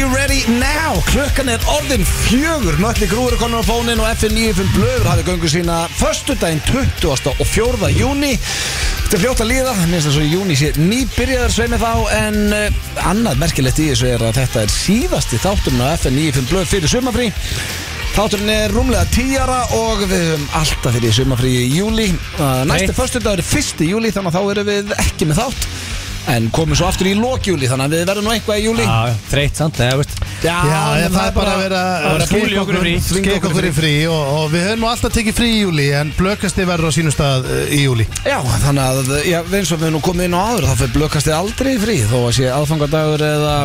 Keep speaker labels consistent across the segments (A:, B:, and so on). A: you ready now? Klukkan er orðin fjögur Nölli grúður konur á fónin og FN95 blöður hafði göngu sína Föstudaginn 20. og 4. júni Þetta er fljótt að líða, minnst þess að júni sé nýbyrjaður sveimi þá En uh, annað merkilegt í þessu er að þetta er síðasti þátturinn á FN95 blöð fyrir sumafrí Þátturinn er rúmlega tíjara og við höfum alltaf fyrir sumafrí í júli Uh, Næsti
B: Nei.
A: föstudagur er 1. júli þannig að þá erum við ekki með þátt En komum svo aftur í lokjúli þannig að við verðum nú eitthvað í júli
B: Já, þreytt samt, eða veist
A: Já,
C: Já,
A: en
C: en það er bara að vera
B: það er að
C: skika
B: skilja okkur í frí.
C: skika
B: Skilja
C: okkur í frí og, og við höfum nú alltaf tekið frí í júli en blökasti verður á sínum stað eh, í júli
A: Já, þannig að já, eins og við nú komum inn á áður þá fyrir blökast þið aldrei í frí þó að sé aðfangadagur eða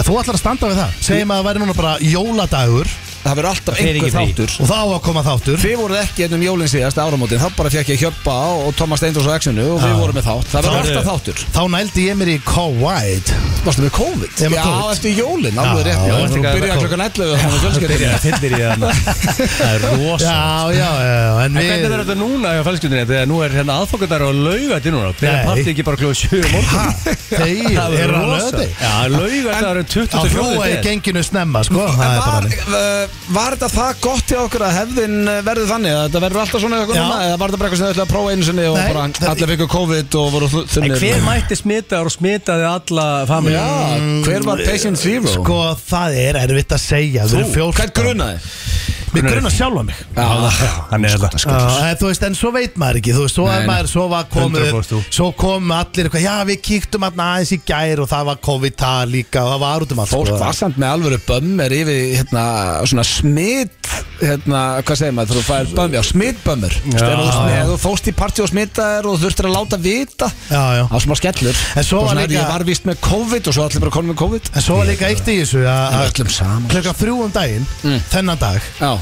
C: En þú ætlar að standa við það Segjum að það væri núna bara jóladagur
A: það verður alltaf
B: Það fer
A: einhver
B: ekki í frí.
A: þáttur
C: og þá á að koma þáttur
A: Þið voruð ekki einnum jólinn síðast áramótin þá bara fekk ég hjöppa og Thomas Steindors á Exinu og við vorum með þátt það verður
B: verður-
A: alltaf þáttur
C: Þá nældi ég mér í Kowide
A: Varstu með COVID?
C: Ég var með
A: Já,
C: COVID.
A: eftir jólinn, alveg
C: Já,
A: rétt
C: já,
A: Já,
C: eftir
A: þú
B: hvað-
A: byrjaði klokkan 11 og það var fjölskyldinni
B: fyllir í það Það er rosa
C: Já, já, já, já, en
B: En
C: við
B: hvernig verður þetta núna hjá fælskjöndinni Þegar nú er hérna aðfokkandar og laugandi núna Byrja
C: Nei.
B: partí ekki bara kljóð 7 morgun
C: Þeir
B: Það
C: eru
B: verður
C: á
B: rosa
C: löði
B: Já, laugandagur er
C: Á
B: 24.
C: frúa í
B: del.
C: genginu snemma, sko
A: En
C: Það er
A: Var,
C: bara þannig.
A: uh, var þetta það gott hjá okkur að hefðin uh, verði þannig að þetta verður alltaf svona eitthvað
C: Já.
A: núna eða var þetta bara eitthvað sem þau ætlaði að prófa einu sinni og
C: Nei,
A: bara
C: það-
A: allir fengur COVID og voru þu-
B: En
A: þunnir
B: hver mætti smitaður og smitaði alla familja
A: Já, hver var patient zero?
C: Sko, það er erfitt að segja Þú,
A: Hvern grunaði?
C: Mér gruna sjálfa mig
A: Já, hérna,
B: Hann er
A: sko.
B: þetta
C: Já, en þú veist, en svo veit maður ekki Þú veist, svo,
B: Nei,
C: nei,
B: nei.
C: maður, svo var komið
B: 100% þú.
C: Svo kom allir eitthvað, já við kíktum aðna aðeins í gær Og það var COVID-tal líka og það var út um allt
A: Fólk
C: sko.
A: var samt með alvöru bömmir yfir hérna, svona smitt hérna, hvað segir maður, þú fær bömmir, já, smittbömmir
B: Já.
A: þegar þú, smi- þú fóst í partí og smittaðir og þú þurftir að láta vita
C: Já, já.
A: á smá skellur
C: En svo
A: Og
C: var
A: svona,
C: líka-
A: ég var víst með COVID og svo allir bara konum með COVID
C: En svo var líka eitt í þessu að-
A: En
C: að
A: öllum saman.
C: Klukka þrjú um daginn,
B: Mm.
C: þennan dag
A: Já,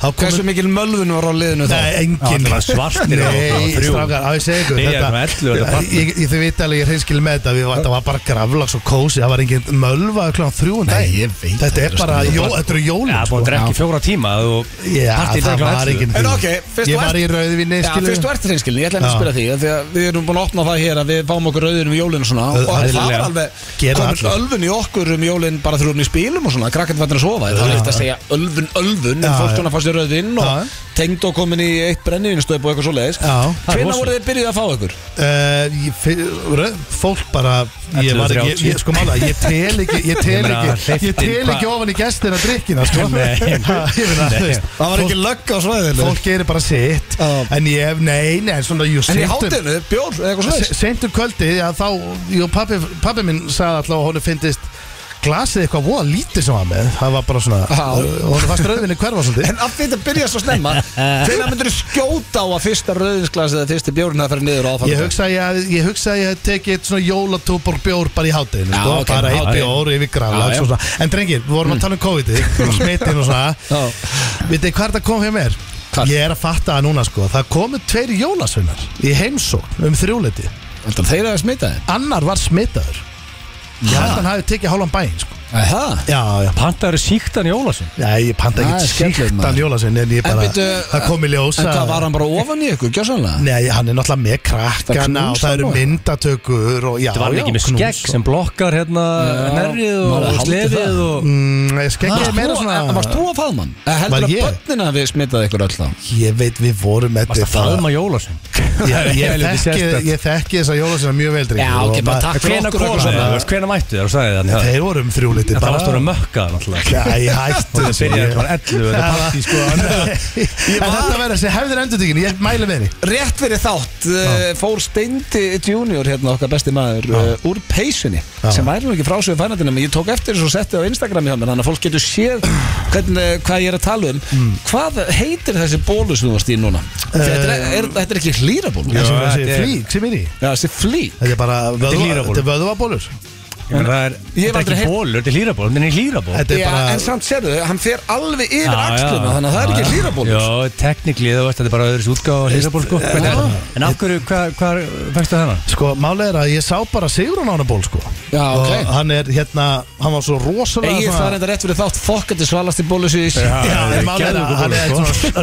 C: þá
A: hversu
C: komu-
A: mikil mölvun var á liðinu þá?
C: Nei,
B: Já,
C: engin
B: það var svartir á- það
C: Nei,
B: var þrjú.
C: strákar, á ég segi ykkur
B: Byrjaði um 11 þetta
C: Ég- ég, ég, Þið veit alveg, ég er hreinskil með þetta Við þetta var bara graflags og kósi Það var engin mölva kláðan þrjúan dag
A: Nei, ég veit
C: Þetta
A: það
C: er
A: er
C: bara,
A: stundum
C: jó,
A: bara-
C: þetta eru jólin sko.
B: Já, búin að drekka í fjóra tíma og
C: Já,
B: partí í dag
C: það
B: klukkan
C: var
B: 11.
C: engin
A: En ok, fyrst
C: Ég
A: þú
C: var
A: ert-
C: í rauðvinni,
A: Já, fyrst þú ert reynskilin, ég ætla henni að
C: Já.
A: spyrja því af Því að við erum búin að opna það hér að við fáum okkur rauðin um jólinn og svona
C: Það-
A: Og það var
C: eðlilega.
A: alveg,
C: Gera
A: komur
C: allir.
A: ölfun í okkur um jólinn bara þegar við erum í spilum og svona Krakkandi varnir að sofa, það var líkt að segja ölfun, ölfun En
C: Já,
A: fólk
C: já.
A: svona fannst í rauðin
C: Já.
A: og tengd og komin í eitt brennivinstöp og eitthvað svoleiðis
B: Það
C: Já.
B: er
A: Hvenær
B: rosalegt.
A: voruð þið byrjuð að fá ykkur?
C: Uh, ég, fyr- rauð- fólk bara ég, var, ég,
B: 11.30.
C: ég, sko, mála, ég tel ekki ég tel
B: Ég meina,
C: ekki, ég
B: hleyptin,
C: tel ekki
B: hva-
C: ofan í gestina drikkina sko.
B: Nei.
C: Ha, ég meina,
B: Nei.
C: þú veist,
A: Það var ekki lögg á svæðinu
C: fólk gerir bara sitt
A: Já.
C: en ég hef, nei, nei, en svona
A: En
C: jú,
A: í
C: seint um-
A: hátinu, bjór, eða eitthvað
C: se-
A: svoleiðis
C: seint um kvöldi já, þá, jú, pappi, pappi minn sagði alltaf að honum fyndist glasið eitthvað voða lítið sem hann var með það var bara svona,
A: Já.
C: honum fannst rauðvinni hverfa svolítið
A: En af því þetta byrjaði svo snemma Þegar myndir þú skjóta á að fyrsta rauðinsglas eða fyrsti bjórn að fara niður á
C: Ég
A: aðfangadag?
C: hugsa að ég, hafði- ég, hugsa að ég hef tekið eitt svona jólatúbor bjór bara í hátteginu
A: Já,
C: sko,
A: ok,
C: bara eitt
A: já,
C: bjór
A: Já,
C: yfir
A: já. Mm.
C: graflags og svona. En drengir, við vorum að tala um COVID-ið og smittin og svona
A: Já.
C: Vitið þið hvað það kom hjá mér?
A: Hvað?
C: Ég er að fatta það núna sko Það komu tveir jólasveinar í heimsókn um þrjúleiti
A: Heldur þeir að smita þið?
C: Annar var smitaður Ég held að hann hafi tekið hálfan bæinn sko
A: Það?
C: Já, já
B: pantaður síktan í Ólasinn
C: Nei, ég panta
A: Það er
C: ekkert
A: skellur, maður.
C: síktan jólasvein En ég
A: En
C: bara,
A: byrju,
C: það kom í ljós
A: En
C: að-
A: hvað var hann bara ofan í ykkur, gjössanlega?
C: Nei, hann er náttúrulega með krakkana
A: Það
C: og það
A: knúsar
C: eru
A: bara.
C: myndatökur og já,
B: Þetta var hann
C: já,
B: ekki með
C: knús
B: skegg
C: og-
B: sem blokkar hérna
A: Já,
B: nærrið
A: maður
B: og
A: haldið
B: slefið
A: það.
B: og
C: Mm, ég
A: Varst
C: skeggi er
A: þú-
C: meira svona
A: en Varst þú að faðmann? Eh,
C: Var
A: Heldur að
C: ég?
A: börnina við smitaði ykkur öll þá?
C: Ég veit við vorum með
B: Varst að faðma Jólasinn
C: Ég, ég,
B: Helviti
C: þekki,
B: sérstakt.
C: ég þekki þessa jólasina mjög vel drengi,
A: Já,
C: og
A: ok, bara
C: maður-
A: takk.
B: Hvena
A: okkur
B: kom
A: eitthvað svona.
B: það? Hvena mættu þér og sagði þannig það?
C: Þeir um vorum þrjúliti
B: eh, Það varst voru mökkað náttúrulega
C: Já, ég hætti
B: Það
C: þessu
B: sko. byrjaði
C: ég-
B: bara 11 Þetta
C: Já.
B: partí sko
C: En þetta verður þessi hefðir endurtíkin Ég mæli með því
A: Rétt fyrir þátt uh, fór Steindi Junior hérna okkar besti maður uh, úr peysunni
C: Já.
A: sem væri nú ekki frásöðu fænatinu en ég tók eftir þessu og setti á Instagram hjá mér þannig að fólk getur séð hvernig, eh, hvað ég er að tala um
C: Mm.
A: Hvað heitir þessi bólu sem þú varst í núna? þetta, er,
C: Eh,
A: er, þetta er ekki hlýra bólu
C: Það
A: Já,
C: sem verður
B: þetta
C: þessi
B: er-
C: flík sem er í
A: þessi flý
C: Þetta er bara vöðva-
B: lírabólur.
C: þetta er vöðvabólur
B: Það er
A: Ég hef
B: þetta er
A: aldrei
B: ekki
A: heyrt-
B: bólur, þetta er hlýraból Þetta er hlýraból
C: Þetta er
A: Já,
C: bara
A: en samt sérðu, hann fer alveg yfir axluna
B: Já, já.
A: þannig að það er
B: Já,
A: ekki
B: já.
A: hlýra bólu
B: Já, teknikli þú veist, þetta er bara öðru útgáð hlýraból sko Hvernig er þetta? En af hverju, hvað, hvað, fækstu þennan?
C: Sko, málið er að ég sá bara Sigrun Ánaból sko
A: Já, ok.
C: Og hann er hérna Hann var svo rosalega
A: Egið
C: svona-
A: það er enda rétt fyrir þátt fokkandi svalasti bólu síðis Já,
C: Já,
B: það
C: en
B: er
C: málið er að
B: geðveikur
C: hann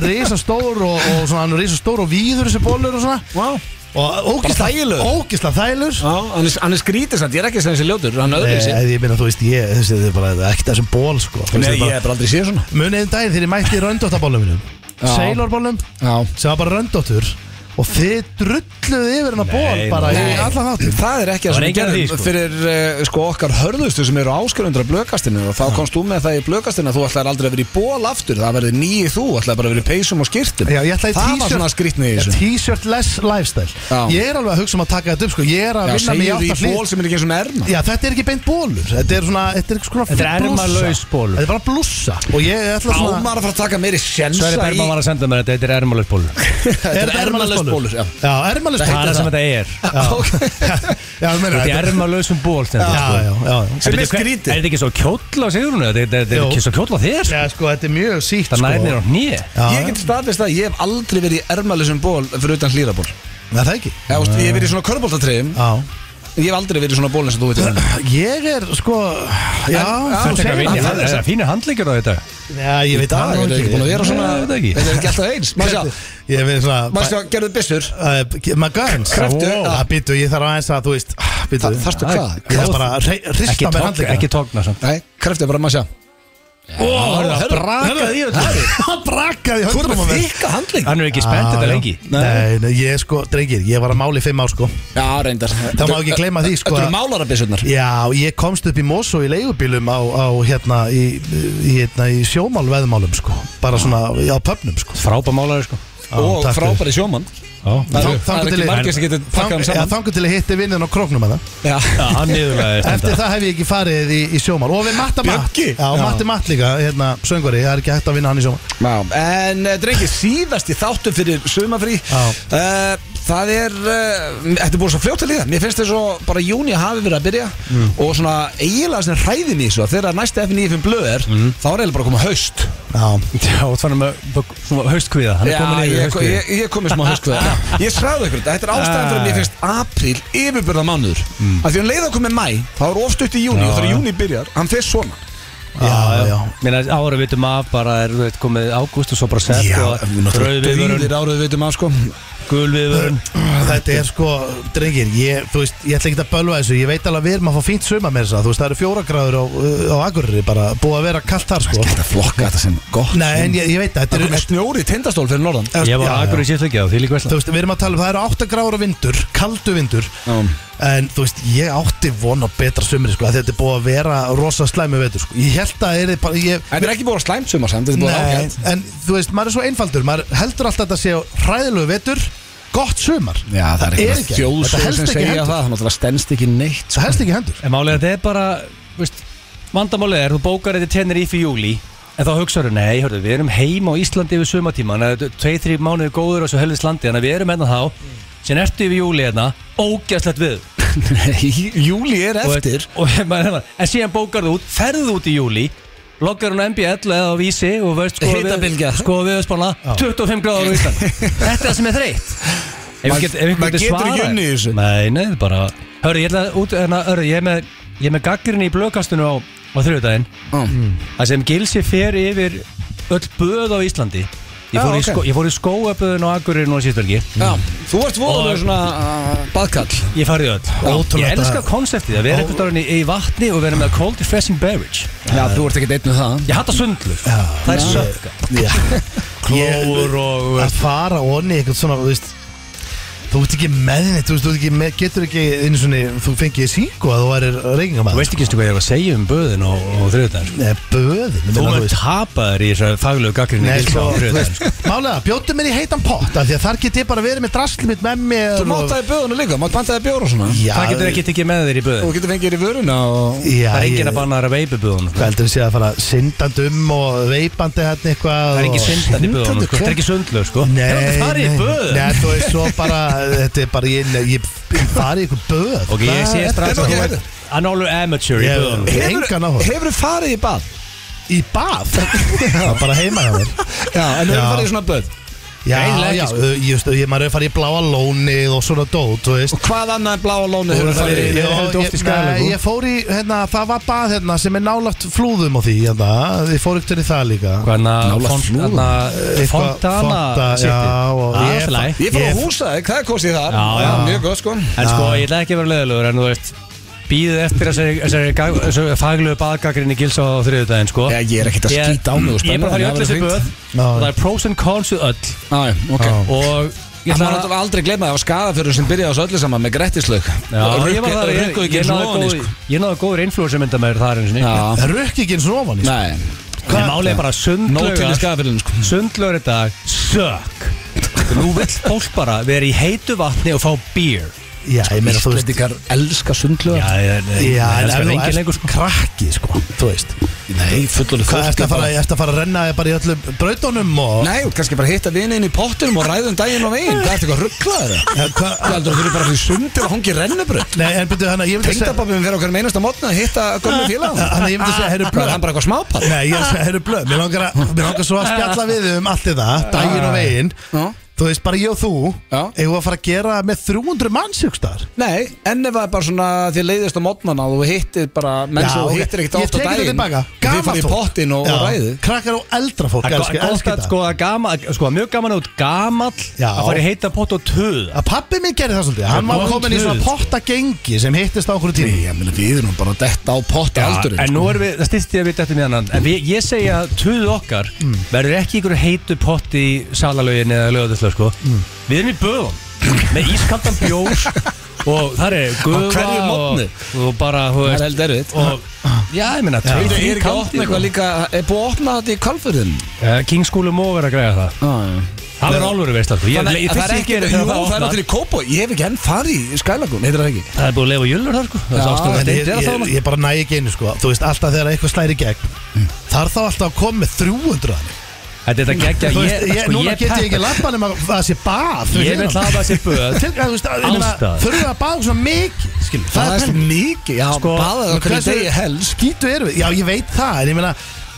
C: er
A: sko.
B: bólur,
C: svona risastór og, og svona hann er risastór og víður þessi bólur og svona
A: Vá.
C: Og
A: Bara þægilegur.
C: ógisla þælur
A: Já, hann er- hann er skrítið samt, ég er ekki að segja þessi ljótur, hann er öðru sér
C: Eh, Ég meina, þú veist, ég, þessi, þetta er bara þetta er ekkert þessum ból, sko Þú veist,
A: Nei,
C: þetta er
A: ég
C: bara-
A: er bara aldrei séð svona
C: Munið um daginn þegar ég mætti röndóttabólum minum
A: Já.
C: Seilorbólum
A: Já
C: sem var bara röndóttur og þið drulluðu yfir hennar ból bara í alla þáttum
A: Það er ekki að
B: Það var
A: svona
B: enginn að
A: gerðum
B: því, sko.
A: fyrir uh, sko okkar hörðustu sem eru áskrundur af blökastinu og þá komst þú með það í blökastinu að þú ætlaði aldrei að vera í ból aftur það verði nýið þú, ætlaði bara að vera í peysum og skýrtum
C: Já, ég ætlaði
A: Það
C: t-shirt-
A: var svona skrýtni í
C: Já,
A: þessu
C: T-shirt less lifestyle
A: Já.
C: Ég er alveg að hugsa um að taka þetta upp sko. Ég er að
A: Já,
C: vinna mig í
A: segir í
C: alltaf
A: ból sem er ekki eins og erma
C: Já, þetta er ekki beint bólur Þetta er svona Þetta er, svona
B: Þetta er
C: blússa.
B: ermalaus bólur.
C: Þetta er bara blússa Og ég ætla svona
A: Ámar að fara að taka meiri sjensa
B: Sverri Bergman var að senda mér þetta, þetta er ermalöf bólur
A: Þetta er
C: þetta
A: ermalaus bólur Já,
C: Já, ermalus
B: Það er það sem þetta er
C: Já, þú meina
B: Þetta er ermalöfum ból stendur,
C: Já,
B: sko.
C: já,
A: Sem
C: já
B: En
A: er
B: veitu, hver-
A: skrítið.
B: Er þetta ekki svo kjóll á sigurinu? Þetta þetta- þetta
C: Jú.
B: er ekki svo kjóll á þér?
C: Já, sko, þetta er mjög sítt
B: Það nær mér á hnýi
A: Ég get staðist að ég hef aldrei verið í ermalausum ból fyrir utan hlýraból
C: Það er það ekki
A: Já, veist, Ég hef verið í svona körbóltatreyjum
C: Já
A: Ég hef aldrei verið í svona bólin sem þú veit um.
C: Ég er sko Já,
A: já,
C: þú
A: þetta
C: segir
A: er
C: það.
A: vinja.
B: Það er fínir handleikir á þetta
C: Já, ég veit
A: Það
C: það
A: er
C: nú
A: ekki búin að vera svona
B: Ég veit ekki.
A: Þetta er ekki alltaf eins Má sjá,
C: Ég veit svona
A: má sjá, gerðu byssur
C: Uh, my guns
A: Kreftu, já.
C: Það býtu, ég þarf aðeins að, þú veist ah, Býtu,
A: Þa- þarftu hvað?
C: Ég þarf bara að rey-
B: Ekki
C: hrista með
B: togna- Ekki
C: handleika
B: tókna samt
A: Nei, kreftið bara, má sjá Ó,
B: Það
A: herra,
B: brakaði í þetta
C: Það brakaði í
A: Þú ert
C: höndum á
A: með
C: mér
A: þykka handling
B: Hann er ekki spennt
C: Já,
B: þetta
C: já.
B: lengi
C: Nei, nei, ég sko, drengir, ég var að máli fimm ár sko
A: Já, reyndar
C: Það má ekki gleyma því, sko,
A: Þetta eru
C: að-
A: málarabyssurnar
C: Já, ég komst upp í Mosó í leigubílum á, á hérna, í, í, hérna, í sjómálveðmálum sko Bara svona á pöfnum sko
B: Frábæ málari sko
C: Já,
A: Og
C: takk fyrir.
A: frábæri sjómann
B: Já,
A: Það eru-
C: Þang-
A: það
C: þangað
A: eru
C: til
A: ekki
C: ég-
A: margir sem getur pakkað hann
C: Já,
A: saman
C: Þangu til að hitti vinninn á króknum að það
A: Já,
B: hann niðurlega
C: Eftir það hef ég ekki farið í, í sjómál Og við Matta Matt
A: Bjöggi?
C: Já,
A: Já.
C: Matti Matt líka, hérna, söngvari Það er ekki hægt að vinna hann í sjómál
A: Já, en eh, drengir, síðasti þáttu fyrir sumafrí
C: Já.
A: uh, Það er, eh, þetta er búið svo fljótt að líða Mér finnst þess að bara júni hafi verið að byrja
C: Mm.
A: Og svona eiginlega sem hræðin í þessu að Þegar næsta FNF blöð er
C: Mm.
A: Þá er eiginlega bara að koma haust
C: Já,
B: Já, og þannig með bök- svona haustkvíða Hann er komin yfir
A: ég,
B: haustkvíða
A: ég, ég komið smá haust Ég sagði ykkur þetta, þetta er ástæðan fyrir að mér finnst April yfirbörða mánuður mm. Því hún leiða að komið mæ, þá er ofstutt í júni
B: Já,
A: Og þegar
B: já.
A: júni byrjar, hann fer svona
C: já, já
B: Mér er ára vitum af bara er þú veit, komið ágúst og svo bara sett
A: Já,
B: og
A: Dauðir
B: rauðviðvörun,
A: árið veitum að sko
B: gulviðvörun
C: Þetta er sko, drengir, ég, þú veist, ég ætla ekki að bölva þessu Ég veit alveg að við erum að fá fínt suma með þess að Þú veist, það eru fjóra gráður á, uh, á Akureyri bara Búið að vera kallt þar sko
A: Þetta flokka þetta sem gott
C: Nei, en ég, ég veit
A: Það
C: að þetta
A: komið
C: er
A: snjóri í tindastól fyrir norðan
B: Ég var
C: Já,
B: akkur í
C: já.
B: sýtleikja og því líka
C: Þú
B: veistla
C: veist, við erum að tala um það eru átta gráður á vindur Kaldu vindur En þú veist, ég átti von á betra sumri sko að Þetta er búið að vera rosa slæmi veitur sko Ég held að er bara, ég
A: Þetta er ekki búið að slæmt sumar samt, þetta er búið að
C: Nei,
A: ágætt
C: en þú veist, maður er svo einfaldur Maður heldur alltaf að þetta sé hræðilegu vetur Gott sumar
A: Já, það er
C: Er
A: ekki
C: ekki. Þetta
A: þjóðsögur
C: helst
A: sem
C: ekki
A: segja
C: heldur.
A: það Þannig að það stendst ekki neitt sko.
C: Það helst ekki í hendur
B: En málega þetta er bara, veist, vandamálið er, þú bókar þetta tennir í fyrir júli En þá hugsaður, nei, hörðu, við erum heima á Íslandi yfir sumatíma Þannig að tvei, þrjum mánuði góður og svo helðist landi Þannig að við erum hérna þá, sem ertu yfir júli hérna, ógæslegt við
A: Nei, Júli er
B: Og-
A: eftir
B: og, maður hérna, En síðan bókar þú út, ferðu út í júli Loggar hún á MBL eða á vísi og veist sko
A: Hitabylgja.
B: sko við spána 25 gráður á Ísland Þetta er það sem er þreytt Ef
A: Maður-
B: ykkur get, ef ykkur
A: maður
B: getur
A: getur
B: svarað
A: ekki unnið í þessu.
B: Nei, nei, þetta er bara Hörru, ég ætla að út hérna, hörru, ég er með Ég er með gaggrinni í blöðkastunum á, á þriðudaginn Það sem Gilsi fer yfir öll böð á Íslandi Ég
A: Já,
B: fór, í,
A: ok.
B: sko, ég fór í skóaböðun á Akureyri núna síðstölgi
A: Já, þú varst voðalega
B: Og-
A: svona uh, baðkall
B: Ég farið öll
C: ótrúlegt
B: Ég elska
C: að-
B: konseptið að vera einhvern daginn í, í vatni og vera með cold refreshing beverage
A: Já, þú ert ekki deitt með það
B: Ég hata sundlur Það er sökka
C: Klór og Að fara onni eitthvað svona, þú veist Þú ert ekki með henni, þú veist, þú ert ekki með, getur ekki einu svona, þú fengið síku að þú værir
B: Þú
C: reykingamæður
B: veist ekki einstu hvað ég er að segja um böðun og, og þriðudaginn sko.
C: Nei, böðin, ég
B: Þú
C: meina,
B: mun tapa þér í þessu faglegu gaggrinni
C: Nei,
B: Gilsa
C: sko,
B: á
C: þú
B: þriðudaginn
C: veist, málega, bjóttu mér í heitan pott af Því að þar get ég bara verið með drasli mitt með mér
A: Þú mátaði böðuna líka, mátt bantaði bjóra svona
C: Já,
B: Það getur ekki tekið með þér í böðun
A: Þú getur fengið þér í vöruna og
C: Já,
B: Það er enginn
C: ég-
B: að banna þér að veipa sko. böðun
C: Hvað heldur þú sé að fara syndandi um og veipandi hérna eitthvað
B: Það er ekki
C: og-
B: syndandi böðun sko. Það er ekki sundlur sko
C: Nei,
B: Það er ekki farið í
C: nei,
B: böðun
C: Nei, þú veist, svo bara, þetta er bara, ég, ég, ég farið í ykkur böð
B: Ok, ég sé
C: Hvað-
B: strax
A: Þetta
B: að
A: er
B: þú
A: ekki-
B: er Hann álur amateur í
C: Ég-
B: böðun
C: Ég- engan áhuga.
A: hefur farið í bað?
C: Í bað? Já, bara heima hjá mér
A: Já, en hefur
C: Já.
A: farið í svona böð?
C: Já,
B: Greinilega
C: já,
B: ekki, sko.
C: ö, ég veist, ég- maður er að fara í bláa lónið og svona dót, þú veist
A: Og hvað annað en bláa lónið
C: Ég,
A: hefur það verið?
C: já,
A: Ég held oft í
C: ég, nei,
A: skæðalegu
C: ég fór í, hérna, það var bað hérna sem er nálagt flúðum á því, hérna, ég fór upp til í það líka
A: Nálægt flúðum.
B: Hvaðna
C: Eitthvað-
B: Fontana
C: Fonta-
B: City.
C: já, og-
B: Það
C: ég-
B: er læg
A: Ég fór á
C: Ég-
A: húsaðeg, það er kostið þar
B: Já, já.
A: Mjög gott sko
B: En sko, ég ætla ekki að vera leðilegur En þú veist Býðið eftir þessari- þessari gag- þessu faglegu baðgagrinni gils á þriðudaginn sko
A: Já, Ég er ekkert að
B: Ég-
A: skýta á mig og
B: Ég er bara að fara í öll
A: spenna,
B: þessi
A: það
B: böð
A: verður
C: Já.
B: Og það er pros and cons við öll
A: fínt. Já, ok
C: Já.
B: Og ég
A: Það má
B: ætla að
A: náttúrulega aldrei gleyma að það var skadafjörður sem byrjaði á þessu öllu saman með grettislaug
B: Já, ég var það, ég,
A: Rukkuðu ekki
B: ég,
A: eins og
B: náði
A: ofan í
B: góð,
A: sko
B: ég náði góður influencer myndamæður þar einu sinni
A: Já,
C: Rökk ekki eins og ofan í sko.
A: nei
B: En málið er bara
A: Nóg til í
B: sundlaugar
A: skadafjörðinu sko
B: Sundlaugar í dag Sök Nú vill fólk bara vera í heitu vatni og fá beer
C: Já, ég meina, þú veist
A: Íslendingar elska sundlög
B: Já,
C: Já, en ef
B: það er
C: þú
B: engin lengur
C: ert
B: sko
C: krakki, sko, þú veist
A: Nei, fullur
C: Hvað ertu að fara, ertu að fara að renna bara í öllum brautunum og
A: Nei, þú ert kannski bara að hitta vinnin í pottinum og ræðum daginn og veginn Það ert eitthvað rugglaður
C: Ja, hva,
A: Það heldur að þú eru bara fyrir sundir og hangi rennubröð
C: Nei, en byrju, hann, ég myndi að segja
A: Tengdababin fyrir okkar meinast að mótna að hitta gömlu félag
C: Hann, ég myndi að segja, herru, blöð
A: Hann bara eitthvað smápall
C: Nei, ég er að segja, herru blöð, mér langar, að, mér langar svo að spjalla við þig um allt þetta, daginn og veginn
A: Já.
C: Þú veist, bara ég og þú
A: Já.
C: Eigum við að fara að gera með 300 manns, hugstaðar
A: Nei, enn ef það er bara svona því leiðist á mótnana og þú hittir bara menn sem
C: ok.
A: þú hittir ekkert
C: Ég
A: oft á
C: tek þetta
A: daginn
C: tilbaka.
A: og þið farið í
C: Gamalt fólk.
A: pottin og, og
C: Já.
A: ræðu
C: Krakkar og eldra fólk,
B: Það
C: elskar
B: er
C: elska
B: gott að
C: þetta
B: sko, að gama, sko mjög gaman út gamall
C: Já.
B: að fara í heita pott og töða
C: Að pappi minn gerði það svolítið Hann var
B: góð
C: komin í svona
B: töð.
C: potta gengi sem hittist á okkur tíma
A: Ég meina við erum bara detta á potta aldurinn
B: en nú erum við, það styrst ég að við þetta með annan En við, ég segi að töðu okkar
A: Mm.
B: verður ekki ykkur heitu pott í salalögin eða lögatöðslu sko
A: Mm.
B: Við erum í böðum með ískaldan bjór og það er
A: Á
B: guða
A: hverju
B: og,
A: morgni?
B: og bara,
A: Það
B: þú
A: er
B: veist
A: held erfitt
B: og, Já, ég meina,
A: Er
B: tveir,
A: ekki að
B: þrír
A: opna
B: kaldir
A: eitthvað líka Er búið að opna þetta í kalfurðin?
B: Eh, King School um over að græða það Það verður álfur veist alltaf Ég,
A: Þannig
B: ég,
A: að það
B: fyrst
A: er
B: ég
A: ekki
B: gerir
A: Jú,
B: þegar
A: það er
B: opnar.
A: allir í kópa Ég hef ekki enn farið í skælagun Heitir það ekki?
B: Það er búið að leifa jölur þar sko Það
A: Já,
B: er ástöðan
C: En
A: Þetta
C: ég,
A: er að
C: ég,
A: þána.
C: ég bara næ ekki einu sko Þú veist, alltaf þegar eitthvað slæri gegn
A: Mm.
C: Þar þá alltaf að koma með 300 að mig
B: Þetta er þetta geggja
C: Þú veist,
B: Ég,
C: ég,
B: sko,
C: núna
B: ég
C: get ég ekki
B: peppa
C: lappa nema að það sé bað
B: Ég vil hafa það sér böð
C: Til, að, þú veist, að, ég meina,
B: Allstaðar.
C: þurfum við að baða svona mikið skilur,
A: Það er
C: pæling.
A: mikið Já,
B: Sko,
A: baðað
C: Men
A: okkur í
C: hversu
A: degi helst
C: skítu erum við, já ég veit það en ég meina,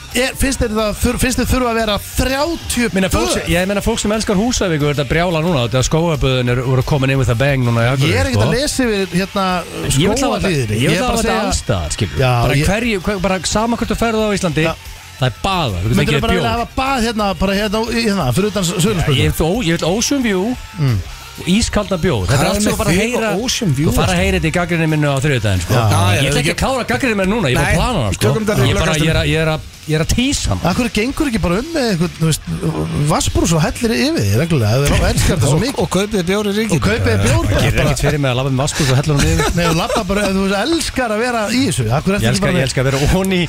C: er, finnst þér það þur, finnst þér þurfa að vera 30
B: Minna fólk, sem- ég meina fólk sem elskar húsavíku er þetta að brjála núna Þetta skóaböðin er voru að koma nefn við það beng núna í Akureyri,
C: ég er ekkert
B: sko.
C: að lesa yfir hérna
B: Ég vil hafa þetta-
C: skóahlýðinni
B: ég vil
C: er
B: hafa
C: bara að
B: þetta
C: segja-
B: allstað skilur
C: Já,
B: Bara
C: ég-
B: hverju, hver- bara sama hvort þú ferðu á Íslandi
C: Já.
B: Það er baða, þú
C: myndir
B: tekið
C: þú bara vilja
B: bjóð
C: hafa bað hérna bara hérna, í- hérna fyrir utan
B: Ég
C: sögurnarsbyrðu
B: vil ó- ég vil Ocean View
C: Mm.
B: og Ískalda bjóð Þetta
A: Hvað er
B: er allt sem
A: með
B: þú bara að
A: þig og
B: heyra
A: Ocean View,
B: Þú fara að heyra þetta í gaggrinni minnu á þriðudaginn sko.
C: Já. Já,
A: já,
B: Ég ætla ekki að kára gaggrinni minnu núna Ég er bara
A: Nei,
B: að plana hana sko.
A: tökum þetta fyrir
B: Ég bara-
A: löggastinn.
B: ég er að- ég er að- ég er að tísa hana
C: Akkur gengur ekki bara um með eitthvað, þú veist, vassbrús og hellir yfir því reglulega, það er elskar þetta svo
A: Og
C: mikið
A: og kaupið bjóri
C: og
A: ríkið
C: kaupið bjór
B: Ég
C: bara,
B: er
C: bara
B: ekkert fyrir með að lafa með vaskus og hella hún yfir
C: Nei, þú lappa bara, þú veist, elskar að vera í þessu Akkur
B: Ég
C: eftir
B: elska, ég elska að vera óni Óni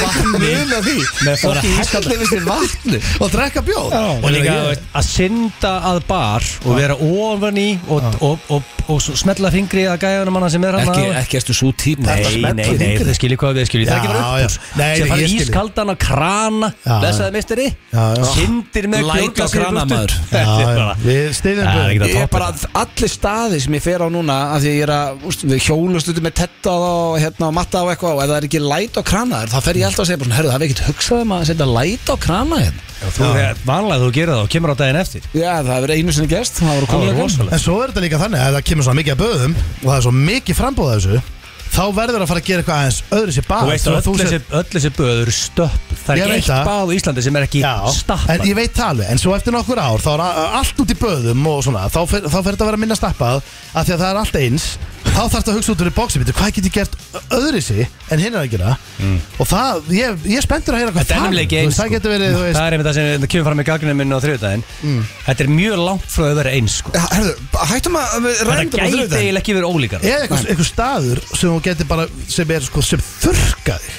B: vatni Með fólki í ískalda
C: vatni Og drekka bjór
B: Og líka þú veist, að synda að bar Og vera ofan í Og, og, og, og, og svo smetla fingri að gæðanum manna sem er hann
A: Ekki, ekki erstu svo típa
B: Nei,
C: smetla
B: nei, nei,
C: fingri.
B: þið skiljið hvað við skiljið Það er ekki
C: Já,
B: bara
C: já.
B: upp úr
C: Nei,
B: Sér
C: nei,
B: fara
C: ég skil.
B: ískaldan að krana
C: Já,
B: Blessaði meistari
C: Já, já.
B: Syndir með
A: Læk á
B: bjórglasið í
A: krana,
B: burtu.
A: maður.
B: Þetta
C: Já,
B: er
C: já,
B: bara
C: Við stiðum
B: Það er ekki
C: bjór
B: að
A: Ég er
B: toppa
A: bara, allir staði sem ég fer á núna af því að ég er að, úst, við hjólust út með tetta og hérna og matta og eitthvað og ef það er ekki læt á krana þá fer ég alltaf að segja bara svona, herru, það er ekkert hugsað um að setja læt á krana hérna
B: Já, Þú, þegar- Vanlega þú gerir það og kemur á daginn eftir
A: Já, það hefur einu sinni gerst, það voru
B: Það er
A: kóluleikon
B: rosalega
C: En svo er þetta líka þannig að ef það kemur svona mikið að böðum og það er svo mikið frambóð af þessu þá verður að fara að gera eitthvað aðeins öðru sér
B: Þú
C: bara
B: veist, öll þessi, öll þessi böð eru stöpp Það
C: Ég
B: er
C: veit
B: eitt
C: það.
B: báð í Íslandi sem er ekki
C: Já, en
B: stappað
C: ég veit það alveg, en svo eftir nokkur ár þá er a- a- allt út í böðum og svona þá fer, þá fer þetta að vera minna stappað af því að það er allt eins þá þarf þetta að hugsa út fyrir bóksi hvað get ég gert öðru sér en hinn er að gera og það, ég, ég er spenntur að heyra hvað
B: Mm. Þetta er nefnilega ekki eins
C: þú veist, það
B: sko.
C: getur verið, þú veist Mm.
B: Það er einmitt það sem það kemur fram í gagninu minni á þriðdæðin Þetta er mjög langt frá að vera eins sko.
A: Herru, hættum að við
B: Þetta
A: ræðum
B: gæti eiginlega ekki verið ólíkar
C: eða einhver, einhver staður sem þú getur bara sem er sko, sem þurrkaði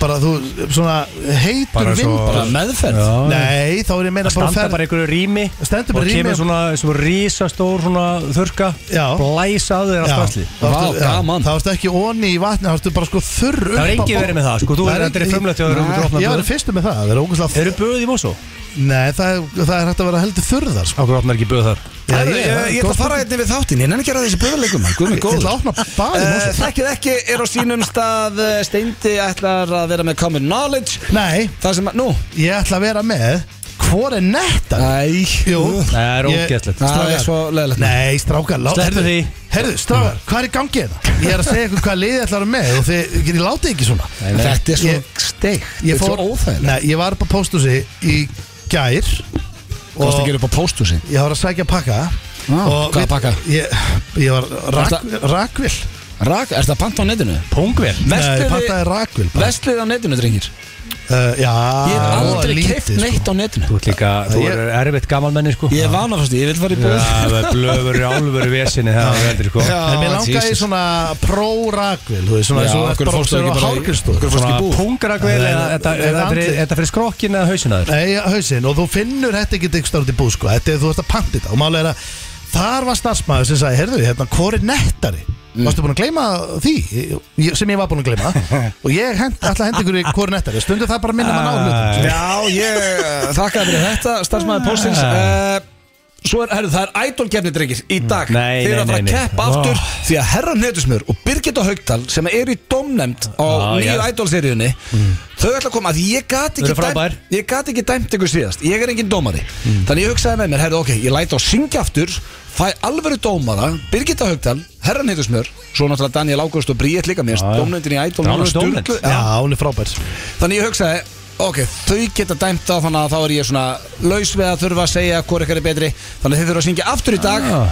C: bara þú, svona heitur
B: Bara svo-
C: vind
A: Bara meðferð
C: Nei, þá er ég meina bara
B: Standa
C: ferð
B: bara í einhverju rými
C: Stendur bara
B: Og
C: í rými
B: kemur svona, svona rísastór svona þurka
C: Já.
B: Blæsa á þeir af
C: Já,
B: spasli
C: þá
A: Vá,
C: ertu- já,
A: gaman.
C: Þá ertu ekki onni í vatni, þá ertu bara sko þurr upp
B: Það er
C: á
B: engi
C: botn.
B: verið með það sko, þú
C: Það
B: er þetta er frumlegt hjá þér um
C: Nei,
B: dropna
C: Ég var
B: böð
C: fyrstu með það, það er ógæslega
B: Eru böð í Mosó?
C: Nei, það er, það er hægt að vera heldur þurr þar sko.
B: Ákveð opnar ekki böð þar
C: Já,
A: Herru, ég, ég ætla að fara einnig við þáttin, ég nenni ekki að ræða þessi böðuleikum Guð mig
C: Ég ætla
A: góður
C: að opna baði
A: Eh,
C: uh,
A: Þekkið ekki er á sínum stað eh, Steindi ætlar að vera með common knowledge
C: Nei,
A: Það sem að, nú,
C: ég ætla að vera með Hvor er netta?
A: Æ,
C: Jú.
B: Það er
C: Ég-
B: ógeðslegt
A: Það
C: Strákar.
A: er svo leðilegt
C: Nei, strákar, lá-
B: Slepptu
C: heyrðu-
B: því.
C: Heyrðu, strákar, hvað er í gangi þetta? Ég er að segja ykkur hvað liðið ætlar með og þið, ég láti ekki svona
B: nei.
A: Þetta er svo
C: Ég-
A: steikt Þetta
C: Ég
A: er
C: fór,
A: svo óþægilegt
C: nei, ég var upp á póstúsi í gær
A: Þú varst að
C: og
A: gera upp á pósthúsi
C: ég var að sækja pakka
A: Ah,
C: og
A: hvaða
C: við-
A: pakka?
C: Ég, ég var rak, rakvill
A: Rak, er þetta panta á netinu?
B: Pungvel
C: Nei,
A: Versliði-
C: pantaði rakvill bara.
A: Vestlið á netinu, drengir
C: uh, Já,
A: Ég hef
C: voða
A: aldrei
C: lítið, sko.
A: keift neitt á netinu
B: Þú ert líka, þú
C: Ég-
B: er erfitt gamalmenni sko
A: Ég er vanafasti, ég vil fara í búð
B: Það er blöfur í álveru vesinni Það er veldur sko
A: Já.
C: En mér
A: Ah,
C: langaði í
A: Jesus.
C: svona pró-rakvill Þú veist, svona sko.
A: Já,
C: eins og
A: af hverju
C: bara
A: fórstu ekki
C: á
A: bara í-
C: hárgreiðslu.
A: af hverju fórstu
C: Svona-
A: ekki í búð?
B: Pungragvel
C: Nei,
B: eða
C: nei,
B: þetta-
C: nei,
B: eða þetta
C: andlit.
B: er- þetta fyrir skrokkin eða hausinar
C: Nei, hausinn, og þú finnur þetta ekki ekstra út í búð, sko, þetta er þú ert að panta þetta og málega er að þar var starfsmæður sem sagði, heyrðu, hérna, hvor er nettari?
B: Mm.
C: Varstu búin að gleyma því Ég- sem ég var búin að gleyma og ég hend, ætla að henda ykkur í hvor er nettari stundu það bara minna mann á
B: Ah,
C: hlutum sko.
A: Já, ég þakkaði fyrir þetta Starfsmæður Póstins uh, Svo er, herru, það er idolgefni, drengir, í dag
B: Nei,
A: Þeir eru
B: nei,
A: að fara að
B: nei, nei.
A: keppa
B: Ó.
A: aftur Því að herra Netusmjör og Birgitta Haugdal Sem eru í domnefnd á
B: Á,
A: nýju
B: já. Mm.
A: idolseríunni Þau ætla að koma að ég gat
B: Þau
A: ekki
B: eru frábær. Mm.
A: dæmt Ég gat ekki dæmt ykkur síðast Ég er engin dómari Þannig ég hugsaði með mér, herru, ok, ég læti á syngja aftur Fæ alvöru dómara, Birgitta Haugdal, herra Netusmjör Svo náttúrulega Daniel Ágúst og Bríett líka mér
B: Já, já.
A: Domnefndin í idol
B: Það er
A: nánast
B: alveg dómnefnd.
A: sturlu-
C: Já, hún er frábær
A: Þannig ég hugsaði Ok, þau geta dæmt það þannig að þá er ég svona laus við að þurfa að segja hvort ykkar er betri Þannig að þið þurfa að syngja aftur í dag
B: Ah,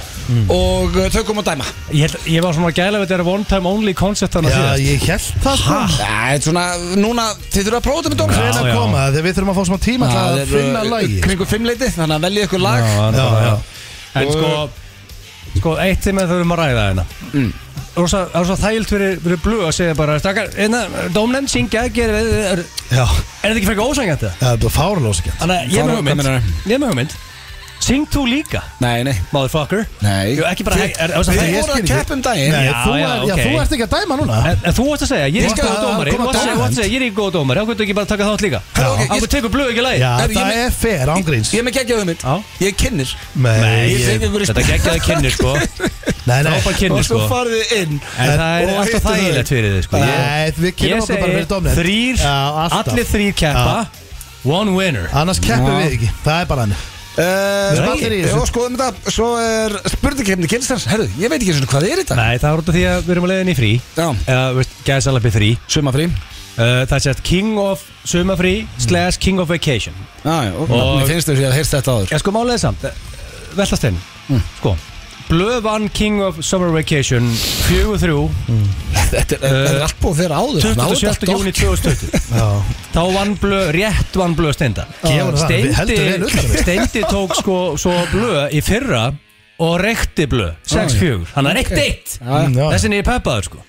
A: og uh, þau koma að dæma
B: Ég, held- ég var svona að gæla við þetta er one time only concept þannig
C: Já,
B: að síðast
C: ég held það sko
B: Ah.
A: Æ, þetta er svona, núna, þið þurfa að prófa þetta með Ah. dómar
C: Hvenær
B: já. uh,
C: koma, þegar við þurfum að fá smá tíma til að finna lagi
A: Kringu fimmleiti, þannig að velja ykkur
B: Já,
A: lag
B: en
C: Já,
B: bara-
C: já.
B: En sko Sko, eitt sem við þurfum að ræða hérna
C: Mm.
B: Rosa, það er svo þægilt fyrir, fyrir blöð að segja bara Stakar, dómnend, syngja, gera Er,
C: Já,
B: er þetta ekki frekar ósængjant það?
C: það er bara fárlós ekki
B: Þannig að ég er
A: Hvað-
B: með
A: hvað
B: hugmynd
A: meinarðu?
B: Ég er með hugmynd Syng þú líka,
A: Nei, nei,
B: motherfucker
A: nei
B: Jú, ekki bara
A: Þið-
B: hæg- er- er- er-
A: Þið
B: er-
C: ég
A: voru
C: skil
A: að
C: ekki.
A: keppa um daginn
C: Nei,
B: Já,
C: þú
B: já,
C: er- já,
B: ok.
C: þú ert ekki að dæma núna
B: En, en þú varst að segja, ég er
A: Ég
B: ekki
A: skal
B: góð
A: að
B: dómari
A: koma
B: Þú varst að segja,
A: dómari.
B: þú varst að segja, ég er ekki góð dómari Hvað getur ekki bara að taka þátt líka?
A: Já, ok,
B: Hvað
A: ég-
B: tekur blöð ekki lægi?
C: Já,
A: Er ég
C: það
A: með-
C: er fair ángríns
A: Ég er með geggjaðu hugmynd,
B: Já.
A: ég er kynnir
C: Nei,
A: Ég
C: ég-
A: fengi ykkur í
B: Þetta geggjaði kynni sko
C: Nei, nei
B: Frábær kynni
A: Og
B: sko
A: svo farið þið inn
B: En það er
A: og
B: alltaf
A: hittu þau.
B: þægilegt fyrir þið sko Ég-
C: Nei, við kynum
B: Ég
C: okkur bara fyrir
B: segi
C: domnir
B: þrýr, allir þrýr keppa One winner
C: Annars keppum
A: Já.
C: við ekki, það er bara hann
A: Eh,
C: Nei.
A: allir í þessu. Já, skoðum þetta, Svo er spurningkefni kynstans Herðu, ég veit ekki einu sinni hvað þið er þetta
B: Nei, það er út af því að við erum að leiðin í frí
A: Já.
B: Eða, gæðsalabbi frí
A: Sumafrí
B: Uh, Það sést King of Sumafrí slash King of Vacation
A: Já, og
B: Og-
A: mér finnst þau að ég hef heyrst þetta áður
B: Ég sko málega samt eh, Veltast inn
A: Mm.
B: Sko Blöð vann King of Summer Vacation 4-3
A: Þetta er, þetta er allt búið að vera áður Ná, þetta er
B: 27. júni 2020 Þá vann blöð, rétt vann blöð steinda
C: Gefur það, við heldur vel utan um
B: Steindi,
C: þetta.
B: steindi tók sko svo blöð í fyrra og reykti blöð 6-4, hann er reykt eitt
A: Já,
C: já.
B: þessin er ég peppaður sko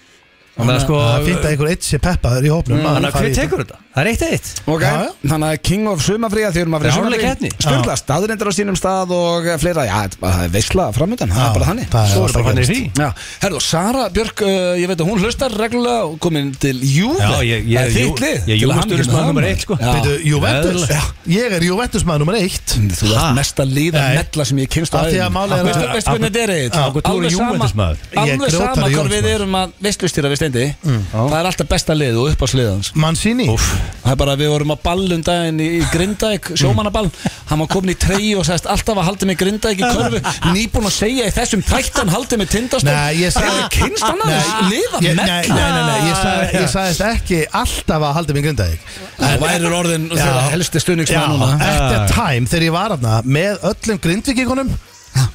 B: Þannig að sko
C: Það er fínt að einhver eitt sé peppaður í
A: Mm.
C: hópnum
B: Þannig að hver tekur þetta? Það er eitt eitt
A: Ok,
C: Já, já.
A: þannig að King of Sumafrí að Þið erum að
B: Já,
A: fyrir
B: alveg keppni.
A: Sumafrí Sturla, staðurindur á sínum stað og fleira Já, þetta er bara- það er veisla framöndan, það
C: Já,
A: er bara þannig
C: það er
A: Svo
C: alltaf
A: bara
B: Þannig
C: gerst.
A: þannig
B: er því
A: Já, herðu, Sara Björk, uh, ég veit að hún hlustar reglulega og komin til Júve
B: Já, ég- ég-
A: Það er
B: Jú-
A: þitt lið
B: ég-
A: Til
B: Juve
A: hamingju með
B: stuðningsmaður
A: það,
B: númer
A: maður.
B: eitt, sko.
A: Já.
C: Býtu, Juventus
B: eðlilega.
C: Ég er Juventus maður nummer eitt
A: Þú
B: Ha?
A: ert mesta líða
C: Nei.
A: mella sem ég kynst á
C: Af því að málið er
A: Veistu
C: að-
A: veistu hvernig þetta er eitt?
B: Af hverju þú eru Juventus maður?
C: Ég er
A: Alveg
C: grjótari
A: sama hvað við
C: Juventus maður. Mm.
A: erum að veistlustýra við steindi Það er alltaf besta lið og upp á sliðans
C: Mancini
A: Það er bara að við vorum að ballum daginn í í Grindavík,
C: Mm.
A: sjómannaball Hann var komin í treyju og sagðist alltaf að haldi mig Grindavík í körfu Nýbúin að segja í þessum tættan haldi mig tindastól
C: Nei, ég sagði
A: Hefur kynst hann að þessu liða
C: Ég-
A: mella?
C: Nei, nei, nei, nei, ég sagði- ég sagðist ekki alltaf að halda mig grindaðið
A: Það væri orðin þeirra helsti stuðningsmann núna
C: At the time, þegar ég var aðna með öllum grindvikikonum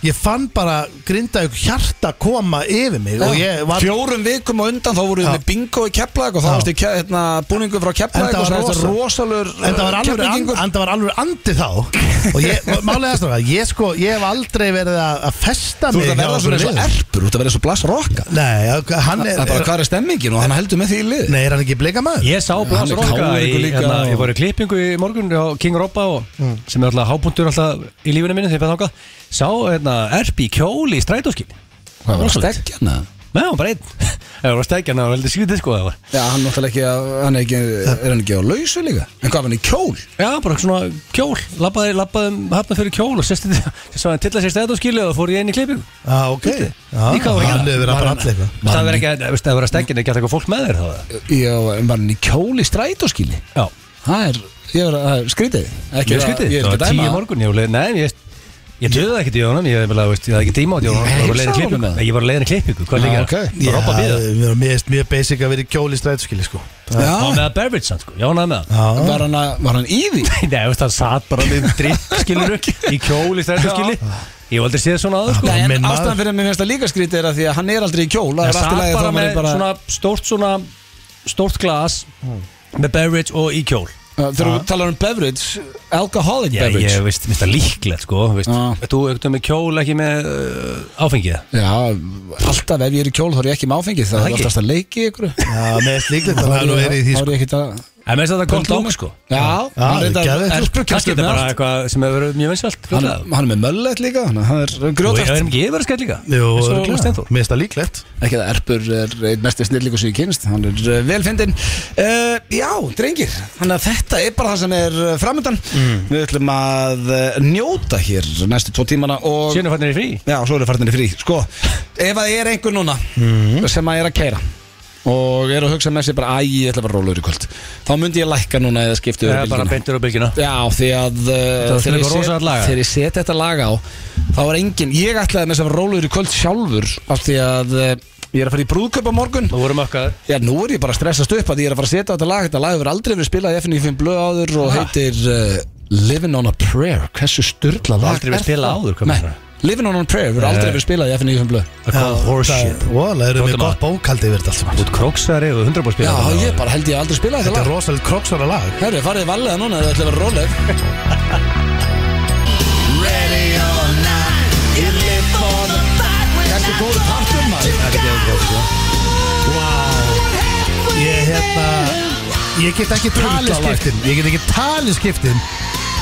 C: Ég fann bara grindaðið hjarta koma yfir mig og ég var
A: Fjórum vikum og undan þá vorum við
C: Já.
A: með bingo í Keflag og þá
C: Já.
A: varst í hérna, búningu frá Keflag
C: Enda
A: og
C: var
A: svo uh, er þetta
C: rosa-
A: rosalur
C: En það var alveg, and, en það var alveg andi þá Og ég, málega það að Ég sko, ég hef aldrei verið að að festa
A: Þú
C: mig
A: ert að
C: hjá
A: verða svona eins
C: einhverju
A: og
C: liði.
A: erpur, þú ert að verða svo blass rocka
C: Nei, ok, hann er,
A: Það er bara hvað er stemmingin og hann heldur með því í lið
C: Nei, er hann ekki blika maður?
B: Ég sá
A: Hann
B: Blas
A: er
B: Rokka
A: káur
B: í,
A: ykkur líka
B: hérna,
A: og-
B: ég var í klippingu í morgun á King Robba og,
C: Mm.
B: sem er alltaf hábúndur alltaf í lífinu mínu þegar ég fæði þákað sá hérna, erp í kjóli í strætóskinn
A: Hvað var
B: Rosalegt.
A: stekkjana?
B: Nei, hún var bara einn Það var stegjan, það var veldig skrítið sko það var
A: Já, hann náttúrulega ekki, að- hann er ekki, er hann ekki á lausu líka? En hvað var hann í kjól?
B: Já, bara svona kjól, labbaði, labbaði um hafna fyrir kjól og sérst svo hann tilla sér stæðt og skilja og fór í einn í klippingu
C: Já, ok Já,
B: Í hvað var ég að-
C: Hann hefur
B: var
C: verið að bara
B: hann-
C: allir eitthvað
B: Veist, Það verður ekki, að- veist, það verður að stegjan ekki að taka fólk með þér þá eða?
A: Já, en var hann í kjól í strætóskili?
B: Já,
A: það er, ég er, það er skrítið ekki
B: Mjög
A: að-
B: skrítið,
A: ég er
B: það
A: ekki
B: var
A: að
B: tíu
A: dæma
B: morgun, ég var leið, nei, ég, ég döði ekkert í honum, ég bara, veist, ég hafði ekki tíma átt í honum,
A: Ég
B: ég var leiðin
A: heilsaði
B: klippingu,
A: honum með.
B: Nei, ég var leiðin klippingu, hvað
A: Já,
B: líka,
A: ok.
B: bara hoppa við það.
C: mér finnst mjög basic að vera í kjóli strætskili sko
A: Já,
B: Há með að Beveridge hann, sko, já, hann hafði með það.
A: var hann, að, var hann í því?
B: Nei, þú veist, hann satt bara með drikk, skilur í kjóli, stærðu skili, ég hef aldrei séð svona aður, sko.
A: Nei, en
C: minn maður.
A: ástæðan fyrir að mér finnst það líka skrítið er að því að hann er aldrei í kjól Það er
B: Hann
A: allt í
B: satt
A: lagi
B: bara
A: þá maður
B: með
A: er bara Hmm.
B: svona stórt svona, stórt glas með Beveridge og í kjól.
A: Þegar þú talar um beverage, alcoholic
B: Já,
A: beverage
B: ég veist, minnst það líklegt, sko, veist,
A: Já.
B: ert þú ekkert með kjól, ekki með uh, áfengið.
A: Já, alltaf ef ég er í kjól þá er ég ekki með áfengið Það er
B: ekki?
A: oftast að leiki ykkur
C: Já, mér finnst líklegt
A: Þá
C: að það
A: er
C: hafa nú
A: ég-
C: verið í því
A: þá er
C: sko
A: ég ekkert að
B: En mér finnst þetta gott dók, sko.
A: Já, hann
C: já,
A: reyndar-
C: geðveikt.
A: er
B: Kannski
A: spurgkastið
B: þetta
A: með
B: bara
A: allt.
B: eitthvað sem hefur verið mjög vinsalt
A: Hann
B: fljótlega.
A: hann er með möllet líka, þannig að hann er
B: Og ég
A: grjótast
B: er ekki yfir að skell líka
C: Jú,
B: Eins og
C: örugglega.
B: Steinþór.
C: Mér finnst það líklegt
A: ekki að Erpur er einn mesti snillingu sem ég kynst hann er uh, velfindin uh, já, drengir, þannig að þetta er bara það sem er uh, framöndan
B: Mm.
A: við ætlum að uh, njóta hér næstu tvo tímana og
B: Sjönu fannir í frí
A: já, svo eru farnir í frí, sko ef að ég er einhver núna
B: Mhm.
A: sem að er að kæra og er að hugsa með sér bara æ, ég ætla bara að róla úr í kvöld þá myndi ég lækka núna eða skipta
B: Það
A: yfir
B: er bara
A: bylgjuna.
B: beintur á bylgjuna
A: Já, því að uh, þegar, ég
B: var eitthvað
A: set,
B: rosalegt lag, ja.
A: þegar ég set þetta lag á þá var engin, ég ætlaði með þess að róluður í kvöld sjálfur af því að uh, ég er að fara í brúðkaup á morgun
B: Nú vorum okkar
A: Já, nú er ég bara að stressast upp að ég er að fara að setja á þetta lag þetta lag hefur aldrei verið spilað í FNF blöð áður og heitir uh, Living on a Prayer hversu styrla lag
B: Aldrei verið
A: er
B: spilað
A: það?
B: áður, hvað Eh.
A: Nei,
B: meinar?
A: Living on a Prayer hefur aldrei
B: Nei.
A: verið spilað í FNF blöð
C: Horseshit Vola, erum við
B: Gott
C: gott bókaldi yfir þetta allt saman
B: Út króksari og 100 búið
A: Já,
B: spila
A: ég bara held ég aldrei spilað
C: Þetta
A: þetta
C: er
A: lag
C: rosalega kroksvara lag
A: Herru, farið valega núna ef þið ætlaði að vera róleg Þetta er góður partur maður sko.
C: Ég hérna Ég get ekki talið skiptin Ég get ekki talið skiptin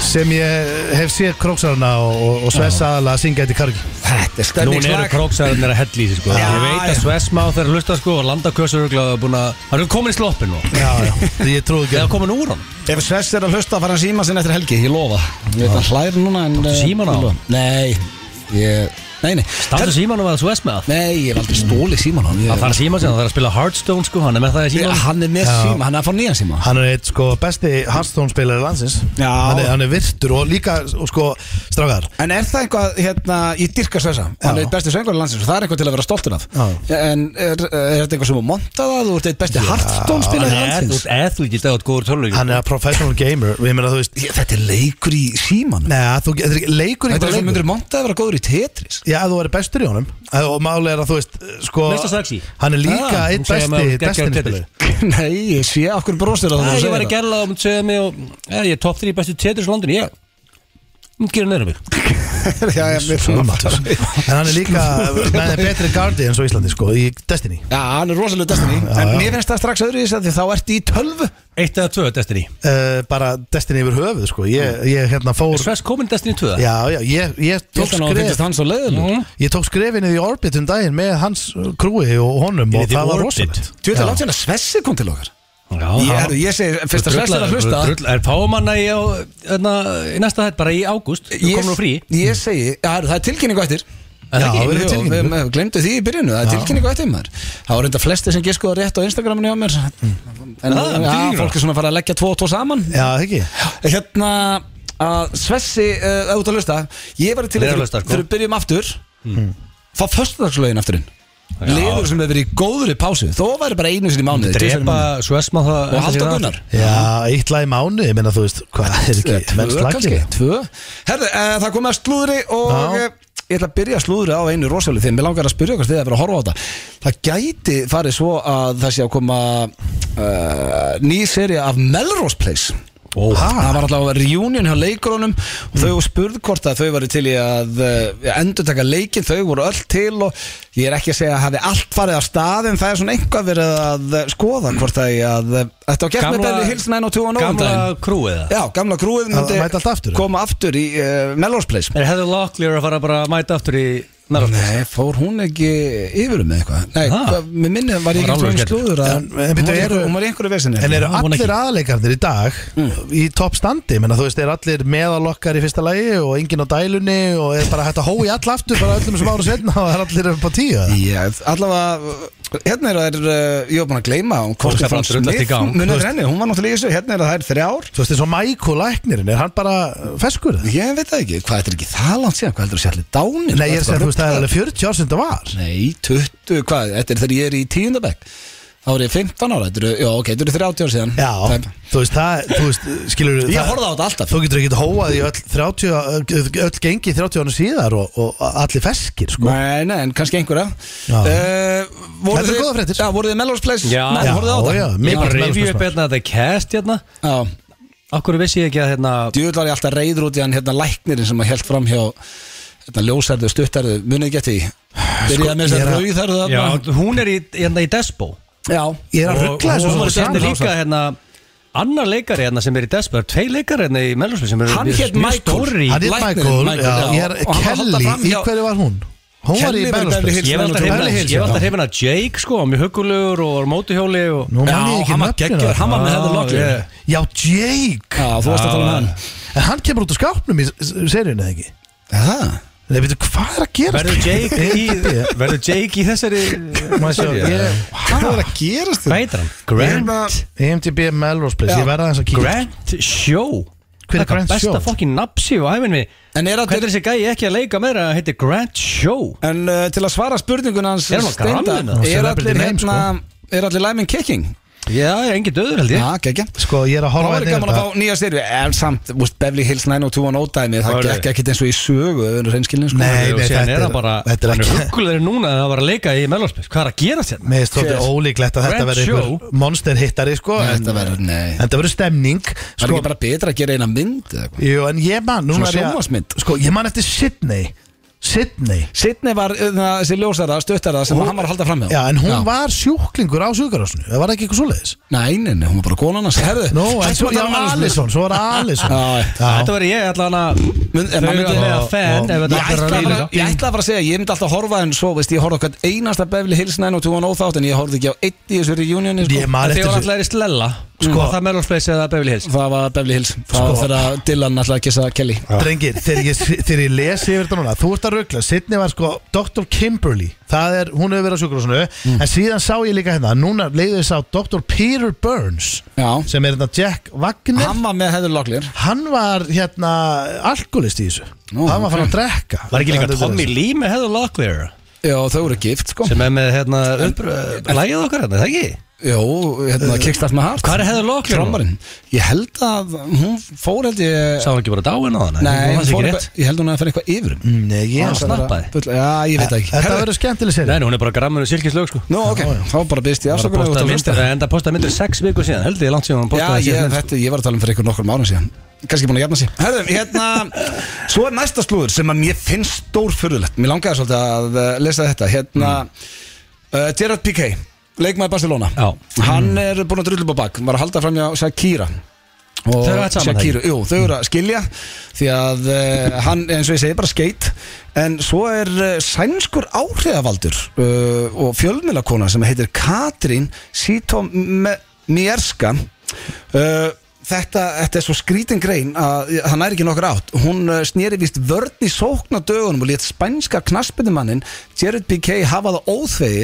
C: sem ég hef séð króksarana og, og Svess aðalega að syngja þetta í kargi
A: Þetta er
B: Nú eru
A: stemningslag
B: króksararnir að hella í sig sko
A: Já,
B: Ég veit að
A: já.
B: Svesmáð þegar hlusta sko og landakösur og búin að Hann er komin í sloppin nú
C: Já, já, ég trúi ekki
B: Eða
C: að-
B: komin úr hann
A: Ef Svess er að hlusta að fara að síma sinna eftir helgi, ég lofa Ég veit að hlæri núna en eh,
B: síman á?
A: ég lofa. Nei, ég, nei, nei
B: Státtu símanum um að Svesmáð
A: Nei, ég hef aldrei stólið síman á hann
B: Það
A: Ég-
B: þarf síman sem það þarf að spila Hearthstone sko Hann er með það í
A: Ég-
B: símanum
A: Hann er með
C: Já.
A: síma, hann er að fá nýjan síma
C: Hann er eitt sko besti Hearthstone-spilari landsins
A: Já.
C: hann er, hann er virtur og líka og sko strafgar
A: En er það eitthvað, hérna, ég dyrka Svessa Hann
C: Já.
A: er eitt besti söngur landsins og það er eitthvað til að vera stoltur af
C: Já.
A: En er, er þetta eitthvað sem að monta það Þú ert eitt besti hartstónspilar
B: Þú
A: landsins
B: ert athlete í dag, þú ert góður tölvleik
C: Hann er a professional gamer og ég meina þú veist
A: Ég- Þetta er leikur í símanum
C: Nei, þú getur ekki leikur í
A: Þetta er
C: bara
A: sem
C: leikur
A: myndir monta að vera góður í Tetris
C: Já, ef þú verður bestur í honum Ef- og máli er að þú veist sko,
B: Mesta sexy.
C: hann er líka
B: Ah, hún
C: einn
B: segir
C: besti
B: maður geggjaður
C: destinispilari
A: Nei, ég sé okkur brosir að
B: Nei,
A: það
B: ég var að gera það og myndi segja mig og ja, ég er top 3 bestu tetris í landinu, ég myndi gera neður um mig
A: Já, já, mér finnum að tala
C: en hann er líka hann er betri Guardians á Íslandi sko, í Destiny
A: Já, hann er rosalega Destiny En mér finnst það strax öðru í þess að því þá ertu í tölvu
B: Eitt eða tvö Destiny
C: uh, bara Destiny yfir höfuð sko. ég, ég hérna fór
B: Svess komin Destiny 2
C: já, já, ég, ég tók skref
A: hann svo leiðileg
B: Mm.
C: ég tók skrefinni í Orbit um daginn með hans krúi og honum
B: Inn í
C: og
B: The
C: það var
B: Orbit.
C: rosalegt
A: Þú veit að láta hérna Svessi kom til okkar
B: Já,
A: Ég,
B: já.
A: herru, ég segi, fyrst að Svessi er að hlusta
B: Drull- Er fámanna í, á- hérna, í næsta hætt bara í ágúst Þú
A: Ég,
B: komur á frí
A: ég segi, já, herru, það er tilkynningu eftir
B: Er það ekki?
A: við,
C: verður
A: jú,
C: tilkynningu.
A: við, við glemdu því í byrjunu, það er tilkynningu eftir maður Það var reynda flesti sem giskuða rétt á Instagraminu hjá mér En
B: Mm. Ah,
A: já,
B: tilkynningu.
A: fólk er svona að fara að leggja tvo og tvo saman
C: já, ekki
A: Hérna, að Svessi, uh, út að hlusta Ég var til
B: Ég
A: þegar
B: er að hlusta, sko. Hmm.
A: þegar við byrjum aftur Fá föstudagslögin aftur inn
B: Já.
A: Liður sem hefur verið í góðri pásu Þó væri bara einu sinni í mánuði tvisvar í
B: Drepa sko,
A: mánuði.
B: Svessma það
A: Og Halldór Gunnar
C: já, eitt lag í mánu, ég meina þú veist hvað er
A: Eða
C: ekki, menn
A: Tvö kannski
C: slagir
A: Tvö Herðu, uh, það komið að slúðri og
C: Já.
A: uh, ég ætla að byrja að slúðri á einu rosalega þegar mér langar að spyrja okkar þegar að vera að horfa á þetta Það gæti farið svo að það sé að koma uh, ný seri af Melrose Place
B: Ó,
A: Það var alltaf reunion hjá leikurunum og þau spurðu hvort að þau varu til í að uh, endur taka leikin, þau voru öll til og ég er ekki að segja að hafi allt farið af stað en það er svona einhvað verið að eh, skoða hvort að ég að eh, þetta var gert með
B: Gamla-
A: Belli Hills 902 á
B: Gamla
A: nógundaginn
B: krúið það
A: Já, gamla grúið
C: Það mæta allt aftur?
A: koma aftur í uh, Melrose Place
B: Er Heather Locklear að fara bara að mæta aftur í Narvaldís?
A: Nei, fór hún ekki yfir um eitthvað Nei,
B: Ha?
A: hvað, mér minni var ég ekki
B: Ah. Var alveg
A: tróðin
B: gerður.
A: slúður að
C: En- en
A: hún,
C: bíddu,
A: var,
C: eru-
A: hún var í einhverju hérna. vesinni
C: En eru
B: Já, hún
C: allir
B: ekki.
C: aðleikarnir í dag
A: Mm.
C: í toppstandi, menna þú veist, er allir meðalokkar í fyrsta lagi og enginn á dælunni og er bara hægt að hói all aftur bara öllum sem ára setna og það er allir upp á tíu eða?
A: Já, allavega, hérna er það, ég var búin að gleyma hún
B: Fólk
A: Kosti
B: er
A: frá
B: bara að drullast í
A: Smith,
B: gang.
A: munið eftir henni, hún var náttúrulega í þessu, hérna er það þær þrjár
C: Þú veist, eins og Michael Læknirinn, er hann bara feskur? eða?
A: Ég veit það ekki, hvað þetta er ekki það langt síðan, hvað heldur þú sé allir dánir
C: Nei, ég er að segja, þú veist, það er alveg 40 ár sem þetta var
A: Nei, 20, hvað, þetta er þegar ég er í tíundabæk Þá er ég 15 ára, þetta eru, já ok, þetta eru 30 ára síðan
C: Já,
A: Það-
C: þú veist, það, þú veist, skilur
A: Ég horfði á þetta alltaf
C: Þú getur ekkert hóað í öll, 30, öll gengi 30 ánum síðar og, og allir feskir, sko
A: Nei, nei, en kannski einhverja
C: Já.
A: uh,
C: Þetta eru góðar fréttir.
A: Já, voruð þið Melrose Place?
B: Já.
A: Nei,
B: Já,
A: horfið á
C: já.
A: þetta?
B: Ég
C: Mér
B: bara
C: fannst Melrose
B: review
C: Place
B: upp hérna þetta cast hérna
A: Já,
B: Akkur vissi ég ekki að hérna
A: djúvel var ég alltaf reyður út í hann hérna læknirinn sem að held fram hjá hérna ljósærðu, stuttarðu, munið geti Byrjaði með þess að
C: Sko, ég er að-
A: rauð þarðu
B: Já, hún er í, hérna í Despo
A: já,
C: Ég er að
B: Og-
C: ruggla
B: og
C: þessu
B: Hún var
C: svo
B: sérna
C: saman.
B: líka hérna Annar leikari hérna sem er í Despo Það er tvei leikari hérna í Melrose sem eru
A: Hann
B: mjög-
A: hét
B: mjög
A: Michael.
B: stórir í-
C: Hann er
A: Læknirinn,
C: Michael,
A: Michael,
C: já,
A: já.
C: ég er
A: Og hann var að halda
C: Kelly,
A: fram
C: í
A: hjá-
C: hverju var hún? Hún var í
A: Kelly var í
C: Beverly
A: Beverly
C: Hills
A: Hills.
B: Ég var alltaf
A: Beverly
B: hrifin af-
A: Hills,
B: ég var alltaf
A: já.
B: hrifin að Jake sko, hann var mjög huggulegur og var á mótuhjóli og
C: Nú man ég
A: Já,
C: ekki
A: hann var
C: nöfnin á
A: geggjör, hann var með
B: Já,
A: hefðu lokli
B: ég-
C: Já, Jake
A: Já, þú varst að tala um hann
C: En hann kemur út úr skápnum í seríunni, eða ekki?
A: Það?
C: Nei, veitu, hvað er að gera?
B: Verður Jake í, verður Jake í þessari
C: Hvað
A: Hvað er að gerast
B: Hvað
A: þér?
B: heitir hann? Grant
C: IMDb Melrose Place,
A: Já.
C: ég verða aðeins að kíkja
B: Grant Show
C: Hver er Grant
B: besta
C: Show?
B: Besta fokkin napsi og æfinni
A: En er
B: Hvernig er
A: að
B: þessi gæi ekki að leika meira að heitir Grant Show?
A: En uh, til að svara spurningun hans
B: Er hann á
A: Steindar,
B: granninu?
A: Er
C: Celebrity
A: allir
C: name,
A: hérna Er allir læminn kicking?
B: Já, ég er engin döður held ég
A: Já, geggja
C: Sko, ég er að
A: Það
C: horfa
A: var
C: hérna
A: gaman að fá nýja styrfi En samt, úst, Beverly Hills 90210 dæmi Það
B: Var
A: gekk
B: þau?
A: ekkert eins og í sögu ef við erum hreinskilin, sko.
C: Nei,
B: Og síðan
C: nei, þetta
B: er
C: er-
B: hann bara
C: þetta er
B: Hann er
C: ekki-
B: huggulegri núna að það var að leika í Melorspils Hvað er að gera sérna?
C: Mér er stótið
A: Yes.
C: ólíklegt að þetta
B: Grand
C: verði einhver monster hittari sko, en
A: Þetta verður, nei
C: en þetta verður stemning
A: Það er
C: sko,
A: ekki bara betra að gera eina mynd eða eitthvað?
C: Jú, en ég man núna
A: Svona
C: er ég-
A: sjónvarpsmynd.
C: Sko, ég man eftir Sydney Sydney
A: Sidney var uh, þessi ljósara, stuttara sem
C: Hún-
A: hann var að halda fram með
C: Já, en hún var sjúklingur á sjúkarásinu Það var ekki eitthvað svoleiðis
A: Nei, nei, nei, hún var bara konan hans Herðu,
C: Nú, en
A: hættum
C: svo,
A: að
C: já,
A: tala um Alison.
C: Alisson Svo var Alisson
A: Já,
B: Þetta verður ég allan að
A: Mynd- en maður myndi-
B: Þauðlega fan
C: Já,
B: ef
A: Ég
B: þetta er
A: ætla
B: að
A: bara
B: leika
A: ég ætla bara að segja, ég myndi alltaf að horfa en svo, veist, ég horfði okkar einasta Beverly Hills 90210 þátt en ég horfði ekki á eitt í þessu reunioni sko.
C: Ég man
B: Þetta
C: eftir
B: var
C: þessu
B: allar í slella
C: Sko-
B: Sko Var það Melorspils eða Beverly Hills?
A: Það var Beverly Hills Það
C: Sko.
A: var þegar að Dylan alltaf að kissa Kelly
C: Drengir, þegar ég, þegar ég lesi yfir þetta núna Þú ert að ruggla, Sydney var sko Dr. Kimberly, það er, hún hefur verið á sjúkrásinu En síðan sá ég líka hérna Núna leiði ég sá Dr. Peter Burns
A: Já,
C: Sem er hérna Jack Wagner Hann,
A: hann var með Heather Locklear
C: var hérna alkoholist í þessu
A: Nú,
C: Hann var fann að drekka
B: Var ekki líka
C: Þetta er
B: Tommy Lee með Heather Locklear
A: Já, þau eru gift, sko
B: sem er með hérna uppr- lagið okkar hérna, er það ekki?
A: Jó, hérna, Kickstart my heart
B: Hvar er Heather Locklear nú?
A: Trommarinn Ég held að hún fór held ég
B: Sá hann ekki bara dáin á hana?
A: Nei,
B: hún
A: hún
B: fannst
A: fór
B: ekki
A: eitthvað
B: rétt
A: Ég held hún að fyrir eitthvað yfir um.
C: Mm, Nei, ég
B: Ah,
C: er
B: snap. snappaði.
A: Full- Já, ég veit það ekki
C: Þetta verður skemmtileg sér
B: Nei, nei, hún er bara grammur og sylkislög sko
A: Nú, ok, þá bara eh, byrst ég
B: Var að
A: afsökunar
B: posta
A: út að
B: myndir,
A: hlusta
B: það enda að posta myndir sex viku síðan, held ég langt síðan hann
A: Já,
B: postaði
A: ég,
B: síðan
A: þetta, ég var að tala um fyrir ykkur nokkrum árum síðan Kanski búin að jafna sig Herðum, hérna, svo er næsta slúður sem að mér finnst stórfurðulegt Mér langaði svolítið að eh, lesa þetta Hérna, uh, Gerard Piqué, leikmaður Barcelona
B: Já.
A: Hann er búin að drullu upp á bak, var að halda framjá Shakira og
B: Þau eru hætt saman,
A: Shakira, jú, þau eru að skilja því að uh, hann, eins og ég segi, bara skeit en svo er uh, sænskur áhrifavaldur uh, og fjölmilakona sem heitir Katrín Sýtomierska uh, Þetta, þetta er svo skrítin grein að hann er ekki nokkur átt hún uh, snýri vist vörn í sókna dögunum og lét spænska knaspindumannin Jared Piqué hafa það óþvegi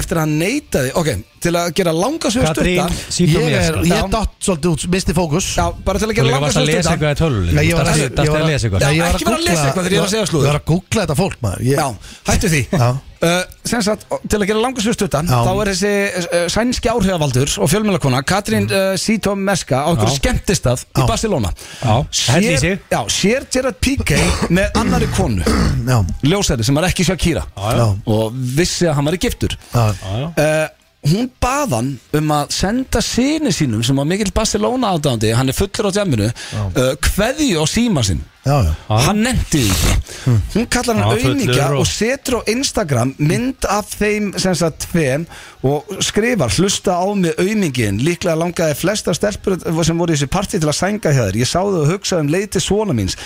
A: eftir að hann neytaði ok, til að gera langa sögur stutta
B: Mm. Katrín, síðan
C: Ég
B: mér
C: er,
B: sko
A: Já.
C: ég dott svolítið út, misti fókus
A: Já, bara til að
B: Þú
A: gera
B: líka
A: langa
B: varst að
A: sögur
B: lesa
A: stutta
B: eitthvað í tölvuleik
C: Nei, ég var
B: Þú dætti að lesa eitthvað
A: Já.
C: Nei, ég var
A: Ekki vera að lesa
C: googla-
A: eitthvað þegar ég var að segja slúður.
C: Ég var að googla þetta fólk maður Ég-
A: Já, hættu því
C: Já.
A: uh, sem sagt, til að gera langa svo stuttan
C: Já.
A: þá er þessi uh, sænski áhrifavaldur og fjölmjölakona Katrín uh, Sító Meska á einhverju
B: Mm. Já.
A: skemmtistað í
C: Já.
A: Barcelona
B: Já, helli í sig.
A: sér, já, sér Gerard Piqué með annari konu
C: Já,
A: ljósæri sem var ekki Shakira
C: já,
A: og vissi að hann var í giftur
C: já
A: uh, hún bað hann um að senda sinni sínum sem var mikill Barcelona ádáðandi hann er fullur á djaminu uh, kveðju á síma sinn
C: já, já.
A: hann nefndi því ekki hún kallar
B: Hm. Já,
A: hann
B: fullur
A: auðmíkja
B: og-
A: og setur á Instagram mynd af þeim sem sagt tveim og skrifar hlusta á mig auðmíkin líklega langaði flesta stelpur sem voru í þessu partí til að sænga hjá þér ég sá þau og hugsaði um leið til svona míns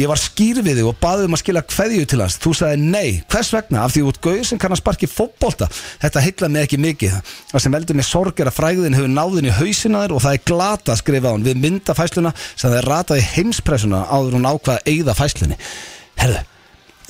A: ég var skýr við þig og baði um að skila kveðju til hans þú sagði nei, hvers vegna af því út gauð sem kann að sparki fótbolta þetta heilla mig ekki mikið það sem veldur mér sorg er að frægðin hefur náðin í hausina þér og það er glata skrifa hann við myndafæsluna sem þeir rataði heimspressuna áður hún ákvaða eigða fæslunni herðu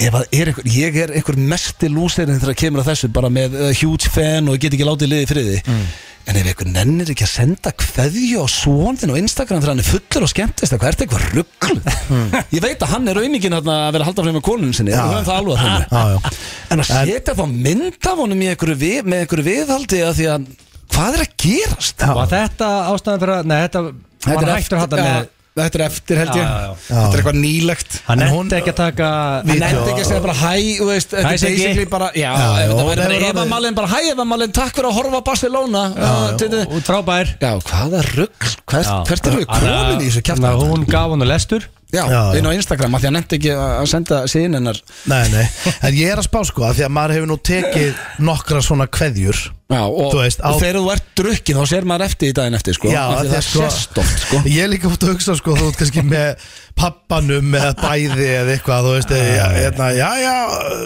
A: Ef að er einhver, ég er einhver mesti lúserinn þegar kemur að þessu bara með uh, huge fan og get ekki látið liðið friði
B: Mm.
A: en ef einhver nennir ekki að senda kveðju á svondin á Instagram þegar hann er fullur og skemmtist eitthvað, ertu eitthvað ruggl
B: Mm.
A: ég veit að hann er auðmikinn þarna að vera að halda frá með konunum sinni, við höfum það alveg að
C: Já, já.
A: hreinu. en að setja þá mynd af honum í einhverju við, með einhverju viðhaldi að því að hvað er að gerast?
B: Var þetta ástæðan fyrir að Nei, þetta var
A: er
B: hættur að
A: eftir,
B: hata með
A: ja, þetta er eftir held ég
B: Já, já, já.
A: þetta er eitthvað nýlegt
B: Hann
C: En
B: nefndi
C: hún-
B: ekki að taka
A: Hann
B: Hann
A: nefndi ekki að segja bara hæ, þú veist, þetta
B: Hæ,
A: er
B: Siggi.
A: basically bara, já,
C: Já, já,
A: þetta
C: og
A: verður bara
C: hefur
A: Eva
C: orðið-
A: Malin, bara hæ Eva Malin, takk fyrir að horfa á Barcelona. Já, til
B: nefndi
A: þið-
B: Út frábær
A: Já, hvaða rugg, hvert,
B: Já.
A: hvert er við
B: Þannig að-
A: komin í þessu
B: þannig að
A: kjæftan?
B: Hún gaf hann og lestur
A: Já,
C: Já, já.
A: inn á Instagram, að því að nefndi ekki að senda síðan hennar.
C: Nei, nei, en ég er að spá sko að Því að maður hefur nú tekið nokkra svona kveðjur
A: Já, og,
C: Þú veist, á-
A: og þegar þú ert drukkin, þá sér maður eftir í daginn eftir, sko.
C: Já,
A: Af því
C: af því
A: það
C: að sko-
A: sést oft, sko.
C: Ég er líka út að hugsa sko, þú ert kannski með pappanum eða bæði eða eitthvað, þú veist, já, hérna, já, já,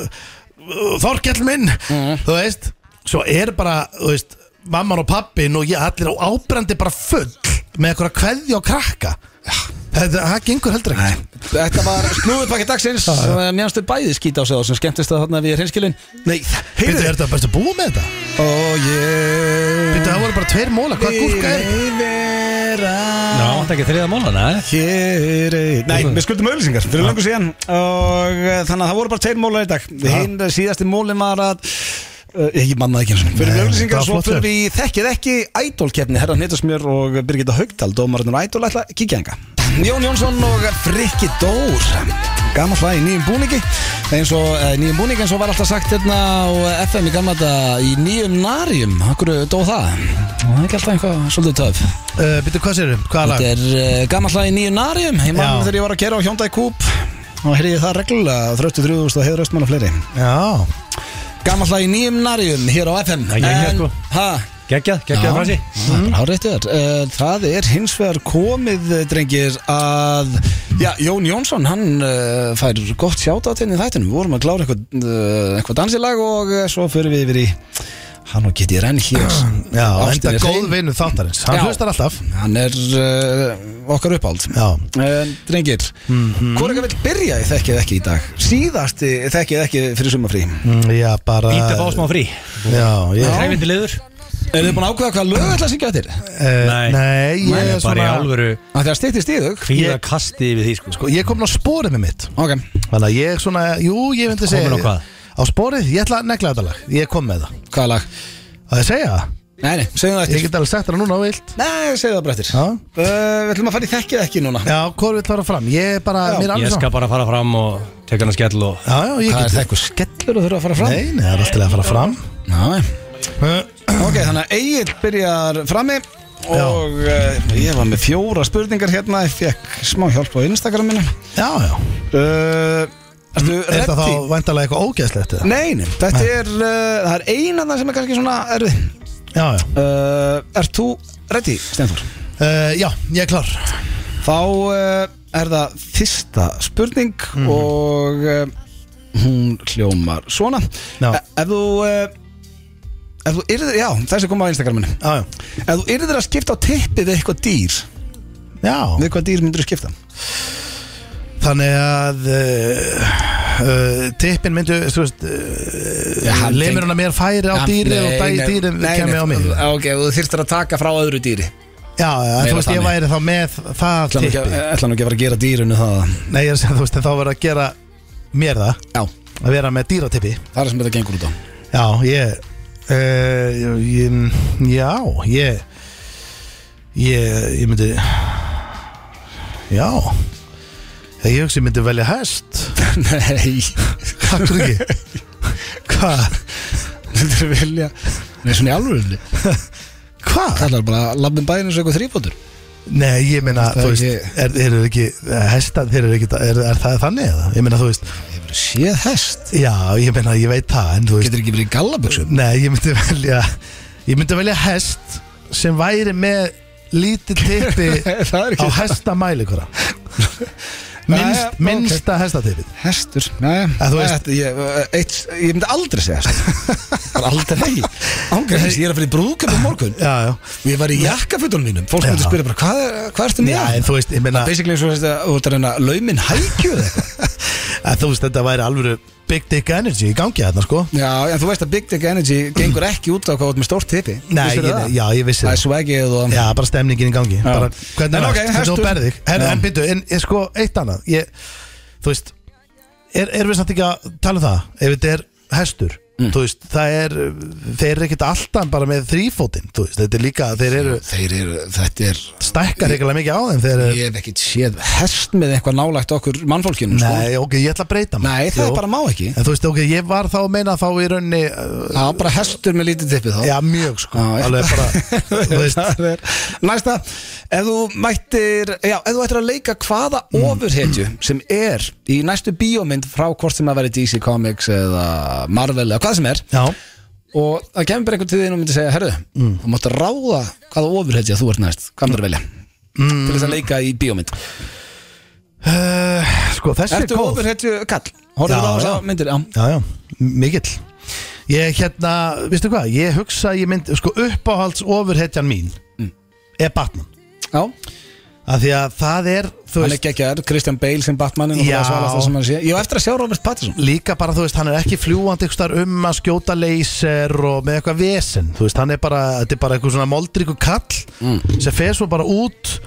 C: uh, Þorkell minn, þú veist, svo er bara, þú veist, mamman og pappin og ég allir á ábrandi bara full með eitthvað kveðja og krakka. Þetta, það gengur heldur ekki. Nei.
A: Þetta var snúðupakki dagsins, mjönstu bæði skýta á sig á sem skemmtist að þarna við hreinskilin. Nei,
C: Býttu,
A: heyrðu,
C: er þetta best að búa með þetta?
A: og ég...
C: Býttu, það voru bara tveir móla, hvað gúrka er?
A: Vera
B: Já, hann ekki þriða mólan, nei
A: Hér er Nei, við skuldum auðlýsingar fyrir langur síðan og uh, þannig að það voru bara tveir mólar í dag hinn uh, síðasti mólin var að Uh, ég manna ekki eins og fyrir
C: Nei, það
A: auðlýsingar
C: var
A: svo
C: flott
A: fyrir
C: hjá.
A: við í þekkið ekki ædolkeppni herra Hnetasmjör og Birgitta Haugdal dómarinn og ædol ætla að kíkja enga Jón Jónsson og Frikki Dór gammal hlæði í nýjum búningi eins og eh, nýjum búningi eins og var alltaf sagt hérna á eh, FM í gamla þetta í nýjum narjum, okkur dó það það er ekki alltaf einhvað svolítið töf
C: Uh, Býttu, hvað sérum? Hvað lag?
A: Þetta er uh, gammal hlagi nýju narium Ég
C: Já.
A: mann þegar ég var að kera á Hyundai Coupe og heyrði ég það reglulega þröstu þrjúðust að heiður östmann og fleiri
C: Já.
A: Gammal hlagi nýjum narium hér á FM
B: Það er
C: hérna,
B: geggjað, sko.
A: ha,
B: Geggjað,
A: Já,
B: geggjað fransi
A: það er bara hárrétt hjá þér. Eh, Það er hins vegar komið, eh, drengir, að já, Jón Jónsson, hann eh, fær gott sjáta inn í þættinum. Við vorum að klára eitthvað, eh, eitthvað dansilag og eh, svo fyrir við yfir í hann og getið renn hér.
C: Já,
A: Ástin
C: enda
A: er
C: góð
A: hrein.
C: vinnu þáttarins
A: Já.
C: Hann hlustar alltaf
A: Hann er uh, okkar uppáld
C: Já.
A: Eh, Drengir, mm -hmm. hvort ekki vil byrja í þekkið ekki í dag? Síðasti þekkið ekki fyrir sumafrí
C: Mm, Já, bara
B: Ítta fá smá frí
C: Já, ég
B: Hreyfindi liður
A: Er þið búin að ákveða hvað lög ætla að syngja eftir?
C: Eh,
B: Nei.
C: Nei, ég
B: Ég
C: er
B: er bara í
C: svona
B: alvöru
A: Af því að styttist í þau
B: Kvíða kasti yfir því, sko
C: sko, Ég er komin á spórið með mitt
A: Ok,
C: Þannig að ég svona, jú, ég myndi segja
B: Komin á hvað?
C: Á spórið, ég ætla að negla þetta lag Ég kom með það
A: hvaða lag?
C: Það er segja það
A: Nei, nei, segjum það eftir
C: Ég get alveg sett það núna á vilt
A: Nei, segjum það bara eftir
C: Já,
A: uh, Við ætlum að fara í þekkið ekki núna
C: já hvað vil fara fram? Ég er bara,
A: Já,
C: mér er
B: Ég
C: alveg
B: skal
C: svona
B: bara fara fram og teka hann að skell og
C: Já, já, ég
A: Hvað er
C: get
A: það eitthvað skellur að þurfa að fara fram?
C: Nei, nei, það er alltaf að fara fram
A: Nei
C: Eh,
A: Ok, þannig að Egil byrjar frammi og uh, ég var með fjóra spurningar hérna Ég fekk smá hjálp á Instagraminu
C: Já, já
A: uh, Ertu
C: Er þetta
A: ready?
C: þá væntalega eitthvað ógeðslegt? eða?
A: Nei, nei, þetta er uh, það er eina það sem er kannski svona erfið
C: Já, já
A: uh, Er þú ready, Steinfór?
C: Eh, Já, ég er klar
A: Þá uh, er það fyrsta spurning
C: Mhm.
A: og uh, hún hljómar svona
C: Já.
A: E- Ef þú uh, Ef þú yrðir, já, þessi kom á Instagraminu
C: Já, já
A: Ef þú yrðir að skipta á tippi við eitthvað dýr
C: Já
A: Við hvað dýr myndir þú skipta?
C: Þannig að uh, uh, tippin myndu þú veist,
A: Já,
C: uh,
A: hann
C: lemur
A: teng-
C: hann að mér færi á dýri og dægi dýri kemur á mig Já,
A: Ok, þú þyrstir að taka frá öðru dýri
C: já,
A: Meira
C: þú veist, ég
A: þannig.
C: væri þá með það
A: Ætla nú ekki eh.
C: tippi
A: að- ætla nú ekki að fara að gera dýrinu það
C: Nei, ég er að segja, þú veist, en þá verður að gera mér það
A: Já,
C: að vera með dýratippi
A: það er sem þetta gengur út á
C: Já, ég, uh, ég Já, ég Ég, ég myndi Já Ég hugsi ég myndi velja hest
A: Nei,
C: Hvað er ekki? Hvað?
A: þetta er vilja Nei, svona í alvöru
C: Hvað?
A: um Það er bara labbin bæðin eins og eitthvað þrýbótur
C: Nei, ég meina,
A: Það
C: þú
A: er
C: veist,
A: ekki-
C: er, eru ekki, hesta, þeir eru ekki, er, er það þannig eða? Ég meina, þú veist,
A: Hefur séð hest?
C: já, ég meina, ég veit það, en þú veist,
A: Getur ekki verið í gallaböksum?
C: nei, ég myndi velja, ég myndi velja hest sem væri með lítið tippi
A: Það er
C: á
A: ekki
C: hesta mæli hvora.
A: Jæja,
C: Minnst,
A: ok.
C: minnsta hestatippið.
A: Hestur, nei,
C: Að þú veist-
A: þetta, ég, eh, eitt, ég myndi aldrei segja hest Aldrei Ángreifis, ég er að fyrir brúðkjöp á morgun
C: Já, já,
A: og ég var í jakkafutunum mínum Fólk
C: Já.
A: myndi spyrja bara, hvað, er- hvað ertu
C: já,
A: með?
C: en þú veist, ég meina,
A: Basically eins og þess að þú ert að reyna laumin hækju eða eitthvað
C: að þú veist, þetta væri alvöru big dick energy í gangi þarna, sko.
A: Já, en þú veist að Big Dick Energy gengur ekki út á hvað þú ert með stórt tippi
C: Nei, ég, já, ég vissi
A: Það er swaggið og
C: Já, bara stemningin í gangi bara, Hvernig
A: En
C: varst,
A: ok,
C: hvernig þú
A: hestur.
C: berð þig En,
A: Já.
C: en byrju, en er sko eitt annað ég, Þú veist er, Erum við samt ekki að tala um það Ef þetta er hestur Þú veist, það er Þeir eru ekkert alltaf bara með þrýfótinn Þú veist, þetta er líka Þeir eru
A: Þeir eru, þetta er
C: stækkar ekkert mikið á þeim Þeir eru
A: Ég hef ekkert séð hest með eitthvað nálægt okkur mannfólkinu sko.
C: Nei, ok, ég ætla að breyta mig.
A: Nei, það
C: Jú.
A: bara má ekki
C: En þú veist, ok, ég var þá að meina þá í raunni uh,
A: Það er bara hestur með lítið tippi þá
C: Já, mjög sko
A: Já, ég-
C: Alveg bara, þú veist
A: Það er- Næsta, ef þú mættir Já, ef þú ættir að leika hvaða
C: Mm.
A: ofurhetju sem er í næstu bíómynd frá hvort sem að vera DC Comics eða Marvel eða hvað sem er
C: Já,
A: og það kemur bara einhvern til þín og myndi segja herðu,
C: Mm.
A: þú mátt ráða hvaða ofurhetja þú ert næst, hvað myndir velja
C: Mm.
A: til þess að leika í bíómynd
C: uh, sko, þessi er
A: Ertu
C: góð
A: ofurhetju kall? Horfður
C: Já,
A: á þess
C: já.
A: að myndir? Já,
C: Já, já, m- mikill Ég hérna, veistu hvað, ég hugsa að ég mynd, sko uppáhalds ofurhetjan mín
A: Mm.
C: er Batman
A: já.
C: af því að það er, þú
A: hann er
C: veist,
A: geggjaður, Christian Bale sem Batman og
C: Já.
A: það svalast það sem hann sé Ég á eftir að sjá Robert Pattinson
C: líka bara, þú veist, hann er ekki fljúandi ykkur um að skjóta leyser og með eitthvað vesen, þú veist, hann er bara þetta er bara eitthvað svona moldríku kall sem fer svo bara út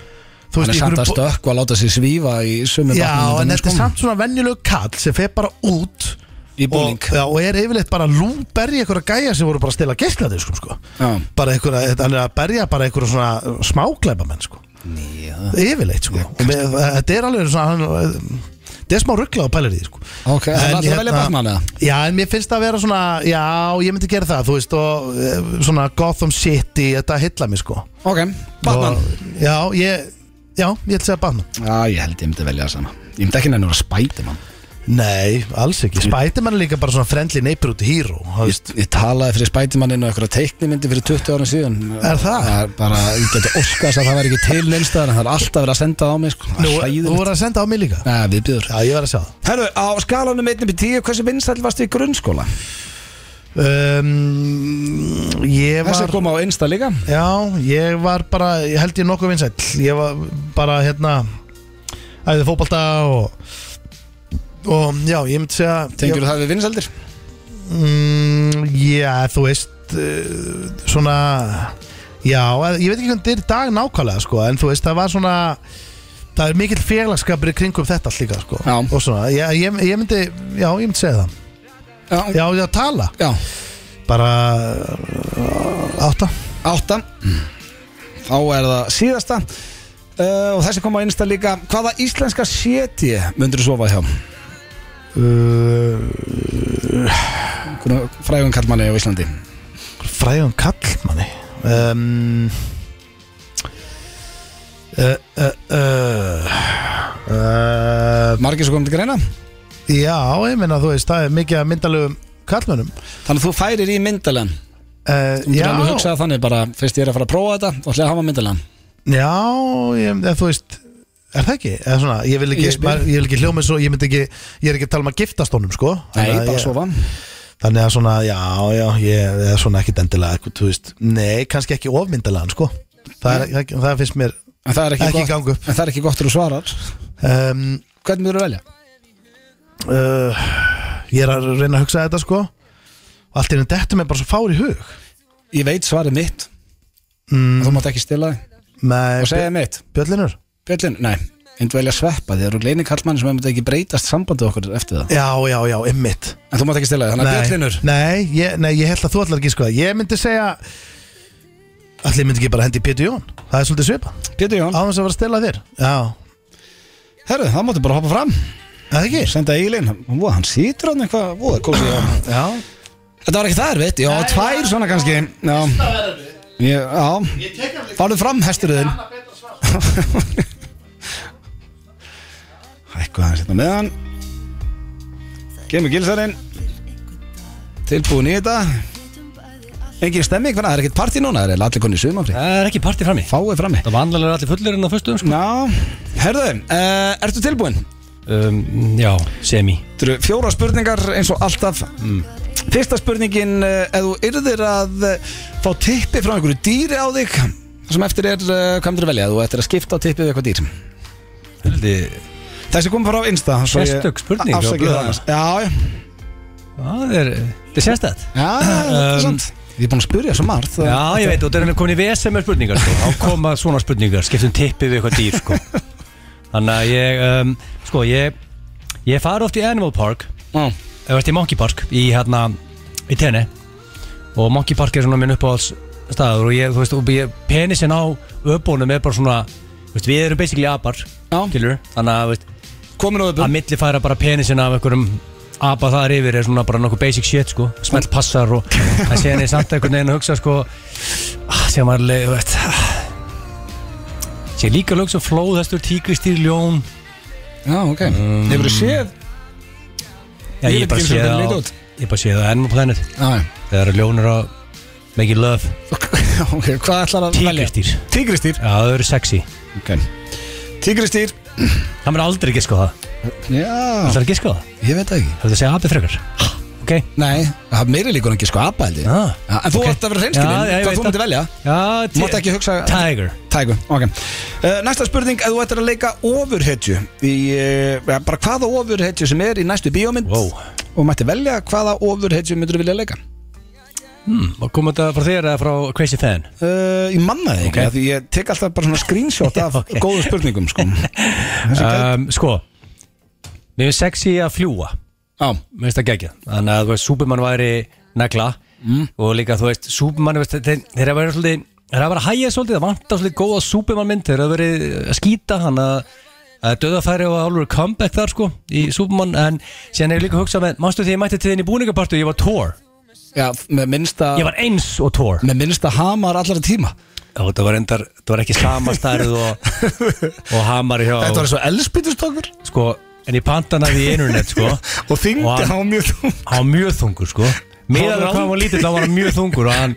C: þú
A: Mm. Hann er samt
C: í einhverjum
A: að
C: bo-
A: stökku að láta sig svífa í sömu
C: Já, en þetta er
A: Batman-myndunum,
C: samt svona venjulegu kall sem fer bara út
A: Í búning.
C: og, já, og er yfirleitt bara lúberri einhverja gæja sem voru bara að stela geislaði sko.
A: Já.
C: bara einhverja, hann er að berja bara einhverja svona smáklæpa menn sko.
A: sko.
C: yfirleitt sko. Og með, þetta er alveg svona hann, þetta er smá ruggla á pælir í því, sko.
A: Ok, en hérna- ætlarðu að velja Batman, eða?
C: Já, en mér finnst það að vera svona já, ég myndi gera það, þú veist og eh, svona Gotham City, þetta heilla mér sko.
A: Ok, Batman
C: og, Já, ég Já, ég ætla að segja Batman
A: Já, ég held ég myndi velja það sama Ég myndi ekki nefnir að spæti mann
C: Nei, alls ekki sko. Spiderman er líka bara svona friendly neighborhood hero þú
A: Ég,
C: veist.
A: ég talaði fyrir spætimanninn og einhverja teiknimyndi fyrir 20 ára síðan
C: Er það?
A: er bara, ég geti óskast að það væri ekki til neinstæðan Það er alltaf verið að senda á mig sko.
C: Nú,
A: Það er
C: þú
A: hræðilegt.
C: voru að senda á mig líka
A: Nei, við býður
C: Já, ég var að sjá það
A: Herru, á skalanum 1.10, hversu vinsæll varstu í grunnskóla?
C: um, Ég
A: Þessi
C: var
A: kom á einsta líka
C: Já, ég var bara Ég held ég nokkuð vinsæll Ég var bara hérna Æðið fótbalta og Og já, ég myndi segja
A: Tengur það við vinsældir?
C: Mm, Já, þú veist uh, Svona Já, að- ég veit ekki hvernig þetta er í dag nákvæmlega sko, En þú veist, það var svona Það er mikill félagskapur í kringum þetta allt líka sko.
A: Já.
C: Og svona, já, ég, ég myndi Já, ég myndi segja það
A: Já,
C: Já, já, tala
A: já.
C: Bara uh, átta
A: átta þá er það síðasta uh, og þessi kom á einsta líka hvaða íslenska séti myndur þú sofa hjá?
C: uh,
A: Hvernig frægum kallmanni á Íslandi
C: Fræðum kallmanni um, uh, uh, uh, uh,
A: margir sem kom til greina
C: Já, ég meina þú veist Það er mikið að myndalögum kallmönnum
A: þannig að þú færir í myndalenn
C: Uh,
A: þú
C: já,
A: getur alveg hugsað þannig bara fyrst ég er að fara að prófa þetta og ætla ég að hafa myndalenn
C: já ég, eða, þú veist er það ekki? Eða svona, ég vil ekki,
A: Ég spyr.
C: maður- ég vil ekki hljóma svo, ég myndi ekki ég er ekki að tala um að giftast honum sko
A: nei,
C: Þannig að
A: bara
C: ég-
A: sofa
C: þannig að svona, já, já, ég er svona ekkit endilega, eitthvað, þú veist, nei, kannski ekki ofmyndalega, sko það, er, það, það finnst mér
A: en það er ekki,
C: Ekki
A: gott,
C: ganga upp.
A: en það er ekki gott til þú svarar
C: um,
A: hvernig myndur þú velja?
C: uh, ég er að reyna að hugsa þetta, sko og allt í enn dettum er bara svo fár í hug
A: ég veit svarið mitt
C: mm,
A: en þú mátt ekki stila þig
C: með
A: og segja mitt
C: Bjöllinur
A: Björlin, nei, ég myndi velja sveppa því það eru gleini kallmanni sem myndi ekki breytast sambandi okkur eftir það
C: já, já, já, ymmit
A: en þú mátt ekki stila þig, þannig að Björlinur
C: nei, ég, nei, ég held að þú ætlar ekki, sko ég myndi segja allir myndi ekki bara hendi í Pétur Jón það er svolítið svipa,
A: Pétur Jón,
C: á þess að vera að stela þér já,
A: herru, það máttu bara hoppa fram
C: Er það ekki
A: Senda Egilin, Vó, hann sýtur hann eitthvað Vó, það komið ég á
C: já,
A: Þetta var ekki það erfitt, já, tvær svona kannski Já, ég, já Farðu fram hesturðin Hækku aðeins hérna meðan Kemur gilsarinn Tilbúin í þetta Engin stemming fyrir það er ekkert partí núna Það er allir konni sumafri
B: Það er ekki partí frammi
A: Fáið frammi
B: Það vanlega er allir fullir en á föstum sko.
A: Ná, herðu, uh, ertu tilbúin?
B: um, Já, semi
A: Þetta eru fjóra spurningar eins og alltaf Fyrsta spurningin uh, Ef þú yrðir að uh, fá tippi frá einhverju dýri á þig það sem eftir er, uh, hvað myndir velja þú eftir að skipta á tippi við eitthvað dýr Þessi kom bara á Insta svo ég-
B: Sérstök spurning
A: A- afsakið
B: hjá
A: það annars. Já, já,
B: Það er, eh, þetta er sérstætt
A: já, þetta er
B: Um,
A: sant Ég er búin að spyrja svo margt það-
B: Já, ég veit, og það er komin í vesen með spurningar sko. Þá koma svona spurningar, skiptum tippi við eitthvað dýr sko. Þannig að ég, um, sko, ég Ég fari oft í Animal Park
A: Já.
B: Ég vært í Monkey Park Í hérna, í tenni Og Monkey Park er svona minn uppáhalds staður Og ég, þú veist, og ég, penisinn á öbunum er bara svona þú veist, Við erum basically apar,
A: Já.
B: skilur Þannig að, þú veist,
A: Komin á
B: að
A: öðbun
B: millifæra bara penisinn af einhverjum apa þar yfir er svona bara nokkuð basic shit sko smelt passar og það sé henni samt einhvern veginn að hugsa sko ah, sem maður leið, þú veist ah. sé líka lög sem flóðhestur, tíkristýr, ljón
A: Já, ok Hefur þú séð?
B: Um, já,
A: Ég
B: ég,
A: veit
B: bara
A: ekki
B: sé
A: eins og
B: það
A: hvernig
B: á,
A: leit út.
B: ég bara sé það á Animal Planet
A: Já, já.
B: þegar ljón er að make it love
A: ok, hvað ætlar að velja?
B: tíkristýr, já
A: Tígristýr
B: það eru sexy
A: okay. Tígristýr
B: það mér aldrei giska á það,
A: Já,
B: það er giska á það
A: ég veit það ekki
B: hefur það segja apið frekar Ah, ok,
A: Nei, það er meiri líkur en ekki sko apa held ég
B: Ah,
A: Já, En þú
B: ok.
A: ætti að vera hreinskilinn,
B: Já, já, ég
A: hvað
B: veit
A: þú myndir velja
B: já,
A: Þú mátt ekki hugsa
B: tiger
A: Tægu, ok uh, Næsta spurning, ef þú ættir að leika ofurhetju í, uh, bara hvaða ofurhetju sem er í næstu bíómynd
B: Wow.
A: og mætti velja hvaða ofurhetju myndir þú vilja leika
B: og kom þetta frá þér eða frá Crazy Fan
A: uh, Ég manna það ekki,
B: Ok.
A: okay. því ég tek alltaf bara svona screenshot af
B: ok.
A: góðum spurningum sko. Þessi gæti-
B: um, Sko Mér finnst sexy að fljúa
A: Já,
B: Mér finnst það geggjað Þannig að þú veist, Superman væri negla
A: Mm.
B: Og líka, þú veist, Superman þú veist, þeir, þeir hafa verið svolítið Þeir hafa verið að hæja svolítið Það vantar svolítið góða Superman mynd Þeir hafa verið að skýta hann að að döðafæri og alveg comeback þar sko í Superman en síðan hef ég líka hugsað með mástu því ég mætti til þinn í búningapartu ég var Thor
A: já með minnsta
B: ég var eins og Thor
A: með minnsta hamar allara tíma
B: og það var, endar, það var ekki sama stærð og, og hamar hjá
A: Þetta var eins og elspýtustokkur
B: sko, en ég panta hann að því internet sko
A: og þyngdi
B: Og hann-
A: hann var mjög þú
B: hann var mjög þungur sko
A: Hann
B: meðan
A: var
B: hvað hann var lítill, hann var hann mjög þungur og hann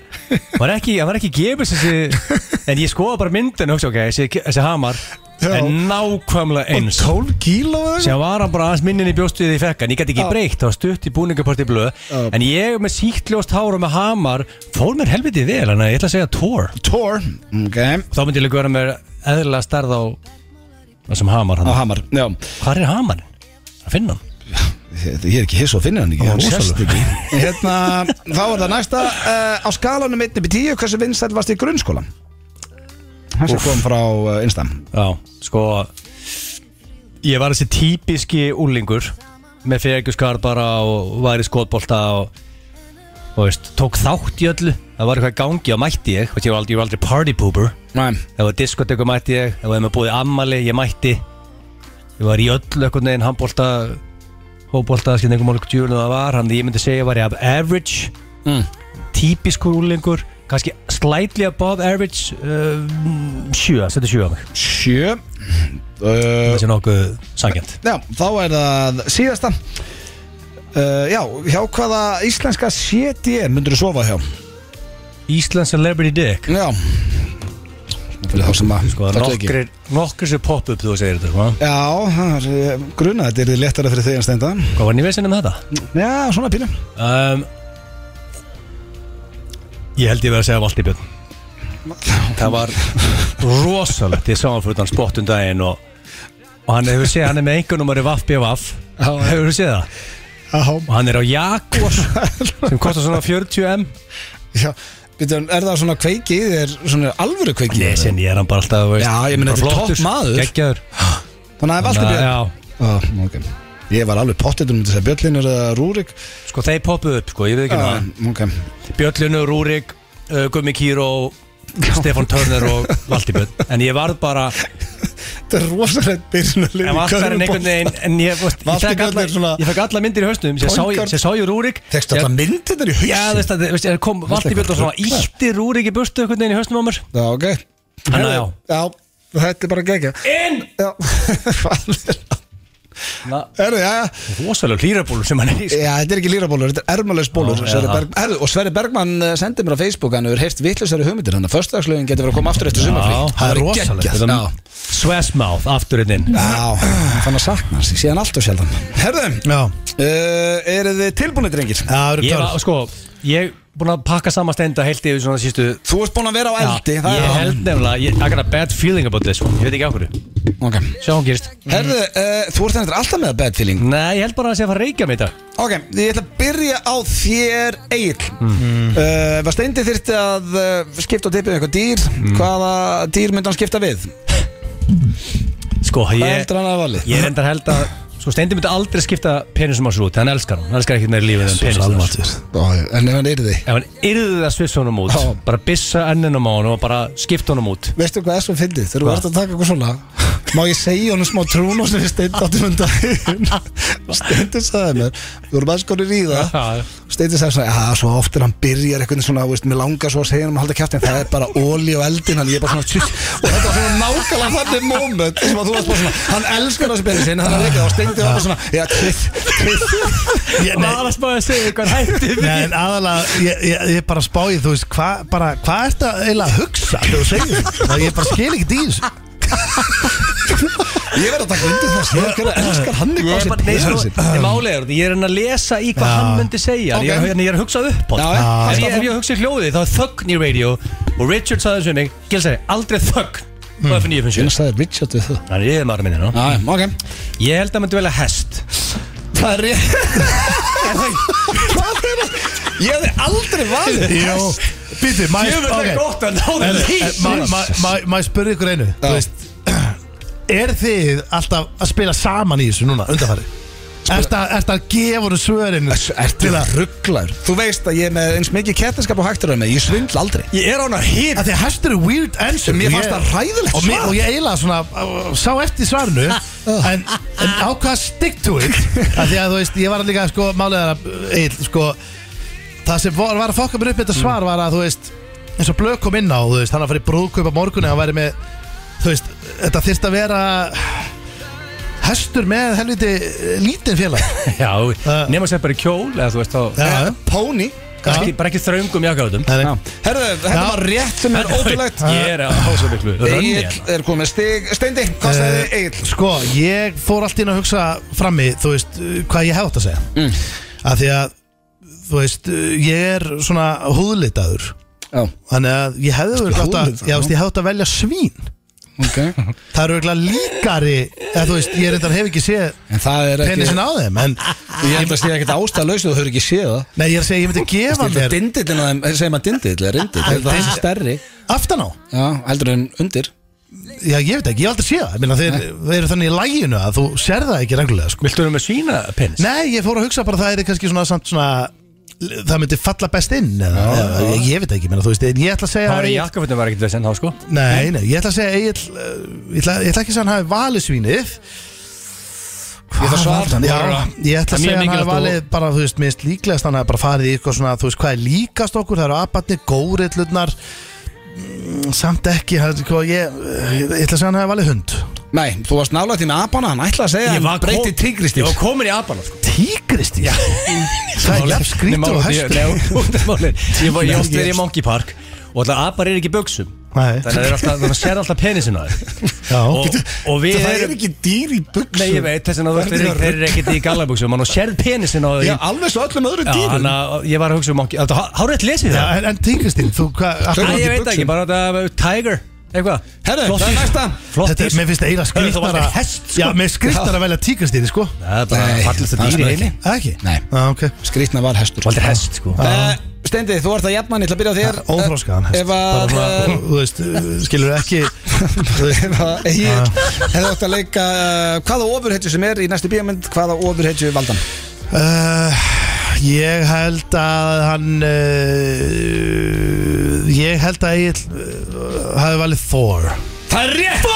B: var ekki, hann var ekki gefis þessi, en ég skoða bara myndin hugsa, okay, þessi, þessi hamar
A: Já.
B: er nákvæmlega eins
A: 12 kíló eða eitthvað?
B: sem var hann bara aðeins minnin í bjóstuðið í fekkan ég gæti ekki breykt, það var stutt í búningaparti blöð
A: Já.
B: en ég með síktljóst hár og með hamar fór mér helviti vel, þannig að ég ætla að segja Thor
A: Thor okay.
B: og þá myndi ég líka vera með eðlilega starð á þessum hamar
A: á
B: hann.
A: Hamar Já.
B: Hvar er hamarinn? Að finna hann?
A: Ég ég er ekki hiss og finna hann ekki
B: Hann var
A: Hann sést
B: rosalegur.
A: ekki. hérna, Þá er það næsta uh, Á skalanum 1-10 Hversu vinsæl varst í grunnskólan? Þessi kom frá uh, Insta
B: Já, sko Ég var þessi típiski úlingur með fegjuskar bara og var í skotbolta og, og veist, tók þátt í öllu það var eitthvað í gangi og mætti ég veist, ég, var aldrei, ég var aldrei party pooper
A: Næ,
B: ef var diskoteku mætti ég, ef var með búið ammali ég mætti ég var í öllu einhvern veginn handbolta hóbolta, skilja einhver málug djúlun það var hann ég myndi segja var ég af average
A: Mm.
B: típiskur úlingur kannski slightly above average uh, sjö, setja sjö á mig
A: sjö uh,
B: það sé nokkuð sangjant
A: Já, þá er það síðasta Uh, já, hjá hvaða íslenska séti er myndur þú sofa hjá?
B: Ísland Celebrity Dick
A: Já Fyrir þá sem að
B: sko,
A: þekkja ekki.
B: nokkrir, nokkrir sem popp upp þú segir þetta hva?
A: Já, það er, eh, gruna þetta er léttara fyrir þig en stenda
B: hvað var nývesinn um þetta?
A: Já, svona pínu
B: Um, ég held ég verið að segja Valdi Björn það var rosalegt ég sá hann fyrir utan spottun daginn og, og hann hefur séð, hann er með einhvernumari Vaff BVF hefur þú séð það?
A: Já,
B: og hann er á Jaguar sem kostar svona 40M
A: Já, byrju, er það svona kveiki í þér, svona alvöru kveiki í
B: ég
A: þér?
B: sinn ég er hann bara alltaf veist,
A: Já, ég meina,
B: bara
A: þetta er
B: flottur,
A: topp maður.
B: geggjaður
A: Þannig að það er
B: Já,
A: Valdi Björn ah, ok. Ég var alveg pottið um þess að Björnlinur eða Rúrik
B: sko þeir poppuð upp sko, ég veit ekki um
A: ah,
B: það
A: ok.
B: Björlinu, Rúrik, uh, Gummi Kíró Stefan Törner og Valdibjörn en ég varð bara
A: Þetta er rosalegt byrjunarlið
B: en alltaf en einhvern veginn en ég, veist, ég, fekk
A: Valdibjörn
B: alla,
A: er svona-
B: ég fekk alla myndir í hausnum sem sá, ég-
A: Point
B: sem sá ég Rúrik
A: Tekst alltaf myndir þetta í
B: Já, þú
A: haus
B: veist að veist, kom Valdibjörn og svona
A: eitthvað
B: ítti Rúrik í burtu einhvern veginn í hausnum á mér
A: Já, ok
B: Þannig að já.
A: Já, Þetta er bara gegja
B: Inn!
A: Já, hvað er það?
B: Rósalega hlýrabúlum sem hann er í sko.
A: Já, þetta er ekki lírabólur, þetta er ermalaus bólur
B: Ó,
A: Sverri
B: já.
A: Berg, herðu, Og Sverri Bergmann eh, sendi mér á Facebook hann hefur heyrt vitlusari hugmyndir þannig að föstudagslögin getur verið að koma aftur eftir sumarfrí
B: Já, það er rosalegt
A: geggjað. Já,
B: Svesmouth, afturinn hérna inn
A: já fann að sakna hans, ég sé hann alltaf sjaldan Herðu,
C: Já,
A: uh, eru þið tilbúinir drengir?
C: Já, það eru
B: Ég
C: klárir
B: var, sko, ég búin að pakka saman stenda heilt yfir svona sístu
A: Þú ert búin að vera á eldi
B: Já,
A: það er
B: Ég
A: það.
B: held nefnilega, ég, I got a bad feeling about this one. Ég veit ekki á hverju
A: Ok.
B: Sjá hún gerist
A: Herðu, uh, þú ert hendur alltaf með bad feeling
B: Nei, ég held bara að það sé að fara að reykja mig í dag
A: Ok, ég ætla að byrja á þér Egil mm. Var steindi þyrfti að uh, skipta og tippið eitthvað dýr Hvaða dýr myndi hann skipta við?
B: Sko,
A: Hvað
B: ég,
A: heldur hann að valið?
B: ég reyndar held að Sko, Steindi myndi aldrei skipta penisum á svo út Hann elskar hann, hann elskar ekkert meira lífið en
C: Svo
B: penisum hans.
C: salmatur
A: Ó, En ef hann yrði
B: Ef hann yrði það svissa honum út
A: Já.
B: Bara bissa ennunum á honum og bara skipta honum út
A: Veistu hvað er svo fyndið? Þegar þú ert að taka eitthvað svona Má ég segja honum smá trún og sem við steindi áttum um daginn Steindi sagði mér Við vorum aðeins konur í það
B: Já,
A: Steindi sagði svona Já, svo oft er hann byrjar eitthvað svona veist, Mér langar svo að segja hann um að halda kjátt En það er bara óli og eldin Hann ég er bara svona tjútt Og þetta var svona nákvæmlega þannig moment Sem að þú varst bara svona Hann elskar þessi byrjum sinni Hann er ekki Og steindi var bara svona Já, tvitt, tvitt
C: Ég- nei,
B: að spáði að segja hvað hætti
C: Nei, en aðalega, ég, ég, ég bara spáði, þú veist, hvað bara, hvað ertu eiginlega að hugsa þegar þú segir þetta? Það ég bara skil ekki dýr
A: Ég verð að taka undir þess Ég er að elskar hann
B: Ég er bara, nei,
A: eitthvað
B: sko,
A: sem-
B: ég málega er þetta, ég er enn að lesa í hvað
C: Já.
B: hann myndi segja okay. ég,
A: Ok.
B: er- ég er að hugsa upp á
A: Já,
B: þetta
A: já.
B: Ef ég- Ef ég hugsa í hljóði þá er þögn í radio og Richard sagði þessu um mig, Gils sagði, aldrei þögn og fyrir nýju
A: Ég
B: fyrir sjö
A: sagði Richard við það
B: Þannig ég er hérna. maður minni, no?
A: Já, ok
B: Ég held að hann myndi velja hest
A: Það er rétt Hvað er það? Ég hefði aldrei valið
C: Jó, býttu, maður
B: gott að ná
C: Maður spurði ykkur einu Þú veist Er þið alltaf að spila saman í þessu núna undanfari? Ertu að, ertu að gefa hún svörin
A: Ertu það rugglar? Þú veist að ég er með eins mikið kettinskap og hægtur með Ég svindla aldrei
B: Ég er á hann að hýr
C: að því að hestur er weird answer
A: Mér
C: og
A: fannst
C: ég-
A: það hræðilegt
C: og, mér-
A: svar.
C: og ég eiginlega svona uh, sá eftir svarinu en, en ákvað að stick to it að því að þú veist, ég var líka sko málega eiginlega sko það sem var, var að fokka mér upp þetta svar var að þú veist eins og blöð kom inn á, þú veist, hann að fara í brúðkaup á morgunni, hann væri með þú veist, þetta þyrst að vera hestur með helviti eh, lítinn félag
B: Já,
C: Já.
B: nema sér bara í kjól eða þú veist þá
A: Eh,
C: Já,
A: Póni
B: ekki, Bara ekki þröngum jakkaðum
C: það er-
A: Herðu, þetta
C: Já.
A: var rétt sem er ótrúlegt
B: Ég er á hása miklu Rönni
A: Egil er komið stig Steindi, hvað sagði
C: Eh,
A: Egil?
C: Sko, ég fór allt inn að hugsa frammi Þú veist, eh, hvað ég hef átt að segja mm. Af því að, þú veist, eh, ég er svona húðlitaður
A: Já,
C: Þannig að ég hefði örugglega átt að,
A: húðlitaður,
C: já, veist, ég hefði átt að velja svín
A: ok
C: Það eru örugglega líkari eða, Þú veist, ég reyndar hef ekki séð
A: En það er ekki
C: penisin á þeim En,
A: Ég held að sé ekkert ástæða lausu Þú höfur ekki séð það
C: nei, ég er að segja, ég myndi gefa
A: Þetta er
C: mér
A: dindillin að þeim eh, Segir maður dindill eða rindill Ég held að það sé stærri
C: Aftan á,
A: Já, heldur en undir
C: já, ég veit ekki, ég hef aldrei séð það Ég meina, þeir, þeir eru þannig í læginu að þú sér það ekki reglulega, sko
B: Viltu vera með svína penis?
C: Nei, ég fór að hugsa bara að það er kannski svona samt svona það myndi falla best inn eða, eða, ég, ég veit ekki, menna, þú veist, en ég ætla að segja
B: Það var í
C: Egill-
B: jakkafutum var ekkert þessi en þá sko
C: Nei, nei, ég ætla að segja Egil, ég, ætla, ég ætla ekki að segja hann hafi valið svínið Hvað
A: ætla að svara.
C: var það? Já, ég ætla
B: Það er mjög
C: að segja hann hafi
B: mikilvægt
C: valið bara, þú veist, minnst líklegast hann hafi bara farið í eitthvað svona, þú veist, hvað er líkast okkur það eru abatni, góriðlutnar samt ekki það, hvað, ég, ég, ég ætla að segja hann hafi valið hund
A: Nei, þú varst nálega til með apana, hann ætlaði að segja
B: Ég
A: hann
B: var kom-
A: breyti tígristýr
B: Ég var komin í abana sko
C: Tígristýr? Það er jafn skrítur og hestur
B: hæstur Ég var játt verið í Monkey Park Og alltaf abar er ekki í buksum
C: Nei.
B: Þannig að þeir alltaf- þannig að sér alltaf penisinn á þeir
C: Já.
B: og, og við
A: Það er
B: erum
A: ekki dýr í buksum
B: Nei ég veit þess að
A: Það er
B: þeir
A: ekki að
B: þeir eru ekkert í gallabuksum Og sér penisinn á þeir
A: Já, alveg svo öllum öðru dýrum
B: Þannig að ég var að hugsa um Monkey Þetta hárétt lesið
C: Já,
B: það
C: en, en tígristýr, þú hvað af
A: Hver-
B: Æ,
C: hverju-
A: Monkey
B: ég veit
A: Buxum.
B: ekki, bara þetta uh, Tiger, eitthvað
A: Herðu,
B: Flott
A: það er
B: dýr.
A: næsta.
B: Flott
C: Þetta
B: dýr. sko.
C: er, mér finnst það eiginlega
B: Þú varst
C: skrýttar
B: ekki
C: að
B: hest, sko.
C: Já, mér skrýttar að velja tígristýri, sko
B: Það er bara
A: Nei,
B: fallist
A: það
B: að dýr í
A: er
B: heimi
C: Það ekki?
A: Nei.
C: ah, ok
A: Skrýtna var hestur
B: Valdir hest, sko
A: Eh, Steindi, þú ert að jafna, ég ætla að byrja á þér
C: Óþróskaðan
A: Eh,
C: hest
A: Ef
C: Bara
A: að
C: svona,
A: eh,
C: Þú veist, skilur ekki Þú veist
A: Ef að Egil hefði átt að leika eh, Hvaða ofurhetju sem er í næstu bíómynd Hvaða ofurhetju valdan
C: uh, Ég held að hann eh, uh, Ég held að ég uh, hafi eh, valið Thor
B: Það er rétt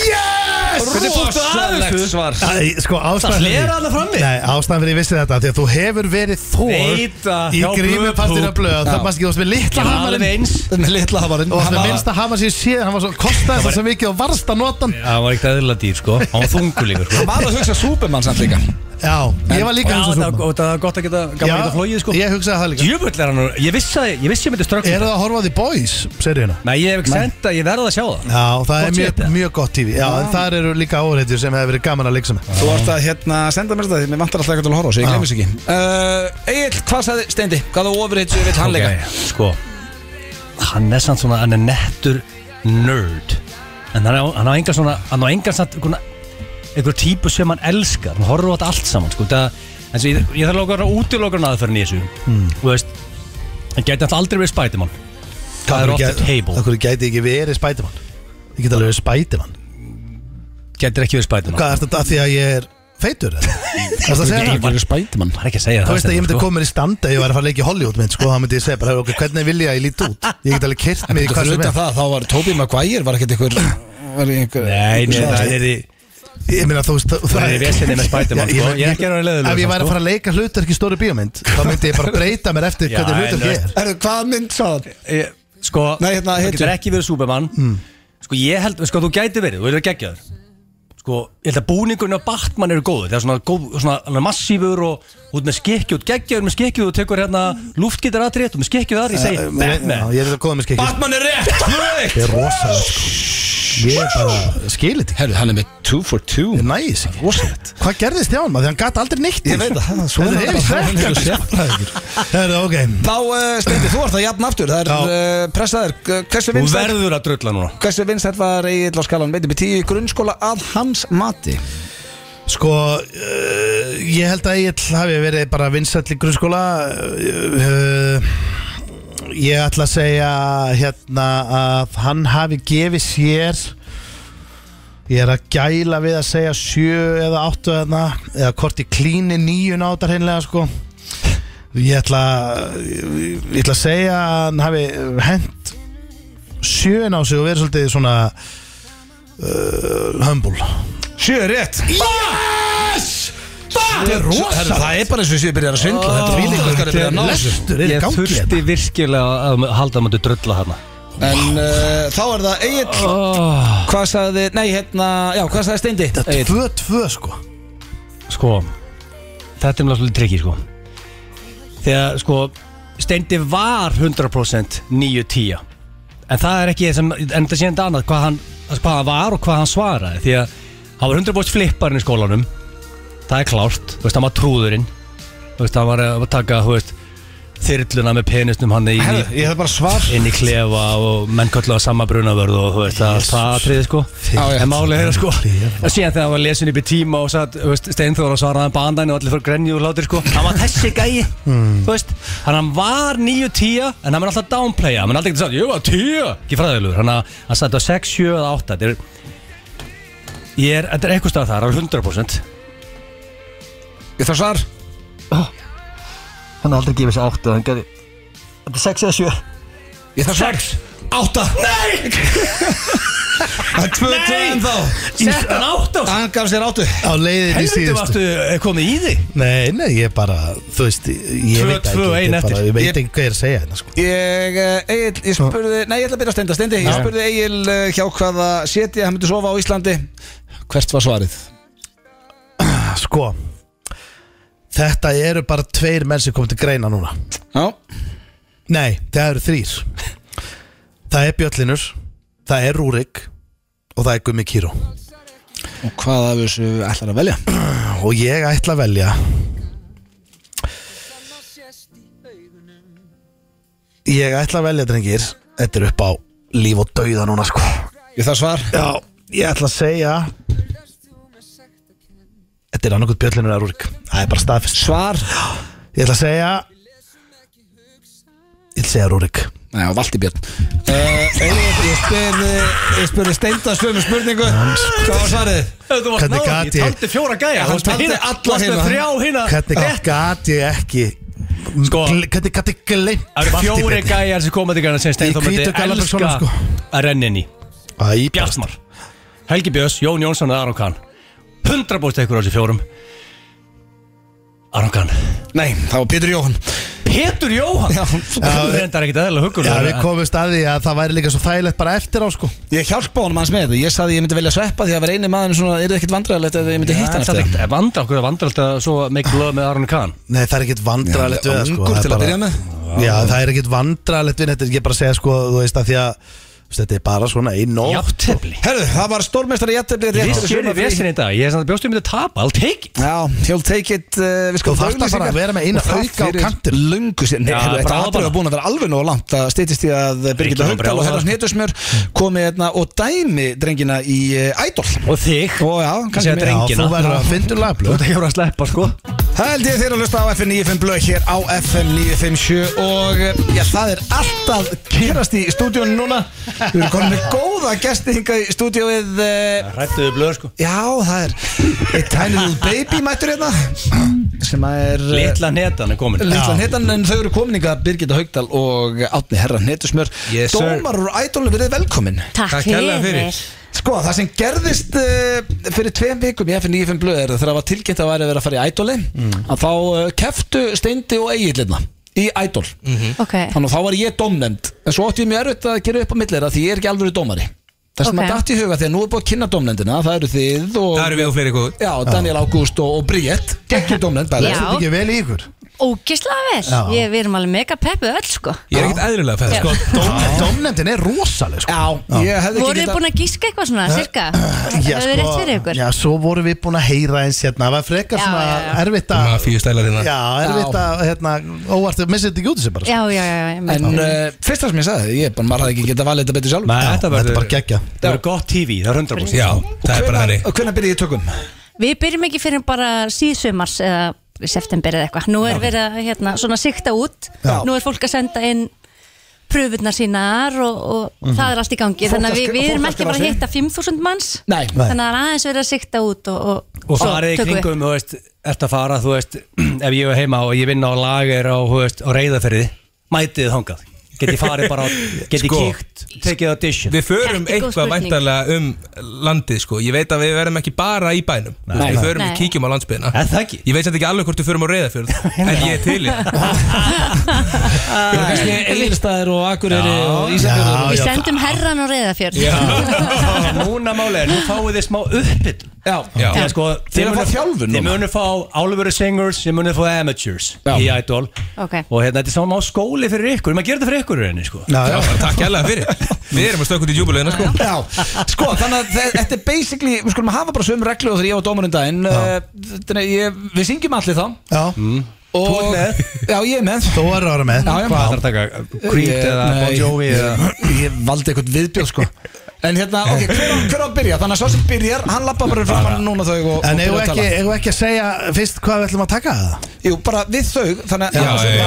C: Yes!
B: Hvernig fórstu að
A: Rosalegt
B: þessu?
A: svar
C: Æ, sko, ástæðan
B: Það
C: fyrir-
B: hlera hana frammi.
C: Nei, ástæðan fyrir ég vissi þetta Því að þú hefur verið þór
B: Veit að-
C: Í
B: hjá
C: grímupartir
B: Blöð-
C: af blöð
B: Já.
C: Það varst ekki, þú varst með litla
B: Ég var
C: hamarinn
B: alveg eins
A: Með litla hamarinn
C: Og það
A: Hann
C: með
A: var-
C: minnsta hamar sem ég séð Hann var svo, kostaði það svo mikið og varst að nota hann
B: Já, Það var ekkert eðlilega dýr sko Hann var þungur líka sko
A: hann var að hugsa Superman samt líka
C: Já, ég var
B: Já,
C: líka eins og
B: það
C: svona.
B: og það var gott að geta gaman að geta flóið sko
C: ég hugsaði það líka
B: Jöfull er hann nú- Ég vissi að ég vissi að ég myndi ströggla
C: Er það að horfa á því boys, segir hérna
B: Nei, ég hef ekki sendt að ég verða að sjá það
C: Já, það
B: Gott
C: er mjög,
B: séð það.
C: mjög gott TV Já, en þar eru líka áreitjur sem hefur verið gaman að leiksa með
A: Þú ert að hérna, senda mér þetta, því mér vantar alltaf eitthvað til að horfa á sig, ég glemur þessu ekki uh, Egil, hvað sagði Steindi? Hvað á ofurheit sem við hann leika?
B: Ok, Sko Hann er samt svona, hann er nettur nerd En hann á- hann á engan svona Hann á engan samt einhverna- einhver típu sem hann elskar Hann horfður á þetta allt saman sko Það En svo ég, ég þarf að lóka að útiloka hann aðferðin í þessu
C: Hmm.
B: Þú veist Hann gæti alltaf aldrei verið Spiderman Það er off the table
C: Akkur gæti ekki verið Spiderman Ég get alveg verið Spiderman
B: Gætir ekki verið Spiderman
C: Hvað er þetta að því að ég er feitur? eða? Ertu að segja það?
B: var-
A: spætumann
B: Það er sko. ekki að segja
C: Þú
B: það
C: veist að ég myndi
B: Steindór,
C: koma mér í standa ef ég væri að fara að leika í Hollywood mynd sko, þá myndi ég segja bara, "Hey, ok, hvernig vilja ég líti út? Ég get alveg kyrt mig í
A: Þú
C: hvað
A: fyrir
C: sem
A: utan
C: er
A: það, þá var Tobi Maguire, var ekkert einhver Var einhver
B: Nei, nei,
A: einhver-
B: það er því
C: Ég meina þú veist það-
B: Það er vesennið með Spiderman,
C: Já, ég
B: sko.
C: meina,
B: Ég er ekki að vera leiðilegur,
C: Ef ég
B: sko.
C: væri að fara að leika hlutverk í stóri bíómynd þá myndi ég bara breyta mér eftir
B: Já,
C: hvernig
B: en
C: hlutverk
B: þú
C: ég
B: veist-
C: er
A: Herru, hvaða mynd sagði hann?
B: Ég- Sko,
A: Nei, hérna,
B: það
A: hetju. Hmm.
B: getur ekki verið Superman Sko, ég held, sko, þú gæti verið, þú verður geggjaður Sko, ég held að búningurinn á Batman eru góður Það er svona, góð, svona hann er massífur og út með skekkju, út geggjaður með skekkju og tekur hérna lúftgitar aðrið og með skekkju aðrið, ég
A: Eh,
B: segi
C: Já,
B: Batman
C: Ég er þetta góða með skikki
A: Batman er rétt
C: Ég er rosalega sko Ég er bara skilit
A: Herru, hann er með 2 for 2
C: Ég næs ekki
A: Rosalegt
C: Hvað gerðist hjá hann maður? Því hann gat aldrei neitt
A: Ég veit það,
C: Svo er
A: hann
C: það
A: bara- hann er
C: hefði
A: sérfræðingur.
C: Herru, ok
A: Þá, uh, Steindi, þú ert að jafn aftur Það er uh, pressaður Uh, Hversu
B: Þú
A: vinsæll-
B: verður að drölla núna
A: hversu vinsæll var Egil á skalan Veitum við 10 í grunnskóla að hans mati
C: Sko, uh, ég held að ég hafi verið bara vinsæll í grunnskóla uh, uh, Ég ætla að segja hérna að hann hafi gefið sér Ég er að gæla við að segja sjö eða áttu þarna Eða hvort ég klíni níu nátar hreinlega sko Ég ætla, ég, ég ætla að segja að hann hafi hent sjöin á sig og verið svolítið svona uh, humble
A: 7 er rétt
C: Yes! Það er
A: Herru,
C: rosa
A: Það er bara eins og séu byrjar að svindla Þetta er
C: Þvílíkur
A: fílingur að ná þessu
C: Lestur er í
B: Ég
C: gangi hérna.
B: þurfti virkilega að halda að maður drölla hana
A: En uh, þá er það Egil Hvað sagði, nei hérna, já hvað sagði Steindi Egill?
C: Tvö, tvö sko
B: Sko, þetta er mjög svolítið trikki, sko Þegar, sko, Steindi var 100% 9-10 En það er ekki það sem, en það sé enda annað hvað hann, hvað hann var og hvað hann svaraði Því að hann var 100% flipparinn í skólanum Það er klárt, þú veist, hann var trúðurinn Þú veist, hann var að taka, þú veist, þyrluna með penisnum hann inn
A: Herru,
B: í,
A: Ég hef bara svar
B: inn í klefa og menn kallaði sama brunavörð og þú veist, það, það atriði, sko
A: Já, já.
B: En málið er að sko
C: Klefa.
B: Og síðan þegar hann var lesin upp í tíma og satt Steinþóra svaraði hann bandan og allir fyrir grenju og látir sko Hmm. Hann var þessi gæi Þú veist Þannig að hann var 9-10 En hann er alltaf downplaya Hann er alltaf ekki sagt Ég var 10 Ekki fræðilegur Þannig að hann satt á 6, 7 eða 8 Þetta er Ég er Þetta er eitthvað stað þar alveg 100%
A: Ég þarf svar
B: Hann er aldrei gefið sér 8 Hann gerði Þetta er 6 eða 7
A: Ég þarf svar
B: 6
A: Átta Nei Það er tvö tvö en þá
B: Sett hann 8
A: Hann gaf sér áttu
C: Á leiðin í
B: Helviti
C: síðustu
B: varstu eh, komið í þig
C: Nei, nei, ég bara Þú veist,
B: Tvö,
C: ég veit ekki
B: tvö,
C: ég
B: ein
C: bara-
B: eftir.
C: Ég
A: Ég-
C: veit ekki hvað ég er að segja hérna sko
A: Ég, eh, Egil, ég spurði Nei, ég ætla að byrja að stenda Steindi, ég spurði Egil eh, hjá hvaða seti hann myndi sofa á Íslandi Hvert var svarið?
B: Ah,
C: Sko Þetta eru bara tveir menn sem komið til greina núna
A: Já
C: Nei, það eru þrýr Það er Bjöllinur Það er Rúrik Og það er Gummi Kíró
A: Og hvað af þessu ætlar að velja?
C: Og ég ætla að velja Ég ætla að velja, drengir Þetta er upp á líf og dauða núna, sko
A: Ég þarf svar
C: Já, ég ætla að segja Þetta er annarkot bjöllinur að rúrik Það er bara staðfest
A: Svar
C: Ég ætla að segja Ég ætla að segja rúrik
A: Nei, á Valdibjörn uh, Egil, ég spurði Ég spurði Steinda svömu spurningu Hvað var svarið?
B: Þú varst
C: Hvernig
B: náður
C: gat
B: ekki,
C: ég-
B: ég taldi fjóra gæja
A: Hann
B: Þú varst með
A: taldi
B: hina-
A: alla
B: þú varst með
C: hérna.
A: hina.
B: þrjá hina
C: Hvernig gat ég ekki
B: Sko-
C: gle- Hvernig gat ég gleymt
B: Það eru fjóri
C: Valtý Björn?
B: gæjar sem koma til gæjarna sem Steinþór
C: Í
B: myndi
C: hvítu gallabuxunum,
B: elska
C: sko.
B: að renna inn í
C: Æ, bara-
B: Bjartmar Helgi Björns, Jón Jónsson og Aron Kahn 100% ekkur á þessu fjórum Aron Kahn
A: Nei, það var Pétur Jóhann
B: Petur Jóhann
A: Já.
B: Það reyndar ekkit aðeins huggur
C: Já, við komumst að því að það væri líka svo þægilegt bara eftir á sko
A: Ég hjálpa honum hans með þetta Ég saði ég myndi velja sveppa því að vera eini maður svona, er ekkert vandræðilegt ef ég myndi hitta hann eftir
B: Það vandra okkur að vandra alltaf svo make love með Aron Kahn
C: Nei, það er ekkit vandralegt við
A: það
C: það sko
A: Ungur
C: það er
A: til að
C: bara-
A: byrja með
C: Já, það er ekkit vandralegt við þetta Ég er bara að segja sko, þú veist að því að þú veist, Þetta er bara svona í nótt
B: Játtefli
A: Herðu, það var stórmestari jættefni
B: Við skjörum vesin í dag Ég er samt að bjóstum við að tapa I'll take it
A: Já, he'll take it uh, Við
C: Þú þarft að fara að vera með eina auka á kantinum.
A: Lungu sér Nei,
B: Já,
A: heyrðu, þetta
B: bara á
A: aðrið var
B: bara.
A: búin að vera alveg nóg langt Það stýttist í að Birgitta
B: Ríkjum að
A: Haugdal og
B: brjála,
A: Herra
B: sko.
A: Hnetusmjör komið hérna og dæmi drengina í uh, Idol
B: Og þig
A: Og já, kannski
B: Segja
A: mér
C: Já, þú
B: drengina.
C: verður að fyndur
B: Þú
C: lagblöð
B: ert ekki að vera að sleppa sko
A: Það held ég þeir að hlusta á FM 95 blöð hér á FM 957 og eh, já, það er allt að gerast í stúdíónu núna Við erum komin með góða gesti hingað í stúdíóið eh,
B: Rættuðu blöð sko
A: Já, það er eitt tiny little baby mættur hérna sem að er eh,
B: Litla netan er komin
A: Litla hnettan, en þau eru komin hingað Birgitta Haugdal og Átni Herra Hnetusmjör
B: Yes, sir.
A: Dómar úr ædónu verið velkomin
D: Takk
B: Takk kærlega
D: fyrir.
B: fyrir.
A: Sko, það sem gerðist uh, fyrir tveim vikum í FN95 blöð er að þegar það var tilkynnt að væri að vera að fara í ædóli
E: Mm.
A: að þá uh, keftu Steindi og Egilina í ædól
E: Mhm.
D: Ok,
A: þannig að þá var ég dómnefnd en svo átti ég mjög erfitt að gera upp á millir að því ég er ekki alveg dómari þess að
D: Ok.
A: maður datt í huga þegar nú er búið að kynna dómnefndina það eru þið og
E: Það eru við og fleiri góð
A: Já, Daniel Ágúst og, og Bríett Gekki dómnefnd bæði
D: Já.
C: Þetta er ekki vel í ykkur
D: ógislega vel.
C: Já.
D: Ég, við erum alveg mega peppuð öll, sko.
E: Ég er ekkert eðlilega fæð
D: Já.
E: sko.
C: Dóm- Dómnefndin er rosaleg sko
A: Já, ég hefði
D: Voruð
A: ekki
D: þið búin að gíska eitthvað svona, cirka? Hefur þið
A: sko,
D: rétt fyrir ykkur?
C: já, svo vorum við búin að heyra eins hérna Það var frekar
D: Já,
C: svona
D: já, já.
C: erfitt að
E: Mafíu stælar hérna
C: Já, erfitt að, hérna, óvart að missa þetta ekki út í sig bara sko.
D: Já, já, já, já.
A: En
D: En,
A: uh, fyrsta sem ég sagði, ég er bara, maður hafði ekki getað valið þetta betur sjálf
B: Nei, þetta
C: Þetta er
B: verður
C: bara geggja
B: Það verður gott TV, það er 100%
E: Já, það er bara þannig
A: Og hvernig byrjaði ég tökum?
D: við byrjum ekki fyrir bara síðsumars eða í september eða eitthvað. Nú er verið að hérna, svona sikta út.
A: Já.
D: Nú er fólk að senda inn pröfurnar sínar og, og það er allt í gangi.
A: Mhm. Fólk
D: Þannig
A: að
D: að við,
A: skri-
D: við erum
A: fólk að
D: ekki bara að
A: skrifa
D: hitta 5.000 manns.
A: Nei.
C: Nei.
D: Þannig að það er aðeins verið að sikta út og, og,
B: Og
D: svo
B: farið í
D: tökum við.
B: kringum, þú veist, ert að fara, þú veist, ef ég er heima og ég vinn á lager á, þú veist, á reyðaferði, mætið þið þangað. Get ég farið bara á, get ég
E: Sko.
B: kíkt, tekið audition.
E: Við
D: Þetta er
E: förum
D: góð
E: eitthvað
D: spurning.
E: væntanlega um landið sko. Ég veit að við verðum ekki bara í bænum
A: Nei.
E: Við förum
D: Nei.
E: og kíkjum á landsbyðina
B: Er það ekki?
E: Ég veit samt ekki alveg hvort við förum á reyðafjörð En ég er til í það.
A: Kannski Egilstaðir og Akureyri og
C: Já,
A: Ísafjörður
D: Við sendum herran og reyðafjörð.
B: Núna málið er, nú fáið þið smá uppbyll.
A: Já, já.
E: Já.
B: Já, sko,
A: Þið eruð að fá
B: munið-
A: þjálfun
B: Þið
A: núna.
B: munir fá álveru singers, þið munir fá amateurs
A: Já.
B: í Idol
D: Ok.
B: Og hérna, þetta er svona á skóli fyrir ykkur, maður gerir þetta fyrir ykkur í rauninni, sko
C: Já,
E: Já,
C: já.
E: bara Takk alveg fyrir Við erum að stökka út í júbulegina sko.
A: Já, sko, þannig að þe- þetta er basically, við skulum hafa bara sömu reglu og þegar ég var dómarinn daginn eh, þannig að ég- Við syngjum allir þá
C: Já,
B: Mm.
A: Þú
B: ert með?
A: Já, ég er með
C: þú verður að vera með
A: Já, já.
B: Hvað þarf að taka, uh, Creed
A: Ég-
B: eða Bon
A: nei,
B: Jovi eða
A: ég- Ég valdi eitthvað viðbjóð, sko En hérna, ok, hver á, hver á að byrja? Þannig að svo sem byrjar, hann lappa bara framan núna þau og,
C: En
A: og
C: eigum
A: byrjar að
C: við ekki,
A: tala.
C: eigum við ekki að segja fyrst hvað við ætlum að taka það?
A: Jú, bara við þau, þannig
E: Já,
A: að
B: Eh,
E: já,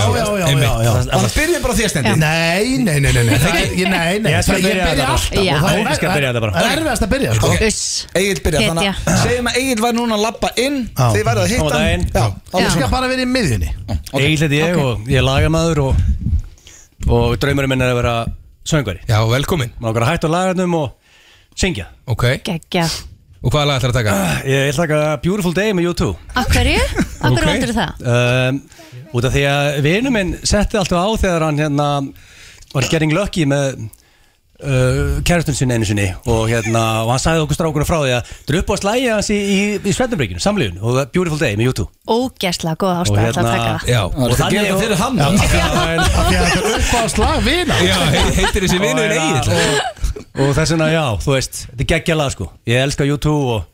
A: Þannig
E: já.
A: að byrjum bara á því að stendi
C: Nei, nei, nei, nei, nei, það er- ég- nei, nei,
B: Ég skal
C: það-
B: byrja þetta bara.
C: alltaf
D: Já.
C: og það er-
B: Ég skal byrja þetta bara.
C: Það er erfiðast að byrja, sko
D: Uss.
A: Egil byrja, þannig að segjum að Egil væri núna að lappa inn
C: Já.
A: Þið værið að hitta
B: Koma daginn.
A: Já, þá
C: Ég
A: við
C: skal bara vera í miðjunni
B: Egil heiti ég og ég er lagamaður og, og draumurinn minn er að vera söngvari
E: Já, velkomin
B: Má okkar að hætta á lagarnum og syngja
E: Ok,
D: Gekkja.
E: og hvaða lag ætlar að taka?
B: Ég ætla að taka Beautiful Day með U2
D: Af hverju? Af hverju
E: Ok.
D: okay. valdur það?
B: um, Út af því að vinur minn setti alltaf á þegar hann hérna var getting lucky með uh, kærastun sinni einu sinni og hérna og hann sagði okkur strákunum frá því að þetta er upp á slæja hans í, í, í Svendabríkinu, samlífun og það er Beautiful Day með U2
D: Ógæslega góð ástæða
B: Og
D: til að
B: hérna-
D: taka það.
E: Já,
A: Og það gerir það fyrir hann
C: Af því að Þetta er upp á slag vina
E: Já hei- heitir þessi vinurinn
B: Og-
E: Egil
B: og þess vegna já, þú veist, þetta er geggjala sko ég elska U2 og,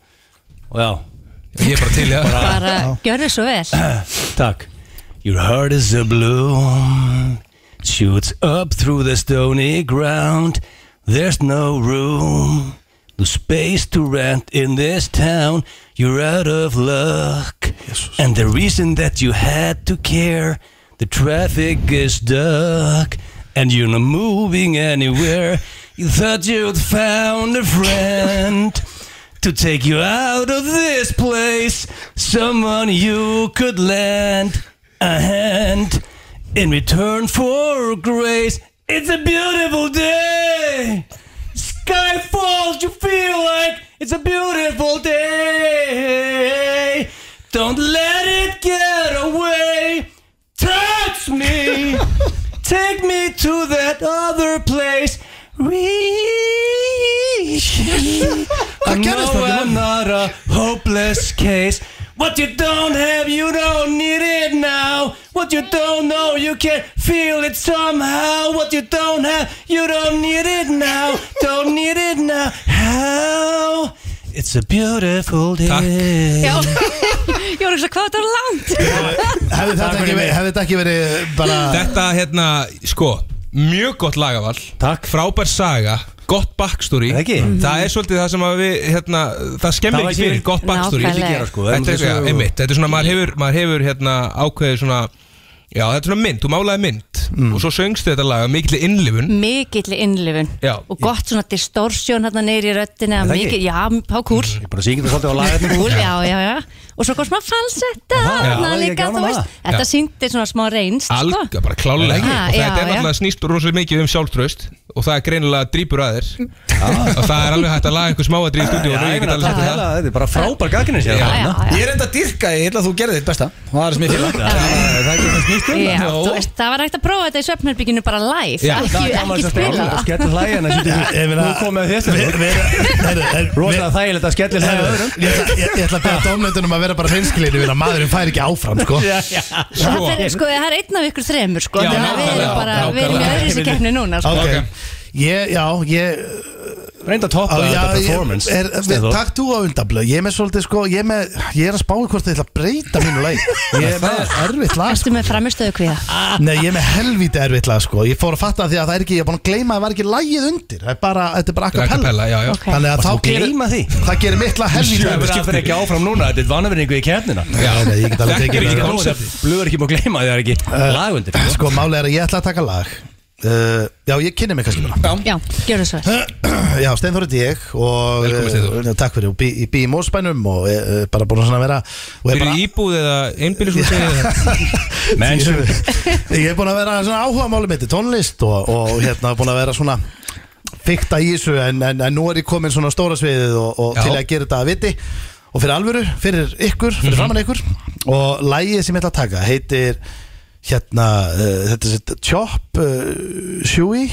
B: og já,
E: Ég er bara til í það
D: Bara gjörðu svo vel.
B: takk Your heart is a balloon Shoots up through the stony ground There's no room No space to rent in this town You're out of luck And the reason that you had to care The traffic is stuck And you're not moving anywhere You thought you'd found a friend to take you out of this place. Someone you could lend a hand in return for grace. It's a beautiful day. Sky falls, you feel like it's
C: Hvað
B: Hvað
C: gerðist
B: No
C: þarna?
B: I'm not a hopeless case What you don't have you don't need it now What you don't know you can feel it somehow What you don't have you don't need it now Don't need it now How It's a beautiful day
E: Takk.
D: Já, ég var ekki að hvað þetta var langt
C: Hefði þetta
B: Takk
C: ekki,
B: fyrir mig.
C: verið- hefði þetta ekki verið bara
E: Þetta hérna, sko Mjög gott lagavall
B: Takk.
E: Frábær saga Gott backstory
B: Ekki?
E: Það er svolítið það sem að við hérna, Það skemmir
B: Það var
E: ekki fyrir
B: ekki-
E: Gott backstory
D: Nákvæmlega.
B: gera, sko.
E: Þetta er, ja, einmitt, þetta er svona Maður hefur, maður hefur hérna, ákveðið svona Já, þetta er svona mynd, þú málaði mynd Og svo söngstu þetta lag af mikilli innlifun
D: Mikill innlifun
E: Já.
D: og gott svona distortion hérna neyri í röttinni
B: Er það ekki? Mm. hérna
D: mikil, Já, pá kúl
B: Ég bara syngi þetta svolítið á
D: Kúl, já, já, já Og svo kom smá falsetta
B: já, ég
D: þarna líka,
B: gaman
D: þú
B: að
D: veist
B: það.
D: Þetta
E: Já.
D: sýndi svona smá reynst sko.
E: Alga, bara
B: Já,
E: klálega ekki
D: já,
E: Og þetta
D: já.
E: er náttúrulega snýst rosalega mikið um sjálftröst Og það er greinilega drýpur að þér Og það er alveg hægt að laga einhver smáadri í stúdíu Og ég get alveg sagt þér það
B: Þetta er bara frábær gagnir sér
E: Já.
D: Já, já, já.
A: Ég er enda að dyrka, ég held að þú gerði þitt besta Það er sem ég fíla
B: Það er ekki það snýst um
D: Já,
E: Já.
D: þú veist, það var hægt að prófa þetta í svefnherbygginu bara live,
E: Já,
D: ekki,
B: Það er gaman
D: ekki
B: að
D: spila
B: spila
D: það
B: Skellur hlæjan
C: Ég meina-
B: Nú komið þér
C: Við-
B: þetta
C: við- heyrðu, heyrðu,
B: Rósalega
C: við-
B: þægilegt að skellir hlæja
C: heyrðu,
B: öðrum
C: Ég ætla- ég- ég ætla að beða dómnefndunum að vera bara hreinskilir Ég vil að maðurinn fær ekki áfram sko
D: Það fer- sko, það er einn af ykkur þremur sko,
E: Já,
D: þannig að við
E: nákvæmlega,
D: erum bara, við erum í
E: nákvæmlega.
D: öðru sér keppni núna sko.
C: Ok Ég, já, ég
B: Reynda að toppa
C: á, já,
B: þetta
C: ég,
B: performance
C: er, við,
B: Stefán.
C: Takk þú á undanblöð Ég er með svolítið sko Ég er, með, ég er að spáði hvort þið ætla að breyta mínu leið Ég er með erfitt lag sko.
D: Ertu með framistöðu kviða?
C: Nei, ég er með helvítið erfitt lag sko Ég fór að fatta því að það er ekki Ég er búin að gleyma að það var ekki lagið undir Það er bara, þetta er bara acapella
E: Acapella, já, já.
D: Ok.
C: Þannig að
B: Varstu
C: þá
B: búin að gleyma því?
C: Það gerir mitt lag helvítið
B: Við
C: erfitt
B: skiptum ekki áfram núna, þetta er vannaveringu í kefnina
E: Já,
C: Nei, ég get alveg
E: Þetta
C: tekið
E: er ekki
C: það.
E: koncept
B: Blöður ekki múið að gleyma því það er ekki lagundir
C: Sko, málið er að ég ætla að taka lag uh, Já, ég kynni mig kannski bara
D: Já, gjörðu svo vel.
C: Já, Steinþór er ég og
E: Velkomin, Steinþór.
C: eh, Takk fyrir, og bý, ég bý í Mósbænum og uh, bara búin að svona vera og er
E: Fyrir
C: bara,
E: íbúð eða einbýlisúsi eða
B: Menn sem
C: Ég er búin að vera svona áhuga máli mitt í tónlist og, og hérna búin að vera svona fykta í þessu en, en, en nú er ég komin svona á stóra sviðið og, og
E: Já. Mhm.
C: til að gera þetta að viti og fyrir alvöru, fyrir ykkur, fyrir framann ykkur og lægið sem ég ætla að taka heitir hérna, uh, þetta er Chop uh, Shui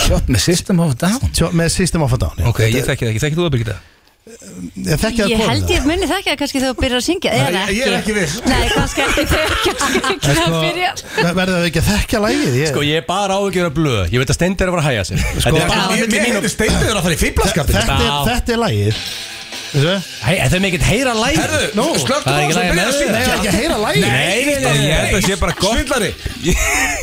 A: Shot með system of a down
C: Chop með System of a Down já.
E: Ok, ég þekki það ekki, þekki þú það Birgitta?
C: Ég þekki að
D: Ég
C: koma
D: held ég muni það ekki að kannski þegar þú byrjar að syngja eða
A: Ég- ég er ekki viss.
D: Nei, kannski ekki þegar kannski ekki að byrja
C: Verður það ekki að þekkja lægið? Ég,
B: Sko ég er bara áhugjur að blöð Ég veit að Steindir er að fara að hæja sig Þetta er
A: Mér
B: bara
A: mér
B: milli mín
A: hefði
B: og-
A: steinduður að fara í fíblaskapin
C: þetta, er,
B: Já.
C: þetta er lægið Þessu?
B: Hei, þetta er mikið heyra læg
A: Herðu, slöktu
B: það er ekki
A: og
B: lægja
A: byrja
B: með
A: að
C: Nei,
A: syngja.
B: þau.
C: ég er ekki að heyra lægið
B: Nei, nei, nei,
E: Ég
B: nei.
E: held að sé bara gott
A: Svindlari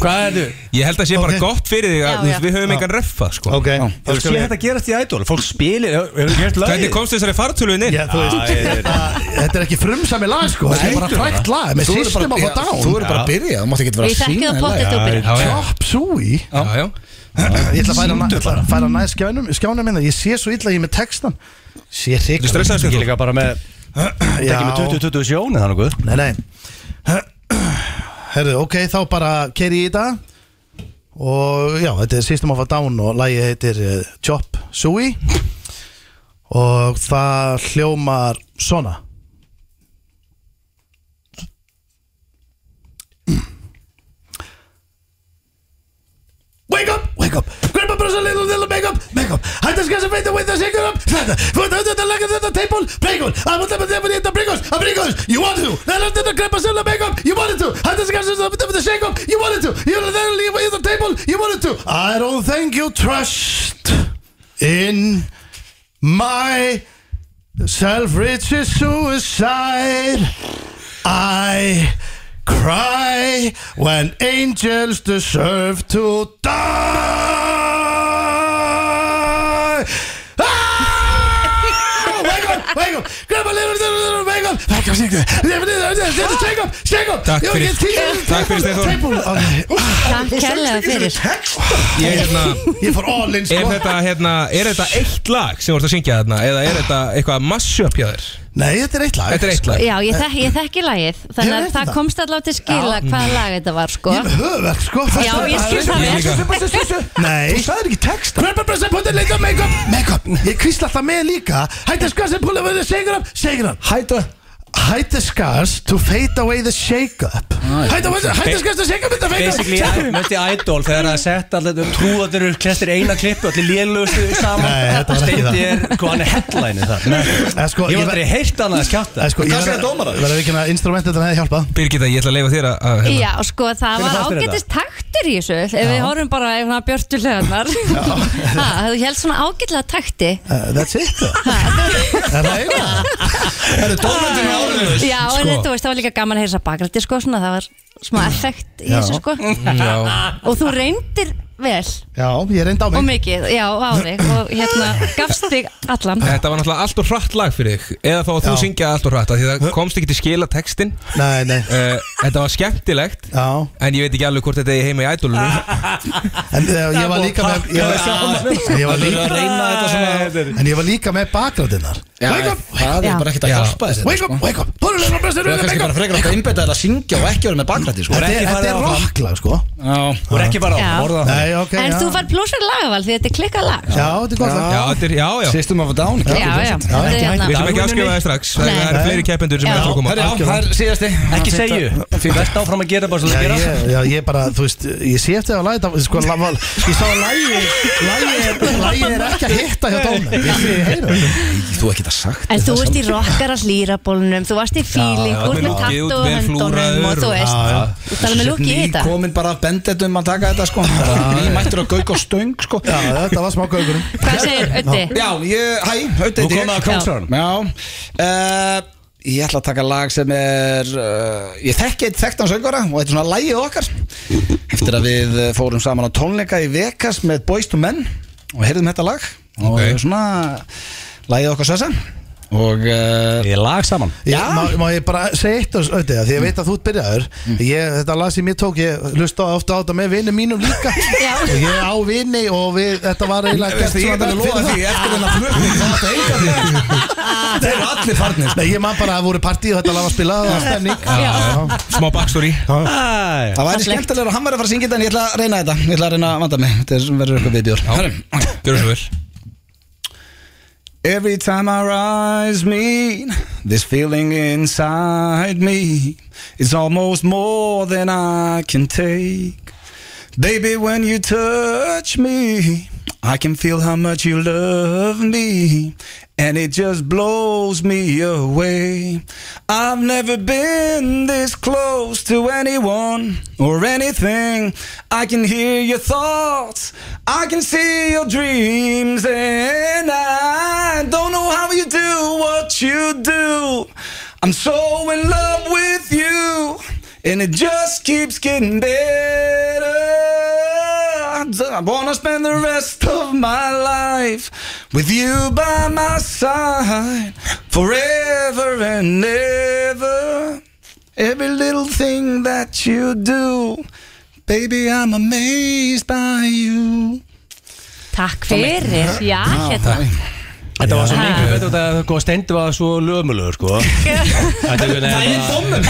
B: Hvað er þú?
E: Ég held að sé bara
C: Ok.
E: gott fyrir þig
D: Já,
E: að þú veist,
D: já.
E: við höfum engan reffa sko
C: Ok, þá
B: Þú
C: skulum
B: sé
C: við-
B: þetta gerast í ædol Fólk spilir, hefur gert læg
E: Hvernig komst þessari fartölun inn?
C: Já, þú veist, þetta, þetta er ekki frumsami lag sko Þetta er bara
B: Heldur
C: frækt lag með
A: Þú eru
C: system
A: bara
C: of a
A: já,
C: down
A: þú eru bara að byrja Þú mátt ekki vera
D: Ég
A: að
D: þekki
A: sína
D: það pottet þú byrja
E: Já, já,
C: Chop suey
E: já, já.
C: Ég ætla að færa, na, ætla að færa næst skjánum, skjánum minna Ég sé svo illa að ég er með textan Sé
E: Þú
C: hrygglega
E: stressaðist
B: Ég er
E: ekki
B: líka bara með Þetta ekki með 20-20 sjónu þannig að
C: Nei, nei Herðu, ok, þá bara keri ég í dag Og já, þetta er System of a Down og lagið heitir eh, Chop Suey Og það hljómar svona Wake up, wake up Grandpa brings a little, little makeup, makeup I discuss a faith with the shaker up Slender, put out the leg of the table Bagel, I want them to eat the brickles A brickles, you want to Then I did the grandpa sell the makeup You wanted to I discuss a faith with the shake up You wanted to You then leave with the table You wanted to I don't think you trust In My Self-righteous suicide I cry when angels deserve to die. Ah! Wake up, wake up, grab a little, little, little, wake up. Wake up, shake up, shake up, shake up.
E: Ah! Takk fyrir- takk fyrir, Steinþór.
D: Takk kærlega fyrir
E: Ég er hérna
C: Ég fór all in
E: Er
C: sko.
E: þetta, hérna, er þetta eitt lag sem þú ert að syngja þarna eða er þetta eitthvað mashup hjá þér?
C: Nei, þetta er eitt lag.
E: Þetta er eitt lag
D: Já, ég þekki, ég þekki lagið Þannig
C: Ég
D: að
C: veit
D: það
C: það.
D: komst allavega til skila hvaða lag þetta var sko
C: Ég er með höfverk sko.
D: Já, ég skil það
E: Ég líka.
D: vel
C: Nei Þú sagðir ekki texta Grandpa Bressa put a little makeup Makeup Ég kvísla það með líka Hættu að skassa pull over the shaker up Shaker up
A: Hæta
C: Hide the scars to fade away the shake-up Hide away the hide the scars to shake-up Þetta
B: Basically,
C: fade up
B: mjög til Idol þegar það er sett allir um trúðanir og klestir eina klippu, allir lélugustu saman
C: Nei, þetta var ekki það.
B: Steindi er, hvað hann er headline þar
C: Eh, sko,
B: Ég
C: ég
B: var
C: ver-
B: aldrei heyrt annað að skjáta
C: Eh, sko,
A: Hvað
C: ég
A: segja
C: verð-
A: dómarar?
C: verður ekki að instrumentið þetta hefði hjálpað
E: Birgitta, ég ætla að leifa þér að- að hérna.
D: Já, sko,
B: Hvernig
D: það var
B: fannst þér
D: ágættist taktur í þessu ef við horfum bara ef hann björtu hlegarnar það held svona ágætlega takti
C: Uh, That's it Er það eina?
A: Það er dómendin í árið
D: Já, en þetta veist, það var líka gaman að heyra þess að bakrætti sko, svona, það var smá effekt í
C: Já.
D: þessu sko
E: Já.
D: og þú reyndir vel
C: Já, ég reyndi á
D: og
C: mig
D: mikið, já, á þig og hérna, gafst þig allan
E: Þetta var náttúrulega allt og hratt lag fyrir þig Eða þá að þú
C: Já.
E: syngja allt og hratt af Því það komst ekki til skila textin
C: Nei, nei
E: uh, Þetta var skemmtilegt
C: Já,
E: En ég veit ekki alveg hvort þetta er heima í
D: Ah.
E: ædolunum
C: en uh, ég var líka með ég var, en ég var líka,
A: að reyna þetta svona
C: En ég var líka með bakgráðinnar Wake up,
A: Það er
D: Já.
A: bara ekkert að
E: Já.
A: hjálpa þessi
C: wake up, wake up Þú erum bestur,
A: Það er kannski
C: wake
A: bara
C: up
A: frekar átt að einbetta þér að syngja og ekki verið með bakrætti sko.
C: Þetta
B: ekki
C: er-
B: farið
C: þetta er
B: áfram.
C: rocklag, sko
B: Þú er ekki bara
D: Já.
B: á orða það
C: Nei, ok,
D: en
C: já
D: þú fær blúsar lagaval því þetta er klikkað lag
C: Já, þetta er gott lag
E: Já, þetta er, já, já
A: System of a Down
D: já, já, þetta er
C: ekki hægt.
E: Við
D: hérna
E: sem ekki afskrifa það strax Það
D: Nei.
E: það eru fleiri keppendur sem
D: Já.
E: er að koma
A: Herri, já, það er síðasti
B: Ekki segju, fyrir verðt áfram að gera bara svo
C: Já,
B: það gera
C: ég, já, ég bara, þú veist, ég sé eftir að lagið, sko, la- val- ég sá að lagið, lagið er- lagið er ekki að hitta hjá dómum, ég sé, ég heyra það.
A: Þú ekki það sagt
D: En þú varst í rockara slírabólunum, þú varst í feeling,
E: já,
D: þú varst með
E: vel
D: tattu og
E: vel
D: höndunum og
E: flúraður
D: þú
E: og-
D: veist, þú talar með lúki í þetta.
A: Komin bara af bendetum að taka þetta sko Ný mættur að gauka á stöng sko
C: Já, þetta var smá gaugurum.
D: Hvað segir Ötti?
A: Já, ég, hæ, auðvitað
B: Nú komið að Kóngsárunum.
A: Já uh, Ég ætla að taka lag sem er uh, Ég þekki eitt þekktan söngvara Og þetta er svona lagið okkar Eftir að við eh, fórum saman á tónleika í Vegas Með Boys to Men Og heyrðum þetta lag Og
E: Ok.
A: svona lagið okkar sessa Og uh,
B: Ég lag saman
C: Ég,
A: Já.
C: má, má ég bara segja eitt og auðvitað Því ég veit að þú ert byrjaður ég, Þetta lag sem ég tók, ég lusta ofta á þetta með vinnum mínum líka
D: Já.
C: Og ég á vinni og við, þetta var eiginlega gert
A: Veistu, ég ætla
C: svona
A: að lofa
C: fyrir það.
A: því eftir þennan flutning þá átti enga því Þeir eru allir farnir
C: Nei, ég man bara að það voru partí og þetta lag var spilað og það var stemning
D: Já.
E: Smá backstory
B: Æ,
A: Það væri skemmtilega að hann væri að fara að syngja þetta en ég ætla að reyna þetta Ég ætla að reyna að vanda mig Þetta verður eitthvað viðbjór Herrum
E: Gjörðu svo vel
A: Every time I rise mean This feeling inside me It's almost more than I can take Baby when you touch me I can feel how much you love me And it just blows me away I've never been this close to anyone or anything I can hear your thoughts I can see your dreams And I don't know how you do what you do I'm so in love with you And it just keeps getting better I wanna spend the rest of my life with you by my side forever and ever. Every little thing that you do, baby, I'm amazed by you.
D: Takk fyrir, já, hérna.
B: Þetta var svo
D: Já.
B: mikið betur þetta sko, Steindi var svo lömulegur sko Þetta er bara
A: dómum.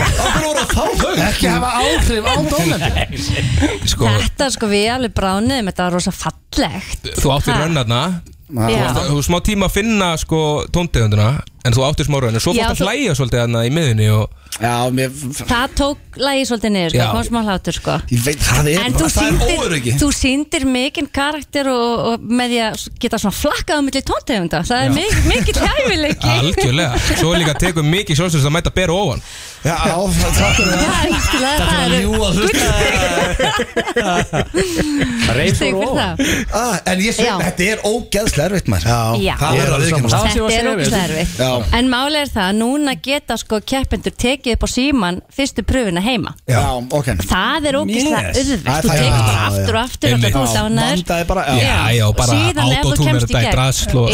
A: Okkur voru að fá þau.
C: Ekki hafa áhrif á dómendur
E: Sko,
D: Þetta sko við alveg bránuðum, þetta var rosa fallegt.
E: þú áttir
D: Ha.
E: rönnarna
D: Já.
E: Þú þú smá tíma að finna sko tóntegunduna En þú áttir smá rönn En svo
D: Já,
E: fórst að
D: þú-
E: hlæja svolítið hana í miðunni og
A: Já, mér,
D: Það tók lagi svolítið niður, sko,
E: Já.
D: kom smá hlátur sko.
A: ég veit, það er,
D: En þú
A: bara- það er óöryggi.
D: sýndir, þú sýndir mikinn karakter og, og með því að geta svona flakkað á milli tóntegunda, það er mikið, mikið hæfileiki.
E: algjörlega Svo líka tekur mikið sjálfstöðs að mæta bera ofan
A: Já, það takk fyrir það.
D: Það er algjörlega, það er
A: ljúga, þú veist.
D: gullstig fyrir það.
A: Ah, En ég segi,
D: Já.
A: þetta er ógeðslega erfitt maður.
D: Já.
A: Það
C: Ég
A: verður að
C: alveg
A: viðkynna
C: sammála.
B: Það sé að
D: Þetta er
B: segja við.
D: ógislega erfitt
A: Já.
D: En málega er það að núna geta sko keppendur tekið upp á síman fyrstu pröfuna heima
A: Já, ok.
D: Það er ógislega
B: Yes.
D: auðvelt
A: Það-
D: Þú
A: það-
D: tekur
A: já,
D: það
A: já.
D: aftur og aftur og
E: Einmitt.
D: þú dánar
A: Vandaði bara, já.
E: Já, já, bara
D: Síðan ef þú
E: autotune er
D: kemst í
E: þetta í
D: gegn
E: drasl og-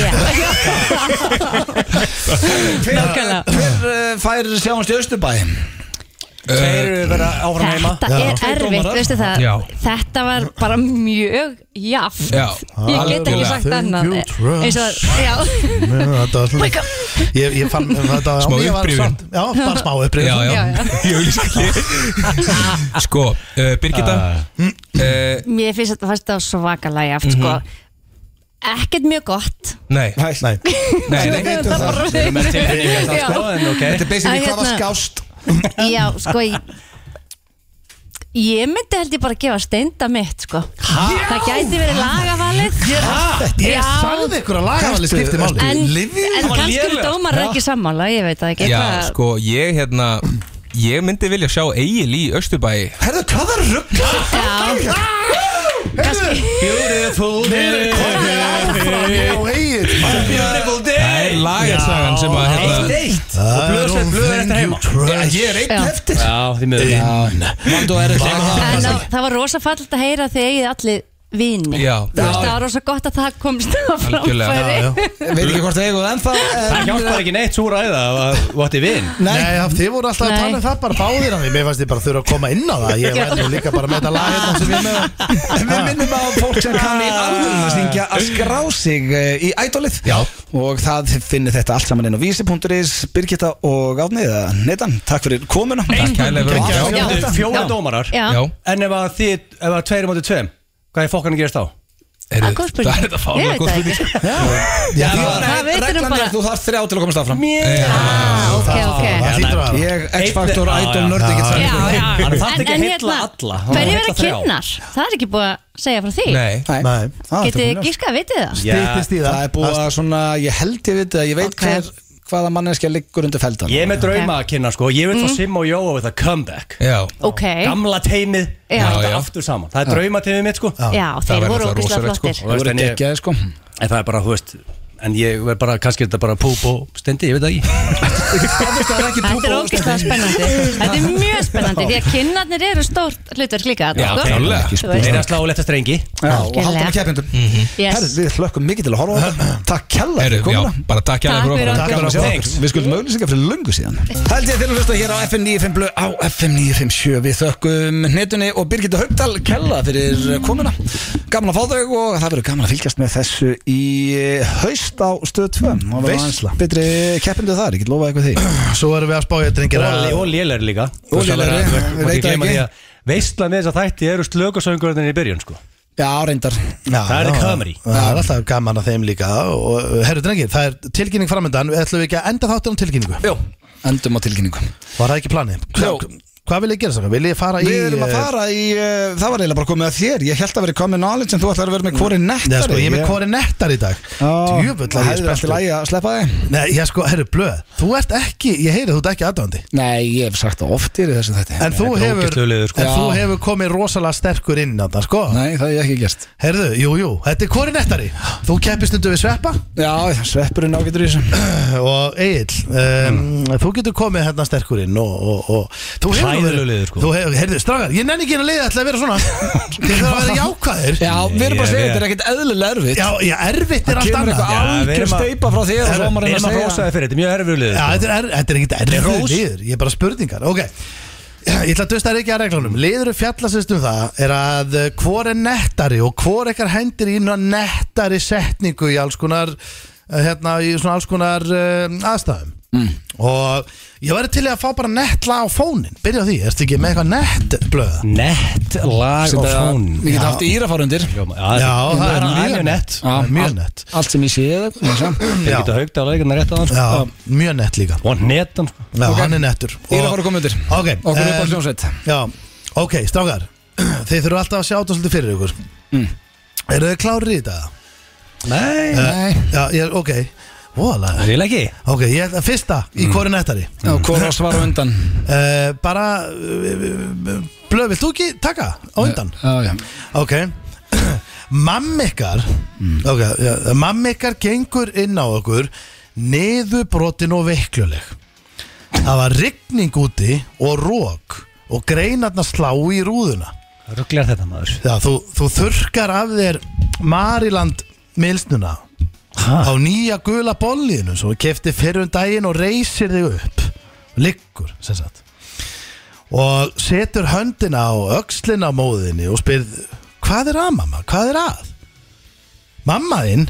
A: Hver,
D: Nákvæmlega.
A: hver eh, fær sjáumst í Östurbæ?
B: Þeir
E: Eh,
B: eru vera áfram heima
D: Þetta er erfitt, veistu það
E: Já.
D: Þetta var bara mjög jaft
E: Já,
D: Ég get ekki
E: algjörlega.
D: sagt annað
C: Thank you,
D: Eins og það, já
C: Þetta var svona
D: Wake up.
C: Ég, ég fann þetta á
E: Smá
C: mér var
E: upprifjun.
C: samt- Já, bara smá upprifjun
E: Já, já,
D: Já, já.
E: í auglýsingu Sko, uh, Birgitta uh,
D: Mér finnst þetta fannst það svakalega jaft sko ekkert mjög gott
E: Nei, nei,
C: Nei,
E: nei, nei.
A: veitum það.
D: bara-
B: Við erum með tilfinningar það
D: Já.
B: sko En ok
A: Þetta er basically
D: Að
A: hvað var
D: hérna-
A: skást
D: Já, sko ég, ég myndi held ég bara að gefa steinda mitt sko. Það gæti verið lagavalið
C: ég
D: Já.
C: sagði ykkur að lagavali skipti máli
D: En,
A: Lyfið?
D: en
B: Það var
D: kannski eru
B: lélegt.
D: dómar ekki sammála Ég veit það ekki
E: Já,
D: Það-
E: sko, ég hérna Ég myndi vilja sjá Egil í Östurbæ
A: Herðu, hvað var ruggla?
D: Já,
B: Beautiful
C: Já, eigið
B: Beautiful
E: Það er
B: day
E: lagarsagan sem að hérna,
B: Eitt Og blöð sem blöð er þetta heima
A: Ég er
D: Já.
A: einn eftir
B: Já, því miður
A: Vandó er ekki
D: en það, það var rosa fallit að heyra þegar ég allir vini
E: Já.
D: Þú veist, Það var rosa gott að það komst á
E: Algjörlega.
D: framfæri
A: Veit ekki hvort það eigum en það
B: Það hjálpar ekki neitt svo ræða að What if in
C: Nei, Nei þið voru alltaf að
D: Nei.
C: tala um það bara báðir af því Mér fannst ég bara þurfa að koma inn á það Ég væri nú líka bara með þetta lag hérna sem ég er með
A: En Við minnum á fólk sem kann í alvöru að syngja að skrá sig eh, í ædolið
C: Já.
A: og það finnir þetta allt saman inn á vísi.is Birgitta og Árni eða Netan, takk fyrir komuna
E: Takk kærlega fyrir
A: Já.
E: okkur.
B: Fjóra- Fjóra
D: Já.
B: dómarar
D: Já.
E: Já,
B: En ef að þið Ef að tveir mútið tveim Hvað er fokkanum gerist þá?
E: er
D: Það er góð spurning.
E: Það er þetta
D: Ég
E: fána
C: Já,
D: veit það Það
E: góð spurning
D: veitir nú
A: Reglan er
D: bara.
A: að þú þarf þrjá til að komast áfram
D: Ah, ok, ok
C: það hlýtur að
A: Ég, X-Factor, Idol, Nörd ekki
D: Já,
A: það
D: já
B: Hann þarf ekki
D: En-
B: að
D: en
B: heilla
D: hérna,
B: alla, hann þarf að
D: Hverju verða
B: heilla þrjá.
D: kynnar? Það er ekki búið að segja frá því
E: Nei,
C: Nei.
A: Ah,
D: Getið þið gískað, vitið þið það?
C: Stýttist í
A: Það
C: það
A: er búið að svona, ég held ég viti að ég veit
D: Ok.
A: hver, hvaða manneskja liggur undir feldan
B: Ég er með drauma að kynna sko Ég vil fá Sim og Jóa with a comeback
E: já
D: Ok,
B: Gamla teimið
D: Já.
B: Þetta
E: Já, já.
B: aftur saman Það er drauma teimið mitt sko
D: já,
E: Það
D: þeir
E: væri
D: voru
E: náttúrulega
D: ógislega flottir
E: rosalegt, sko.
B: Og
A: Það voru
B: en ég-
A: geggjaði sko
B: En það er bara, þú veist En ég verð bara, kannski er þetta bara púp og stendi, ég veit það ekki
D: Þetta er ógislega spennandi Þetta er mjög spennandi Því að kynnarnir eru stórt hlutverk líka þarna,
E: Já,
D: sko.
E: klárlega.
D: Þú
E: Ekki
B: Það
D: veist.
B: er að slá og leta strengi
A: Já, og halda með
D: Algjörlega.
A: keppindum
D: Yes.
A: Herðu, við hlökkum mikið til að horfa á þetta Takk kella
E: Heru,
A: fyrir
E: já,
A: komuna
E: bara takk
D: Takk
E: kærlega
D: fyrir
E: fyrir
D: okkur.
E: okkur
A: Gaman að sjá
B: Thanks.
A: okkur. Við skuldum auðlýsingar fyrir löngu síðan Held ég til að hlusta hér á FM 95 blöð á FM 957 Við þökkum hnetunni og Birgitta Haugdal kella fyrir komuna Gaman að fá þau og það verður gaman að fylgjast með þessu í haust á stöð 2 Það verður
C: Veisla.
A: aðeins betri keppindu þar, ég get lofað eitthvað því
C: Svo erum við að spája drengir að
B: Og lélæri líka
A: Og lélegri, við veit það ekki.
B: Veistla með þess að þætti eru slökusöngurinn í byrjun sko
A: Já, reyndar
C: Já,
B: Það er
C: já.
B: comedy.
C: Það er alltaf gaman að þeim líka Og uh, herru drengir, það er tilkynning framöndan Ætlum við ekki að enda þáttir um tilkynningu
A: Jó, endum á tilkynningu
C: Var það ekki planið?
A: Jó.
C: Hva- Hvað vil ég gera þess að? Vil ég fara í
A: Við erum að
C: eh,
A: fara í, uh, það var eiginlega bara komið að þér Ég held að verið common knowledge en þú ætlar að vera með hvori nettari
C: Nei, sko, ég er með kori nettar í dag Djöfull
A: Það hefði
C: að ég
A: alltaf
C: spenntur
A: lægi að sleppa þig
C: Nei, ég sko, herru, blöð Þú ert ekki, ég heyri að þú ert ekki aðdóðandi
A: Nei, ég hef sagt það oftir í þessum þetta
C: En þú
B: Þetta er
C: hefur,
B: ógeðslegur liður, sko.
C: en þú
A: Já.
C: hefur komið rosalega sterkur inn á það, sko
A: Nei, það hef ég ekki gert
C: Herðu, jú, jú, þetta er kori nettari Þú keppist undir við sveppa
A: Já, sveppurinn ágætur í þessu
C: og Egil um,
A: Mm.
C: Þú getur komið hérna sterkur inn og, og, og þú hefur nú verið-
B: Hræðilegur liður, sko.
C: Þú hefur, herðu, strágar, ég nenni ekki að leiða ætla að vera svona Þið þarf að vera jákvæðir
A: Já, við erum bara að
B: Ég-
A: segja, þetta er ekkert eðlilega erfitt
C: já, já, erfitt er allt
A: Kemur
C: annað
A: eitthvað
B: Já, við
A: algjör
B: erum að-
A: steipa frá þér og svo á maður að
B: Við erum að
A: reyna að
B: rosa
A: segja
B: þið fyrir þetta, mjög erfiður liður
C: Já, þetta er, þetta er ekkert erfiður
B: rós.
C: liður, ég er bara spurningar Ok, ég ætla að dusta þér ekki að reglunum Liður fjallasist um það er að uh, hvor er nettari og hvor ekkar hendir í ná nettari setningu í alls konar uh, hérna, í svona alls konar uh, aðstæðum og ég væri til í að fá bara nettla á fónin byrja á því, ertu ekki með eitthvað nettblöða?
B: Nett, lag og fón
A: Ég get haft írafárundir
B: Já,
C: Já,
B: það er mjög nett
C: það er mjög nett
A: Allt sem ég sé það
B: Þeir
C: Já.
B: geta haugt á leikarnar rétt á hann
C: Já, mjög nett líka
B: Og netan sko
C: Já,
A: Ok.
C: hann er nettur
A: Írafáru komið undir
C: Ok, eh,
A: Okkur upp á
C: em,
A: hljómsveit
C: Já, ok, strákar Þið þurfum alltaf að sjá þetta svolítið fyrir ykkur Eru þið klárið í þetta?
B: Nei
A: Nei,
C: Já, ég, ok Vola.
B: Það er ekki
C: Ok, ég ætla fyrsta í hvori nettari
A: Já, hvora svara á undan
C: uh, Bara uh, Blöð, vilt þú ekki taka á undan?
A: Já, já
C: Ok Mammikar Ok, já, mammikar gengur inn á okkur Niðurbrotin og veikluleg Það var rigning úti og rók og greinarna slá í rúðuna
B: Rugglar þetta maður
C: Já, þú, þú þurkar af þér Mariland milsnuna
B: Ha?
C: á nýja gula bollinu sem þú kefti fyrir um daginn og reysir þig upp liggur sem sagt og setur höndina á öxlina á móðinni og spyrð hvað er að mamma, hvað er að mamma þinn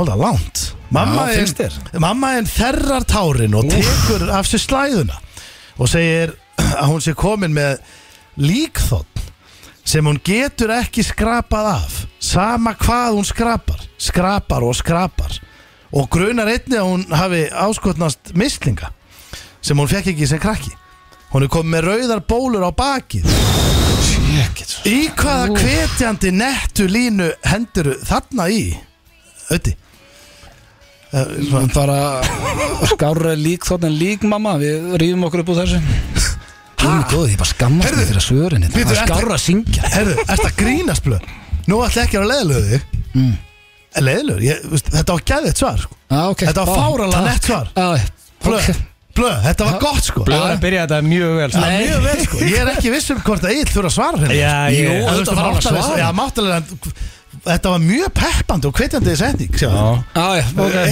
C: Hólda langt Mamma
A: Já, finnst þér?
C: þinn- mamma þinn þerrar tárin og tekur af sér slæðuna og segir að hún sé komin með líkþótt sem hún getur ekki skrapað af sama hvað hún skrapar skrapar og skrapar og grunar einni að hún hafi áskotnast mislinga sem hún fekk ekki sem krakki hún er komið með rauðar bólur á bakið
A: Sjökk
C: í hvaða hvetjandi nettu línu hendur þarna í Eh, ötti
A: Bara skárra lík þótt en lík mamma Við rýfum okkur upp úr þessu Guðni góði, ég bara skammast mig fyrir að svörin hérna.
C: Bíddu,
A: Það er
C: ertu-
A: skárra að syngja
C: Herðu, ert að grínast blöð Nú ætla ekki að leðilega þig mm. Leðilega, ég, veist, þetta var gæðið svar sko.
A: ah, okay.
C: Þetta var fáralega nett svar Blöð,
A: nett
C: blöð, þetta var gott sko
B: Blöð er að byrja þetta mjög vel
C: Það er mjög vel sko, ég er ekki viss um hvort að Egil þurfa að svara henni
B: Já,
C: sko.
B: ég-
C: Jú,
B: auðvitað þarf
C: þetta var
B: hann að
C: alltaf
B: svara.
C: Já, máttalega en Þetta var mjög peppandi og hvetjandi setning sjá.
A: okay.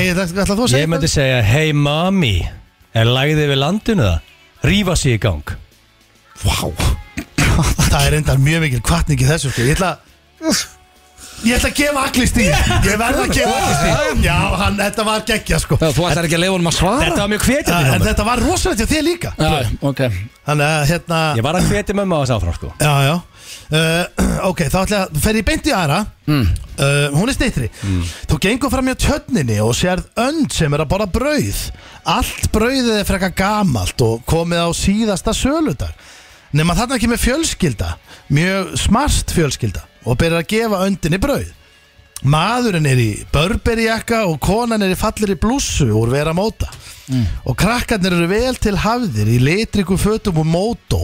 C: Egil, ætla þú að segja
B: Ég myndi
C: eitthvað?
B: segja, hey mami Er lagðið við landinu það? Rífa sig í gang
C: Það er endar mjög mikil kvartning í þessu sko. Ég ætla að Ég ætla að gefa allir stíl Ég verð að gefa allir stíl Já, hann, þetta var geggja sko
A: Þú ætlar ekki að leifa honum að svara
B: Þetta var mjög hvetjandi hjá
C: En
B: mér.
C: þetta var rosalegt hjá þér líka
A: Já, ok
C: Þannig að hérna
B: Ég var að hvetja mömmu á þess áfram sko
C: Já, já uh, Ok, þá ætla ég að fer ég beint í aðra uh, Hún er stittri Þú gengur fram hjá tjörninni og sérð önd sem er að borða brauð Allt brauðið er frekar gamalt og komið á síðasta söludar Nefn að þarna ekki með fjölskylda Mjög smart fjölskylda Og byrjar að gefa öndinni brauð Maðurinn er í börberjakka og konan er í fallir í blússu úr vera móta Og krakkarnir eru vel til hafðir í litriku fötum og mótó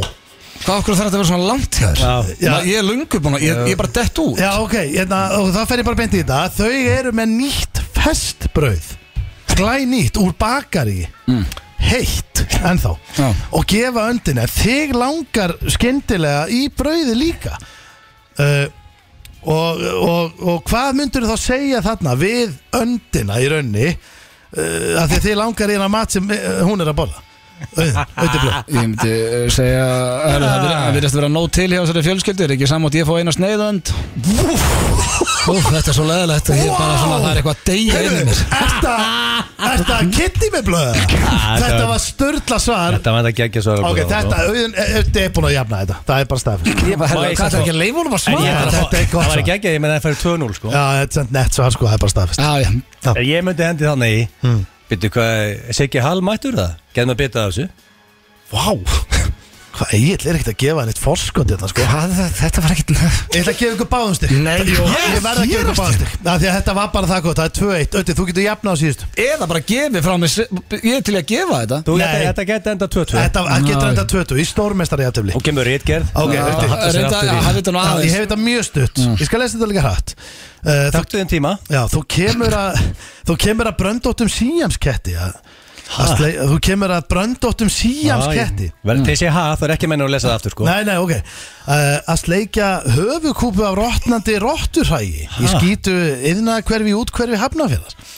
A: Hvað okkur þarf þetta að vera svona langt hjá þér?
C: Já.
A: Ma- Ég er lungu búin að, ég, ég er bara dett út
C: Já, ok, hérna, og það fer ég bara beint í þetta Þau eru með nýtt festbrauð Glænýtt úr bakari Heitt, ennþá
A: Mm. Já.
C: Og gefa öndin En þig langar skyndilega í brauði líka uh, og, og, og hvað myndur þá segja þarna Við öndina í raunni uh, Af því að þig langar í hana mat sem uh, hún er að borða Öndinblöð
A: Ég myndi eh, segja, herru, það
C: Ah.
A: virðist- það virðist að vera nóg til hjá þessari fjölskyldu, er ekki samátt ég fá eina sneiðönd Úf, þetta er svo leðilegt og ég er bara svona, það er eitthvað að deyja inn í mér
C: Þetta, þetta kitti með blöða Þetta var sturla svar
B: Þetta var þetta geggja sko. svo
C: Ok, þetta, auðvitað auðvitað er búin að jafna þetta Það er bara staðfest
A: Ég bara, herru,
B: Má ég
A: hvað
B: sjá
A: er ekki
B: þá?
A: að leifa honum að
B: En ég
A: svara?
B: held að
C: Þetta
B: fá-
C: er gott
B: Það var
C: svar.
B: geggja, ég menn að það færi 2-0 sko
C: Já, þetta er sent nett svar sko, það er bara staðfest
A: Já, já,
C: Já.
B: Ég myndi hendi þannig í mm. Býttu hvað, Siggi Hall mættur það? Geðum að bita af þessu
C: Vá Hvað, ég er ekkert að gefa henni eitt forskot þetta sko
A: hvað, þetta var ekkit
C: Ég ætla að gefa ykkur báðum stygg
A: Nei,
C: Ég verð að gefa ykkur báðum stygg Því að þetta var bara það gott, það er 2-1 Ötti, þú getur jafnað á síðust
A: Eða bara gefið frá mig, ég er til í að gefa þetta
B: Þú,
C: Nei.
B: þetta, þetta geti enda 2-2
C: Þetta það getur
A: Ná,
C: enda 20 í stórmestari jafntefli
B: Hún kemur rítgerð
C: Ok, Ötti
A: Það er þetta, það er Mm.
B: aftur í.
A: þetta nú
C: Ég
A: aðeins
C: hef þetta mjög stutt Ég skal lesa þetta líka hratt Uh, þú-
B: Takktu þinn tíma
C: Já, þú kemur að þú kemur að bröndóttum síjamsketti að, að slei, þú kemur að bröndóttum síjamsketti
B: Vel, þeir sé ha, það er ekki menn að lesa það aftur sko
C: Nei, nei, ok uh, Að sleikja höfukúpu af rótnandi rótturhægi Í skýtu yðna hverfi út hverfi hafnafjörðar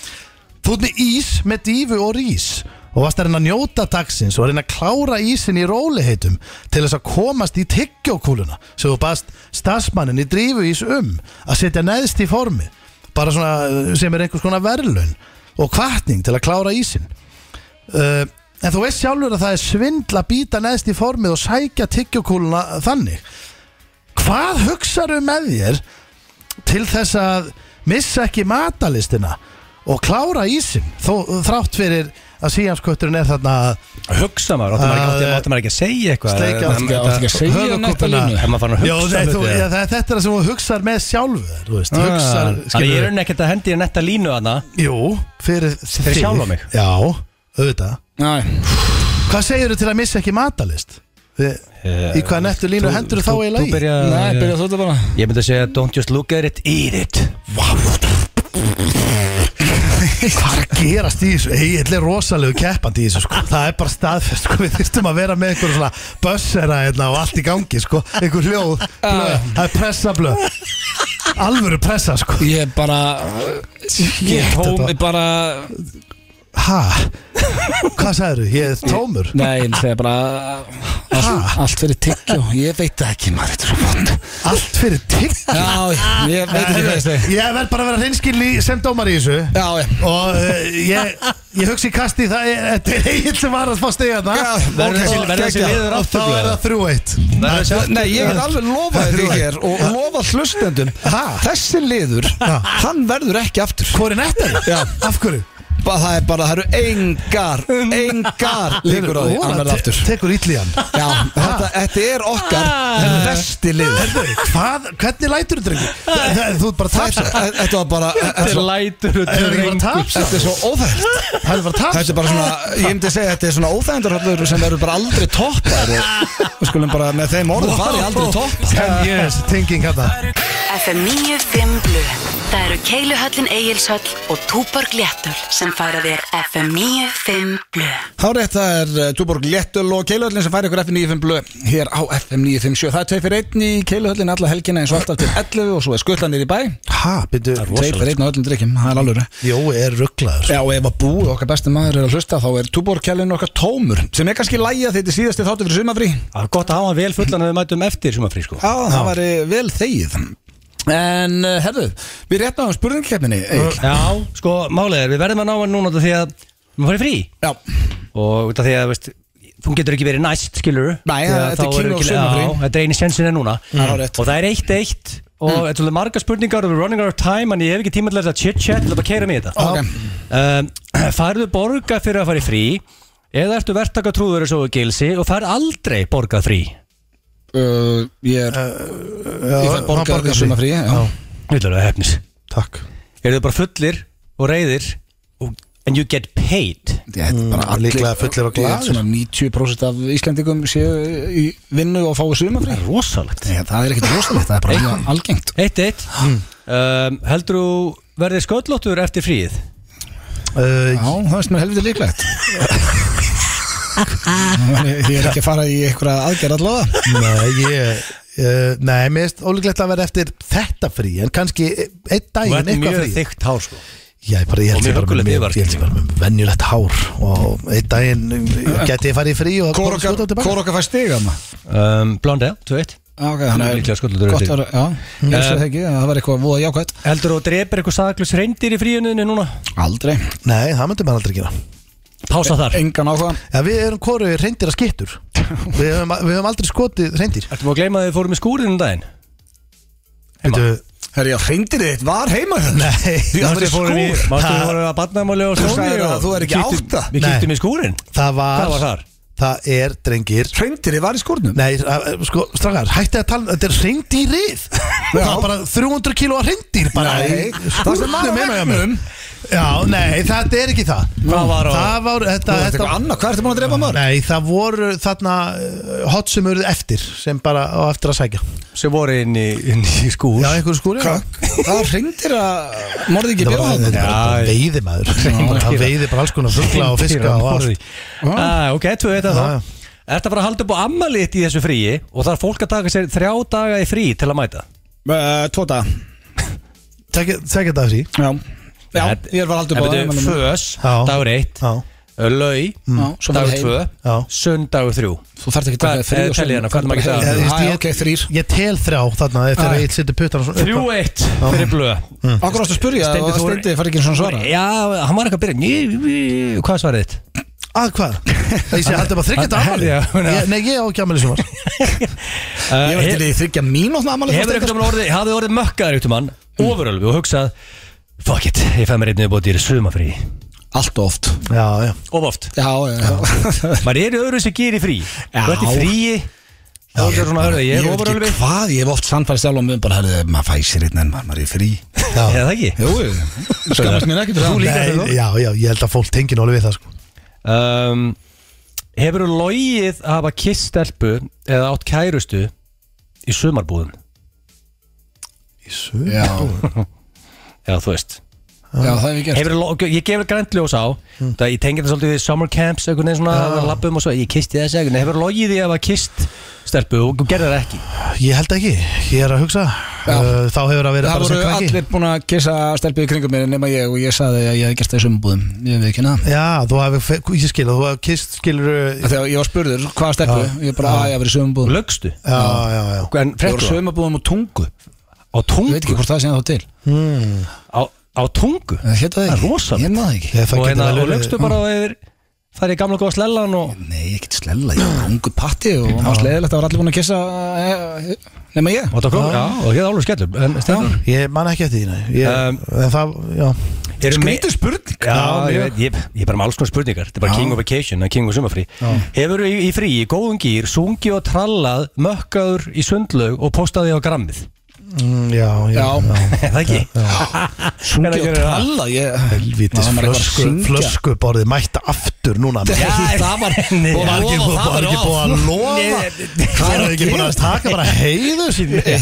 C: Þú ert með ís með dífu og rís Og varst að reyna að njóta dagsins og að reyna að klára ísin í róliheitum til þess að komast í tyggjókúluna sem þú baðst starfsmannin í drífu ís um að setja neðst í formi bara svona uh, sem er einhvers konar verðlun og kvartning til að klára ísin uh, En þú veist sjálfur að það er svindla býta neðst í formið og sækja tyggjókúluna þannig Hvað hugsaðu með þér til þess að missa ekki matalistina og klára ísin þó, þrátt fyrir að síjanskötturinn er þarna að
B: Hugsa maður, áttu maður ekki, áttu- áttu maður ekki að segja eitthvað
C: Sleikja
B: Þetta-
C: aftur-
B: þetta-
A: Áttu ekki að segja
C: höfuðkúpuna.
A: næsta línu
B: Ef maður fann að
C: Já,
B: hugsa
C: nei, þú,
B: hluti,
C: já,
B: ja.
C: það, þetta er það sem þú hugsar með sjálfur þú
B: Ah,
C: veist, hugsar,
B: Þannig að ég er
C: skilurðu.
B: unni ekkert að hendi í netta línu hana
C: Jú, fyrir, þig.
B: sjálfa mig.
C: Já, auðvitað
A: Nei.
C: Hvað segirðu til að missa ekki matalist? Þi- Í hvaða nettu línu hendur þá
B: Þú
C: eiginlega í?
B: byrja
A: Nei, byrja þú þetta bara
B: Ég myndi að segja Don't just look at it, eat it
C: Hvað er að gerast í þessu? Egil er rosalegu keppandi í þessu sko. Það er bara staðfest sko. Við þyrstum að vera með einhver svona bössera hérna, og allt í gangi sko. Einhver hljóð,
A: Ah.
C: blöð, það er pressa blöð Alvöru pressa sko.
A: Ég bara Ég
C: þetta
A: tómi
C: var-
A: bara
C: Hæ? Hvað sagður þú? Ég er tómur
A: Nei, ég segi bara allt, allt fyrir tyggjó, ég veit það ekki maður þetta er svo fótt
C: Allt fyrir tigg
A: Já, ég veit ekki hvað ég segi
C: Ég verð bara að vera hreinskilni sem dómar í þessu
A: Já, já
C: Og uh, ég, ég hugsi í kasti það er- Þetta er eiginlega sem var að fá stiga það
A: Já, verður þessi-
B: verður þessi liður
C: Og þá
B: aftur,
C: er það þrjú eitt
A: Nei, ég get alveg lofa þetta hér og lofa hlustendum
C: Ha?
A: Þessi liður, hann verður ekki aftur
C: Hvor er nettar?
A: Já.
C: Af hverju?
A: Ba- Það er bara, það eru engar, engar líkur á því að hann verður aftur
C: Tekur ítli hann
A: Já, þetta, þetta er okkar besti liður
C: Herðu, Hvað, hvernig lætur þú drengi? Það- það- Þú ert bara að
A: Þetta,
C: tapsa
A: þetta var bara, þetta er svo-
B: Lætur og
C: Það er ekki bara að
B: drengur
C: tapsa
A: þetta er svo óþægt
C: Það er bara að
A: Þetta
C: tapsa
A: er bara svona, ég myndi að segja þetta er svona óþægendarhöllur sem verður bara aldrei toppar og við skulum bara með þeim orðum farið aldrei toppar
C: Ten years thinking þetta
F: FM 95 Blu Það eru Keiluhöllin Egilshöll og Túborg Léttul sem færa þér FM 95 Blu
A: Þá er þetta er eh, Túborg Léttul og Keiluhöllin sem færi ykkur FM 95 blö hér á FM 957 Það er tveir fyrir einn í Keiluhöllin alla helgina eins og alltaf til 11 og svo er skullanir í bæ
C: Ha, byrju
A: Tveir fyrir einn á öllum drikkjum, það er alveg
C: Jó, er rugglaður
A: Já, og ef að búið okkar besti maður er að hlusta þá er Túborgkjælinn okkar tómur sem er kannski lægja þetta er síðasti þáttu fyrir sumafrí
B: Það er gott að hafa hann vel fullan að við mætum eftir sumafrí sko
A: Já, það var vel þegið En uh, herðu, við réttum á spurningkeppninni Egill.
B: Já, sko, málið er, við verðum að ná hann núna út af því að við farið frí
A: Já,
B: og út af því að, veist, þú getur ekki verið næst, skilur
A: Nei, þetta er king of sumarfrí.
B: Þetta er eini sjensin en núna
A: Það er Mm. rétt.
B: Og það er eitt eitt og þetta er svolítið margar spurningar og við running out of time en ég hef ekki tíma til þess að chit-chat til að bara keira mig í þetta
A: Ok.
B: um, Færðu borga fyrir að fara í frí eða ertu verktaka trúður eins og gilsi og færð aldrei borga frí
A: uh, ég er Ég fæ borgað því sumafrí já.
B: Vildur að hefnis
C: Takk
B: Eru þau bara fullir og reyðir og, and you get paid
A: Þetta er bara allir
C: líklega fullir og glaðir.
A: Ég held Svona 90% af Íslandingum séu í vinnu og fáu sumafrí
B: er rosalegt
A: Nei, Það er ekkert rosalegt, það er bara mjög algengt
B: Eitt eitt um, Heldur þú verðið sköllóttur eftir fríið?
A: Já,
C: uh,
A: það veist mér helviti líklegt Ég er ekki að fara í einhverja aðgerð allavega
C: Nei, ég uh, Nei, mér finnst ólíklegt að vera eftir þetta frí En kannski e- einn
B: Þú
C: daginn
B: ert
C: eitthvað
B: mjög
C: frí
B: þykkt hár sko
C: Já, ég bara, ég
B: Og mjög
C: held ég bara með
B: huggulegt
C: mjög-
B: yfirvarp.
C: ég held ég bara með venjulegt hár Og einn daginn eh, gæti ég farið í frí og
A: Hvor
C: komið skjóta
A: okkar-
C: tilbaka
A: hvor okkar fær stiga maður?
B: um, Blondel, 2-1
A: Ok,
B: Hann
A: hann
B: er
A: er
B: líklega sköllóttur
A: Gott
B: eftir
A: að, já, ég sé
B: Eh.
A: það ekki, það var eitthvað voða jákvæmt
B: Heldur þú drepir eitthvað saklus reyndir í fríuninni núna?
A: Aldrei
C: Nei, það myndum maður aldrei gera
B: Pása þar
A: Engan áhuga
C: Já, við erum hvoru reyndir að skittur Við höfum, við höfum aldrei skotið reyndir
B: Ertu maður að gleyma að þið fórum í skúrinu um daginn?
C: Veitu,
A: Herri, já, hreindir þitt var heima þenn
C: Nei,
A: Því að það er skúr
B: Mástu þið fórum að badnamáli og
A: Þú
B: skóni
A: sagðir að þú er ekki átta.
B: Við
C: Nei.
B: kýttum í skúrin
C: það var
B: Hvað var þar?
C: Það er, drengir
A: Hreindir þitt var í skúrnum
C: Nei, að- sko, strafgar, hætti að tala um- Þetta er hreindýrið Það er bara 300 kíló hreindýr bara
A: Nei,
C: í
A: það sem var á
C: skúrnum heima hjá
A: veggnum.
C: mér. Já, nei, þetta er ekki það
B: Hvað var á-
C: Það var, þetta,
A: Það er eitthvað
C: þetta
A: annað, hvað ertu búin að drepa maður?
C: Nei, það voru þarna uh, hot sem eruð eftir sem bara á eftir að sækja
B: Sem voru inn í, inn í skúr
C: Já, einhverju skúri
A: Hvað? Það hreindir að morði ekki
C: Þetta
A: bjóða
C: var
A: hann
C: þetta var bara
B: Já,
C: veiði maður Það veiði bara alls konar fugla og fiska og allt
B: Ah, ok, tvö þetta
C: Já, já.
B: þá Er það bara að halda upp á ammaliðt í þessu fríi og það er fólk að taka sér þrjá daga í frí til að mæta?
A: Tóta
C: Sækja þetta af því
A: Já Já, ég er bara haldið
B: En
A: báða
B: byrju, Fös,
C: Já.
B: dagur 1
C: Já, Mm.
B: Lau,
A: svo
B: dagur
A: farið heim.
B: 2
C: já
B: Söndagur 3
A: Þú þarf ekki að
B: Hvað-
A: taka frí
B: eh, telja hérna, hvað er maður að gera?
C: Ég-
A: Já,
C: ég-
A: ok, þrýr
C: Ég tel þrjá þarna þegar
A: Já.
C: ég seti puttana svona upp á-
B: 3-1 fyrir blöð
C: Mm.
A: Akkur ástu að spurja
B: Steindi,
A: og
B: þú er-
A: Steindi fari ekki svona svara
B: Já, hann var eitthvað að byrja Ný, ný, Hvað er svarið þitt?
C: Að Ah, hvað? Ég sé alltaf bara þryggjast
B: Að-
C: afmæli
B: Já, já.
C: Ég- Nei, ég á ekki afmæli sem var
A: Ég var
B: Hefur
A: til í þryggja mínútna amalið
B: eitthvað um orðið, hafði orðið mökkaður eitthvað mann Ofurölvi og hugsað Fuck it, ég fæ mér einnig bótið í sumafrí
A: Allt of oft
C: Já, já
B: Of oft
A: Já, já
B: Maður er í öðru sem gerir í frí Þú ert í fríi Þá er svona að hörða, ég er
A: veit ekki
B: ofurölvi
A: Hvað, ég hef oft sannfæri sjálf og mun bara herði, maður fæsir einn en maður maður er í frí
B: Eða það ekki?
A: Jú, jú. skammast mér ekki Þú
C: Nei, já, já, ég held að fólk tengi náli við það sko.
B: um, Hefur þú logið að hafa kist stelpu eða átt kærustu í sumarbúðum?
C: Í sög
A: Já,
B: Já, þú veist
A: Já, það hef ég gert
B: Hefur, ég gefur grænt ljós á
A: Mm.
B: það, Ég tengi þetta svolítið við summer camps einhvern veginn svona, ja. lappum og svo, ég kisti þessi einhvern veginn Hefur logið því að hafa kist stelpu og gerði það ekki
C: Ég held ekki, ég er að hugsa uh, Þá hefur að vera
A: Það
C: bara
A: voru
C: sem krakki
A: allir búin að kissa stelpið í kringum mér nema ég og ég saði að ég hef gert það í sömbúðum ég veit ekki hana
C: Já, þú hefur, ég skil, þú hefur kist, skilur Já,
A: Þegar ég var spurður hvaða stelpu
C: Já.
A: ég bara að ég hef verið í
B: Og
A: sömbúðum
B: lögstu
C: já, já
A: Ég
B: En
A: var
B: frekkur það?
A: sömbúðum og tungu Ég
B: Á
A: veit ekki
B: tungu
A: hvort það sé þá til
B: Á, á tungu
A: Það hétt það
B: Það er
A: ekki
B: rosalegt.
A: Ég maður ekki
C: Ég, það
B: Og,
C: getur
B: hérna,
C: vel
B: og
C: verið.
B: lögstu bara yfir Það er í gamla góða slellan og
A: Nei, ég get slella Ég var ungu patti og það var sleðilegt Það var allir búin að kissa eh, nema ég
B: Og það kom, já, og hér er alveg skellum En Steinar,
C: Ég man ekki eftir því, nei ég,
B: Um,
C: En það, já
B: eru me-
A: Skrítið spurning
B: Já, ég,
A: mjög.
B: veit, ég, ég er bara með alls konar spurningar Þetta er bara king of vacation, það er king of sumafrí Hefur í, í frí, í góðum gýr, sungið og trallað Mökkaður í sundlaug og postaði á grammið
C: mm, Já, já,
A: Já.
C: já.
B: Er Það ekki?
A: Sungi og
B: Hvenær gerir það?
A: tralla ég...
C: Helvítis
A: Það var eitthvað að
C: flösku,
A: syngja.
C: flösku borðið mætta aftur núna
A: Já, það var
B: Nei,
A: Og
C: Var ekki,
A: lofa,
C: var,
A: það
C: var ekki
A: off.
C: búið að lofa
B: Nei,
C: Það er ekki búið að taka bara heiðu sín Já,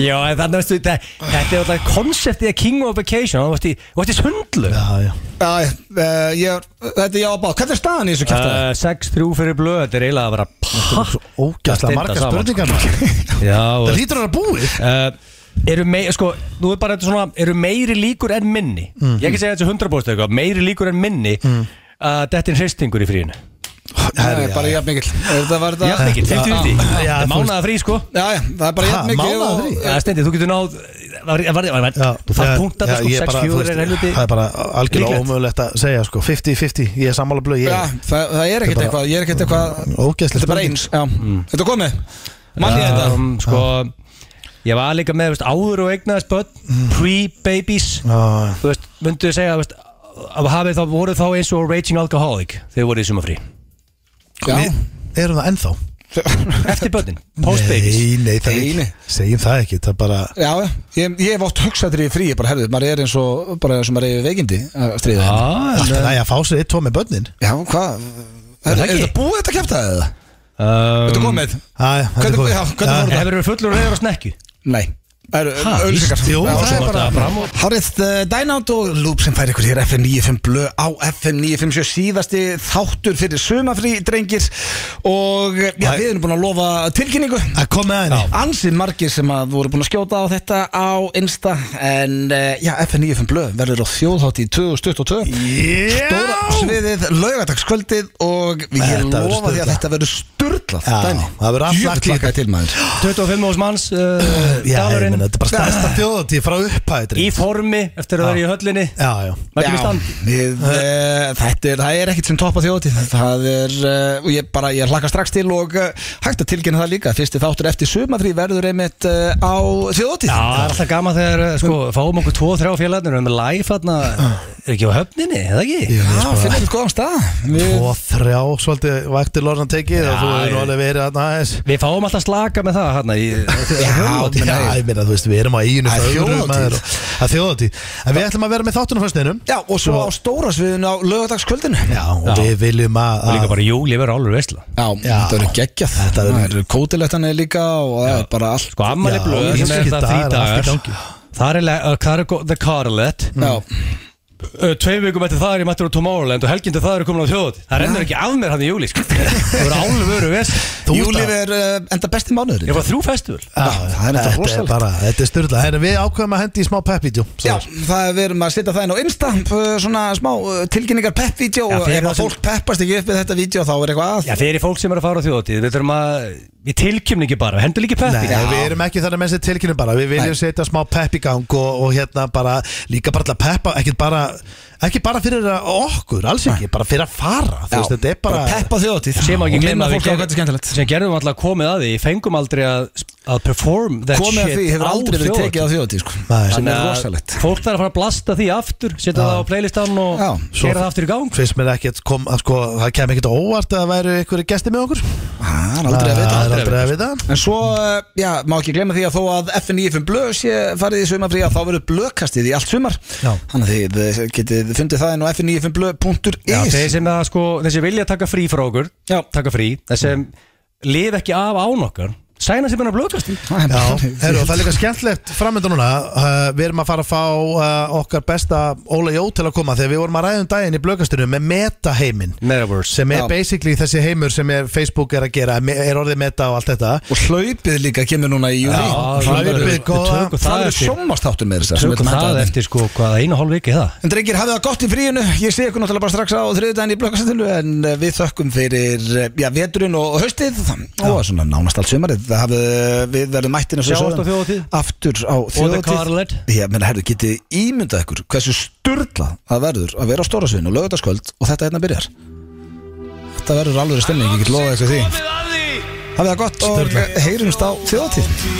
B: Já, en þannig veistu þetta Þetta er alltaf konseptið að king of vacation Þú varst í, þú varst í sundlaug
C: já
A: Já, eh, ég, þetta er já að bá Hvernig er staðan í þessu kæftæði?
B: Uh, 6-3 fyrir blöð, þetta er eiginlega að vera pakk
C: Ógæslega margar
B: Stinda saman.
C: spurningar maður.
B: Já,
C: Það
B: og
C: lítur hann að búið
B: uh, eru, mei, sko, nú er bara, þetta svona, eru meiri líkur en minni Ég ekki segja þetta sem 100% eitthvað Meiri líkur en minni að þetta er hristingur í fríinu
C: Eh,
A: Það er bara jafn mikill Það var þetta
B: Jafn ekki, 50-50
C: Já,
B: Þetta er
C: þú veist-
B: mánaða frí sko
A: Já, já, það er bara
C: Ha,
A: jafn mikill
C: mánaðar
A: og-
C: frí?
B: Já, stendi, þú getur náð var, var, var, var, Þú þarf punkt að
C: Já,
B: það sko
C: ég bara,
B: 6-4
C: þú veist,
B: er helviti
C: Það er bara algjörlega
B: Líklegt.
C: ómögulegt að segja sko 50-50, ég er sammála blöð
A: Já,
C: Ég
A: það, það er ekkert
C: bara-
A: eitthvað Ég er ekkert eitthvað
C: Ógeðsleg
A: Þetta er bara
C: spurning.
A: eins já. Þetta er komið Mann ég þetta
B: um, Sko, ég var líka með veist, áður og eignaðist
C: Mm.
B: börn Pre-babies
C: Já,
B: Þú veist, myndu þið segja þú veist, að hafið þá voru þá eins og raging alcoholic þegar voru í sumafrí
A: Já,
C: Við erum það ennþá
B: Eftir börnin, post-babies
C: Nei, nei, það er
A: Nei,
C: ekki
A: nei.
C: Segjum það ekki, það er bara
A: já, já. ég, ég hef oft hugsað þér í frí Ég bara, herðu, maður er eins og Bara eins og maður er í veikindi að stríða henni.
B: Ah,
C: Allt er að fá sér eitt tvo með börnin
A: Já, hvað Er,
B: það
A: er
B: ekki?
A: þetta búið þetta kæftæði eða? Þetta er
B: um,
A: komið
C: Æ, þetta er
A: Hvernig-
C: komið.
A: já, hvernig
C: Já.
A: fór
B: Hefur verið fullur og reyður á snekju
A: Nei Það eru
B: Ha,
A: auðvitað
B: víst, jú,
C: það er bara-
A: Hárið uh, Dynout og Loop sem fær ykkur hér FM 95 blö á FM 957 síðasti þáttur fyrir sumafrí drengir og eh, já,
C: Æ.
A: við erum búin að lofa tilkynningu
C: Að koma að henni
A: ansið margir sem að voru búin að skjóta á þetta á Insta en eh, já, FM 95 blö verður á þjóðhátt í 2022 Stóra sviðið laugadagskvöldið og ég
C: Þetta verður
A: lofa því að
C: sturlað.
A: þetta verður sturglað
C: Já, það verður aftur
A: Jöfn
C: klíka.
A: klakkaði til maður
B: 25 ás manns uh,
C: Já, ég
B: Dalurinn
C: meina, þetta er bara stærsta þjóðatíð frá upphæðri
B: í formi eftir að það er í höllinni
C: Já, já
B: Mættum í
A: Já,
B: stand
A: við, uh, þetta er, það er ekkert sem topp á þjóðatíð það er, uh, og ég bara, ég hlakka strax til og uh, hægt að tilkynna það líka fyrsti þáttur eftir sumafrí verður einmitt uh, á þjóðatíð
B: Já, það er alltaf gaman þegar eh, sko, fáum okkur 2-3 félagarnir og við erum með live þarna,
C: Ah.
B: er ekki á höfninni, eða ekki?
A: Já, finnum við góðan stað við,
C: Og þrjá, svolítið vaktir lorna tekið og þú
B: Já,
C: hefur nú
B: ég-
C: alveg verið að næs
B: Við fáum alltaf slaka með það hérna í
C: Ah.
A: Já,
C: Já, ég meina, þú veist, við erum á eiginu
A: Það er þjóðhátíð.
C: Það er þjóðatíð En við ætlum að vera með þáttunum fyrstinum
A: já, og svo á stóra sviðinu á lögadagskvöldinu
C: Já, og
B: Já.
C: við viljum að
B: Og líka bara júli verður álur veistla
A: Já, þetta verður geggjað
C: Þetta verður-
A: Það eru kótilettanir líka og það er bara allt
B: Sko ammali
C: Já,
B: blöð
C: ég
B: sem er
C: skil
B: það
C: það,
B: þrý
C: það er allt í gangi. Mm.
B: dagar Það er, le- uh, það er go- The Carlet
A: Já,
B: uh, Tvei vikum eftir það er ég mættur á Tomorrowland og helgjandi það eru komin á þjóð Það rennur ekki af mér hann í júli sko. Það verður álur veru veist
C: Þú ert
A: júli
C: að-
A: er uh, enda besti mánuður
B: Ég var þrjú festival
C: Já,
A: það er þetta
C: Ah, þetta er
A: rosalegt.
C: bara, þetta er styrla Herra, Við ákveðum að hendi í smá peppítjú
A: Já, það er við erum að setja það inn á Insta uh, svona smá uh, tilkynningar pepp-vídeó
B: Já,
A: og
B: fyrir
A: ef
B: þá
A: að
B: sem-
A: fólk peppast ekki upp við þetta vídeó þá er eitthvað að
B: Já þeir eru fólk sem er að fara á þjóðatíð Við þurfum að Við tilkjum ekki bara Hendur líki
C: Nei,
B: peppi
A: Já.
C: við erum ekki þannig með þessi tilkynum bara Við viljum
A: Nei.
C: setja smá pepp í gang og, og hérna bara, líka bara til að peppa Ekki bara, ekki bara fyrir að okkur, alls ekki, bara fyrir að fara Þú veist, þetta er bara,
A: peppa þjóðatíð
B: Sem má ekki
A: Og
B: gleyma
A: minna
B: að við
A: fólk á hvað þetta er skemmtilegt
B: sem gerðum alltaf komið að því Fengum aldrei að, að perform that
A: komið að
B: shit
A: því hefur
B: á
A: aldrei verið
B: þjóðhátíð.
A: tekið á þjóðatíð sko.
C: Nei.
A: sem
B: Þannig
A: er
B: að
A: rosalegt
B: Fólk þarf að fara að blasta því aftur Setja það á playlistan og
A: Já.
C: Svo-
B: gera það aftur í gang
C: finnst mér ekki að kom, að sko, það kem ekkert á óvart að það væru ykkur gesti með okkur
A: það er aldrei að
C: Það
A: vita
C: er
B: aldrei að
C: aldrei að vita
A: en svo, uh, já, má ekki glemma því að þó að FNIFM Blöð sé farið í sumafrí að þá verður blöðkastið í allt sumar
C: Já.
A: þannig að þið eh, getið fundið það inn á
B: Já,
A: FNIFMBlöð.is
B: þeir sem, að, sko, þeir sem vilja taka frí frá okkur
A: Já.
B: taka frí, þeir sem lifa ekki af án okkar Sæna sem hann að blókast í
A: Það er
C: Já,
A: bara-
C: heru, það er líka skemmtlegt framönda núna uh, Við erum að fara að fá uh, okkar besta Óla Jó til að koma Þegar við vorum að ræða um daginn í blökastunum með metaheimin
B: Metaverse
C: sem er
A: Já.
C: basically þessi heimur sem er Facebook er að gera, me- er orðið meta og allt þetta
A: Og hlaupið líka kemur núna í júli
B: Já,
C: það er
B: við-
C: við
B: við
C: góða-
B: tökum
A: Það
B: það
A: eru
B: eftir
A: sjómastáttur með þess
B: Tökum það eftir sko hvað einu og hálf viki það
A: En drengir, hafið það gott í fríinu Ég sé ykkur náttúrulega bara strax á þriðudaginn í blökkastillu En eh, við þökkum fyrir eh, já, veturinn og og haustið Og svona nánast allt sumarið Það hafið, eh, Við verðum mættin
B: Sjáumst á þjóðhátíð.
A: Aftur á
B: the Carlet.
A: þjóðatíð Ég meina, herru, getið ímyndað ykkur Hversu sturlað það verður að vera á stóra sveinu Lögutaskvöld og þetta hérna byrjar Þetta verður alveg stemning, ég get lofa ykkur því Hafið það gott og eh, heyrumst á þjóðatíð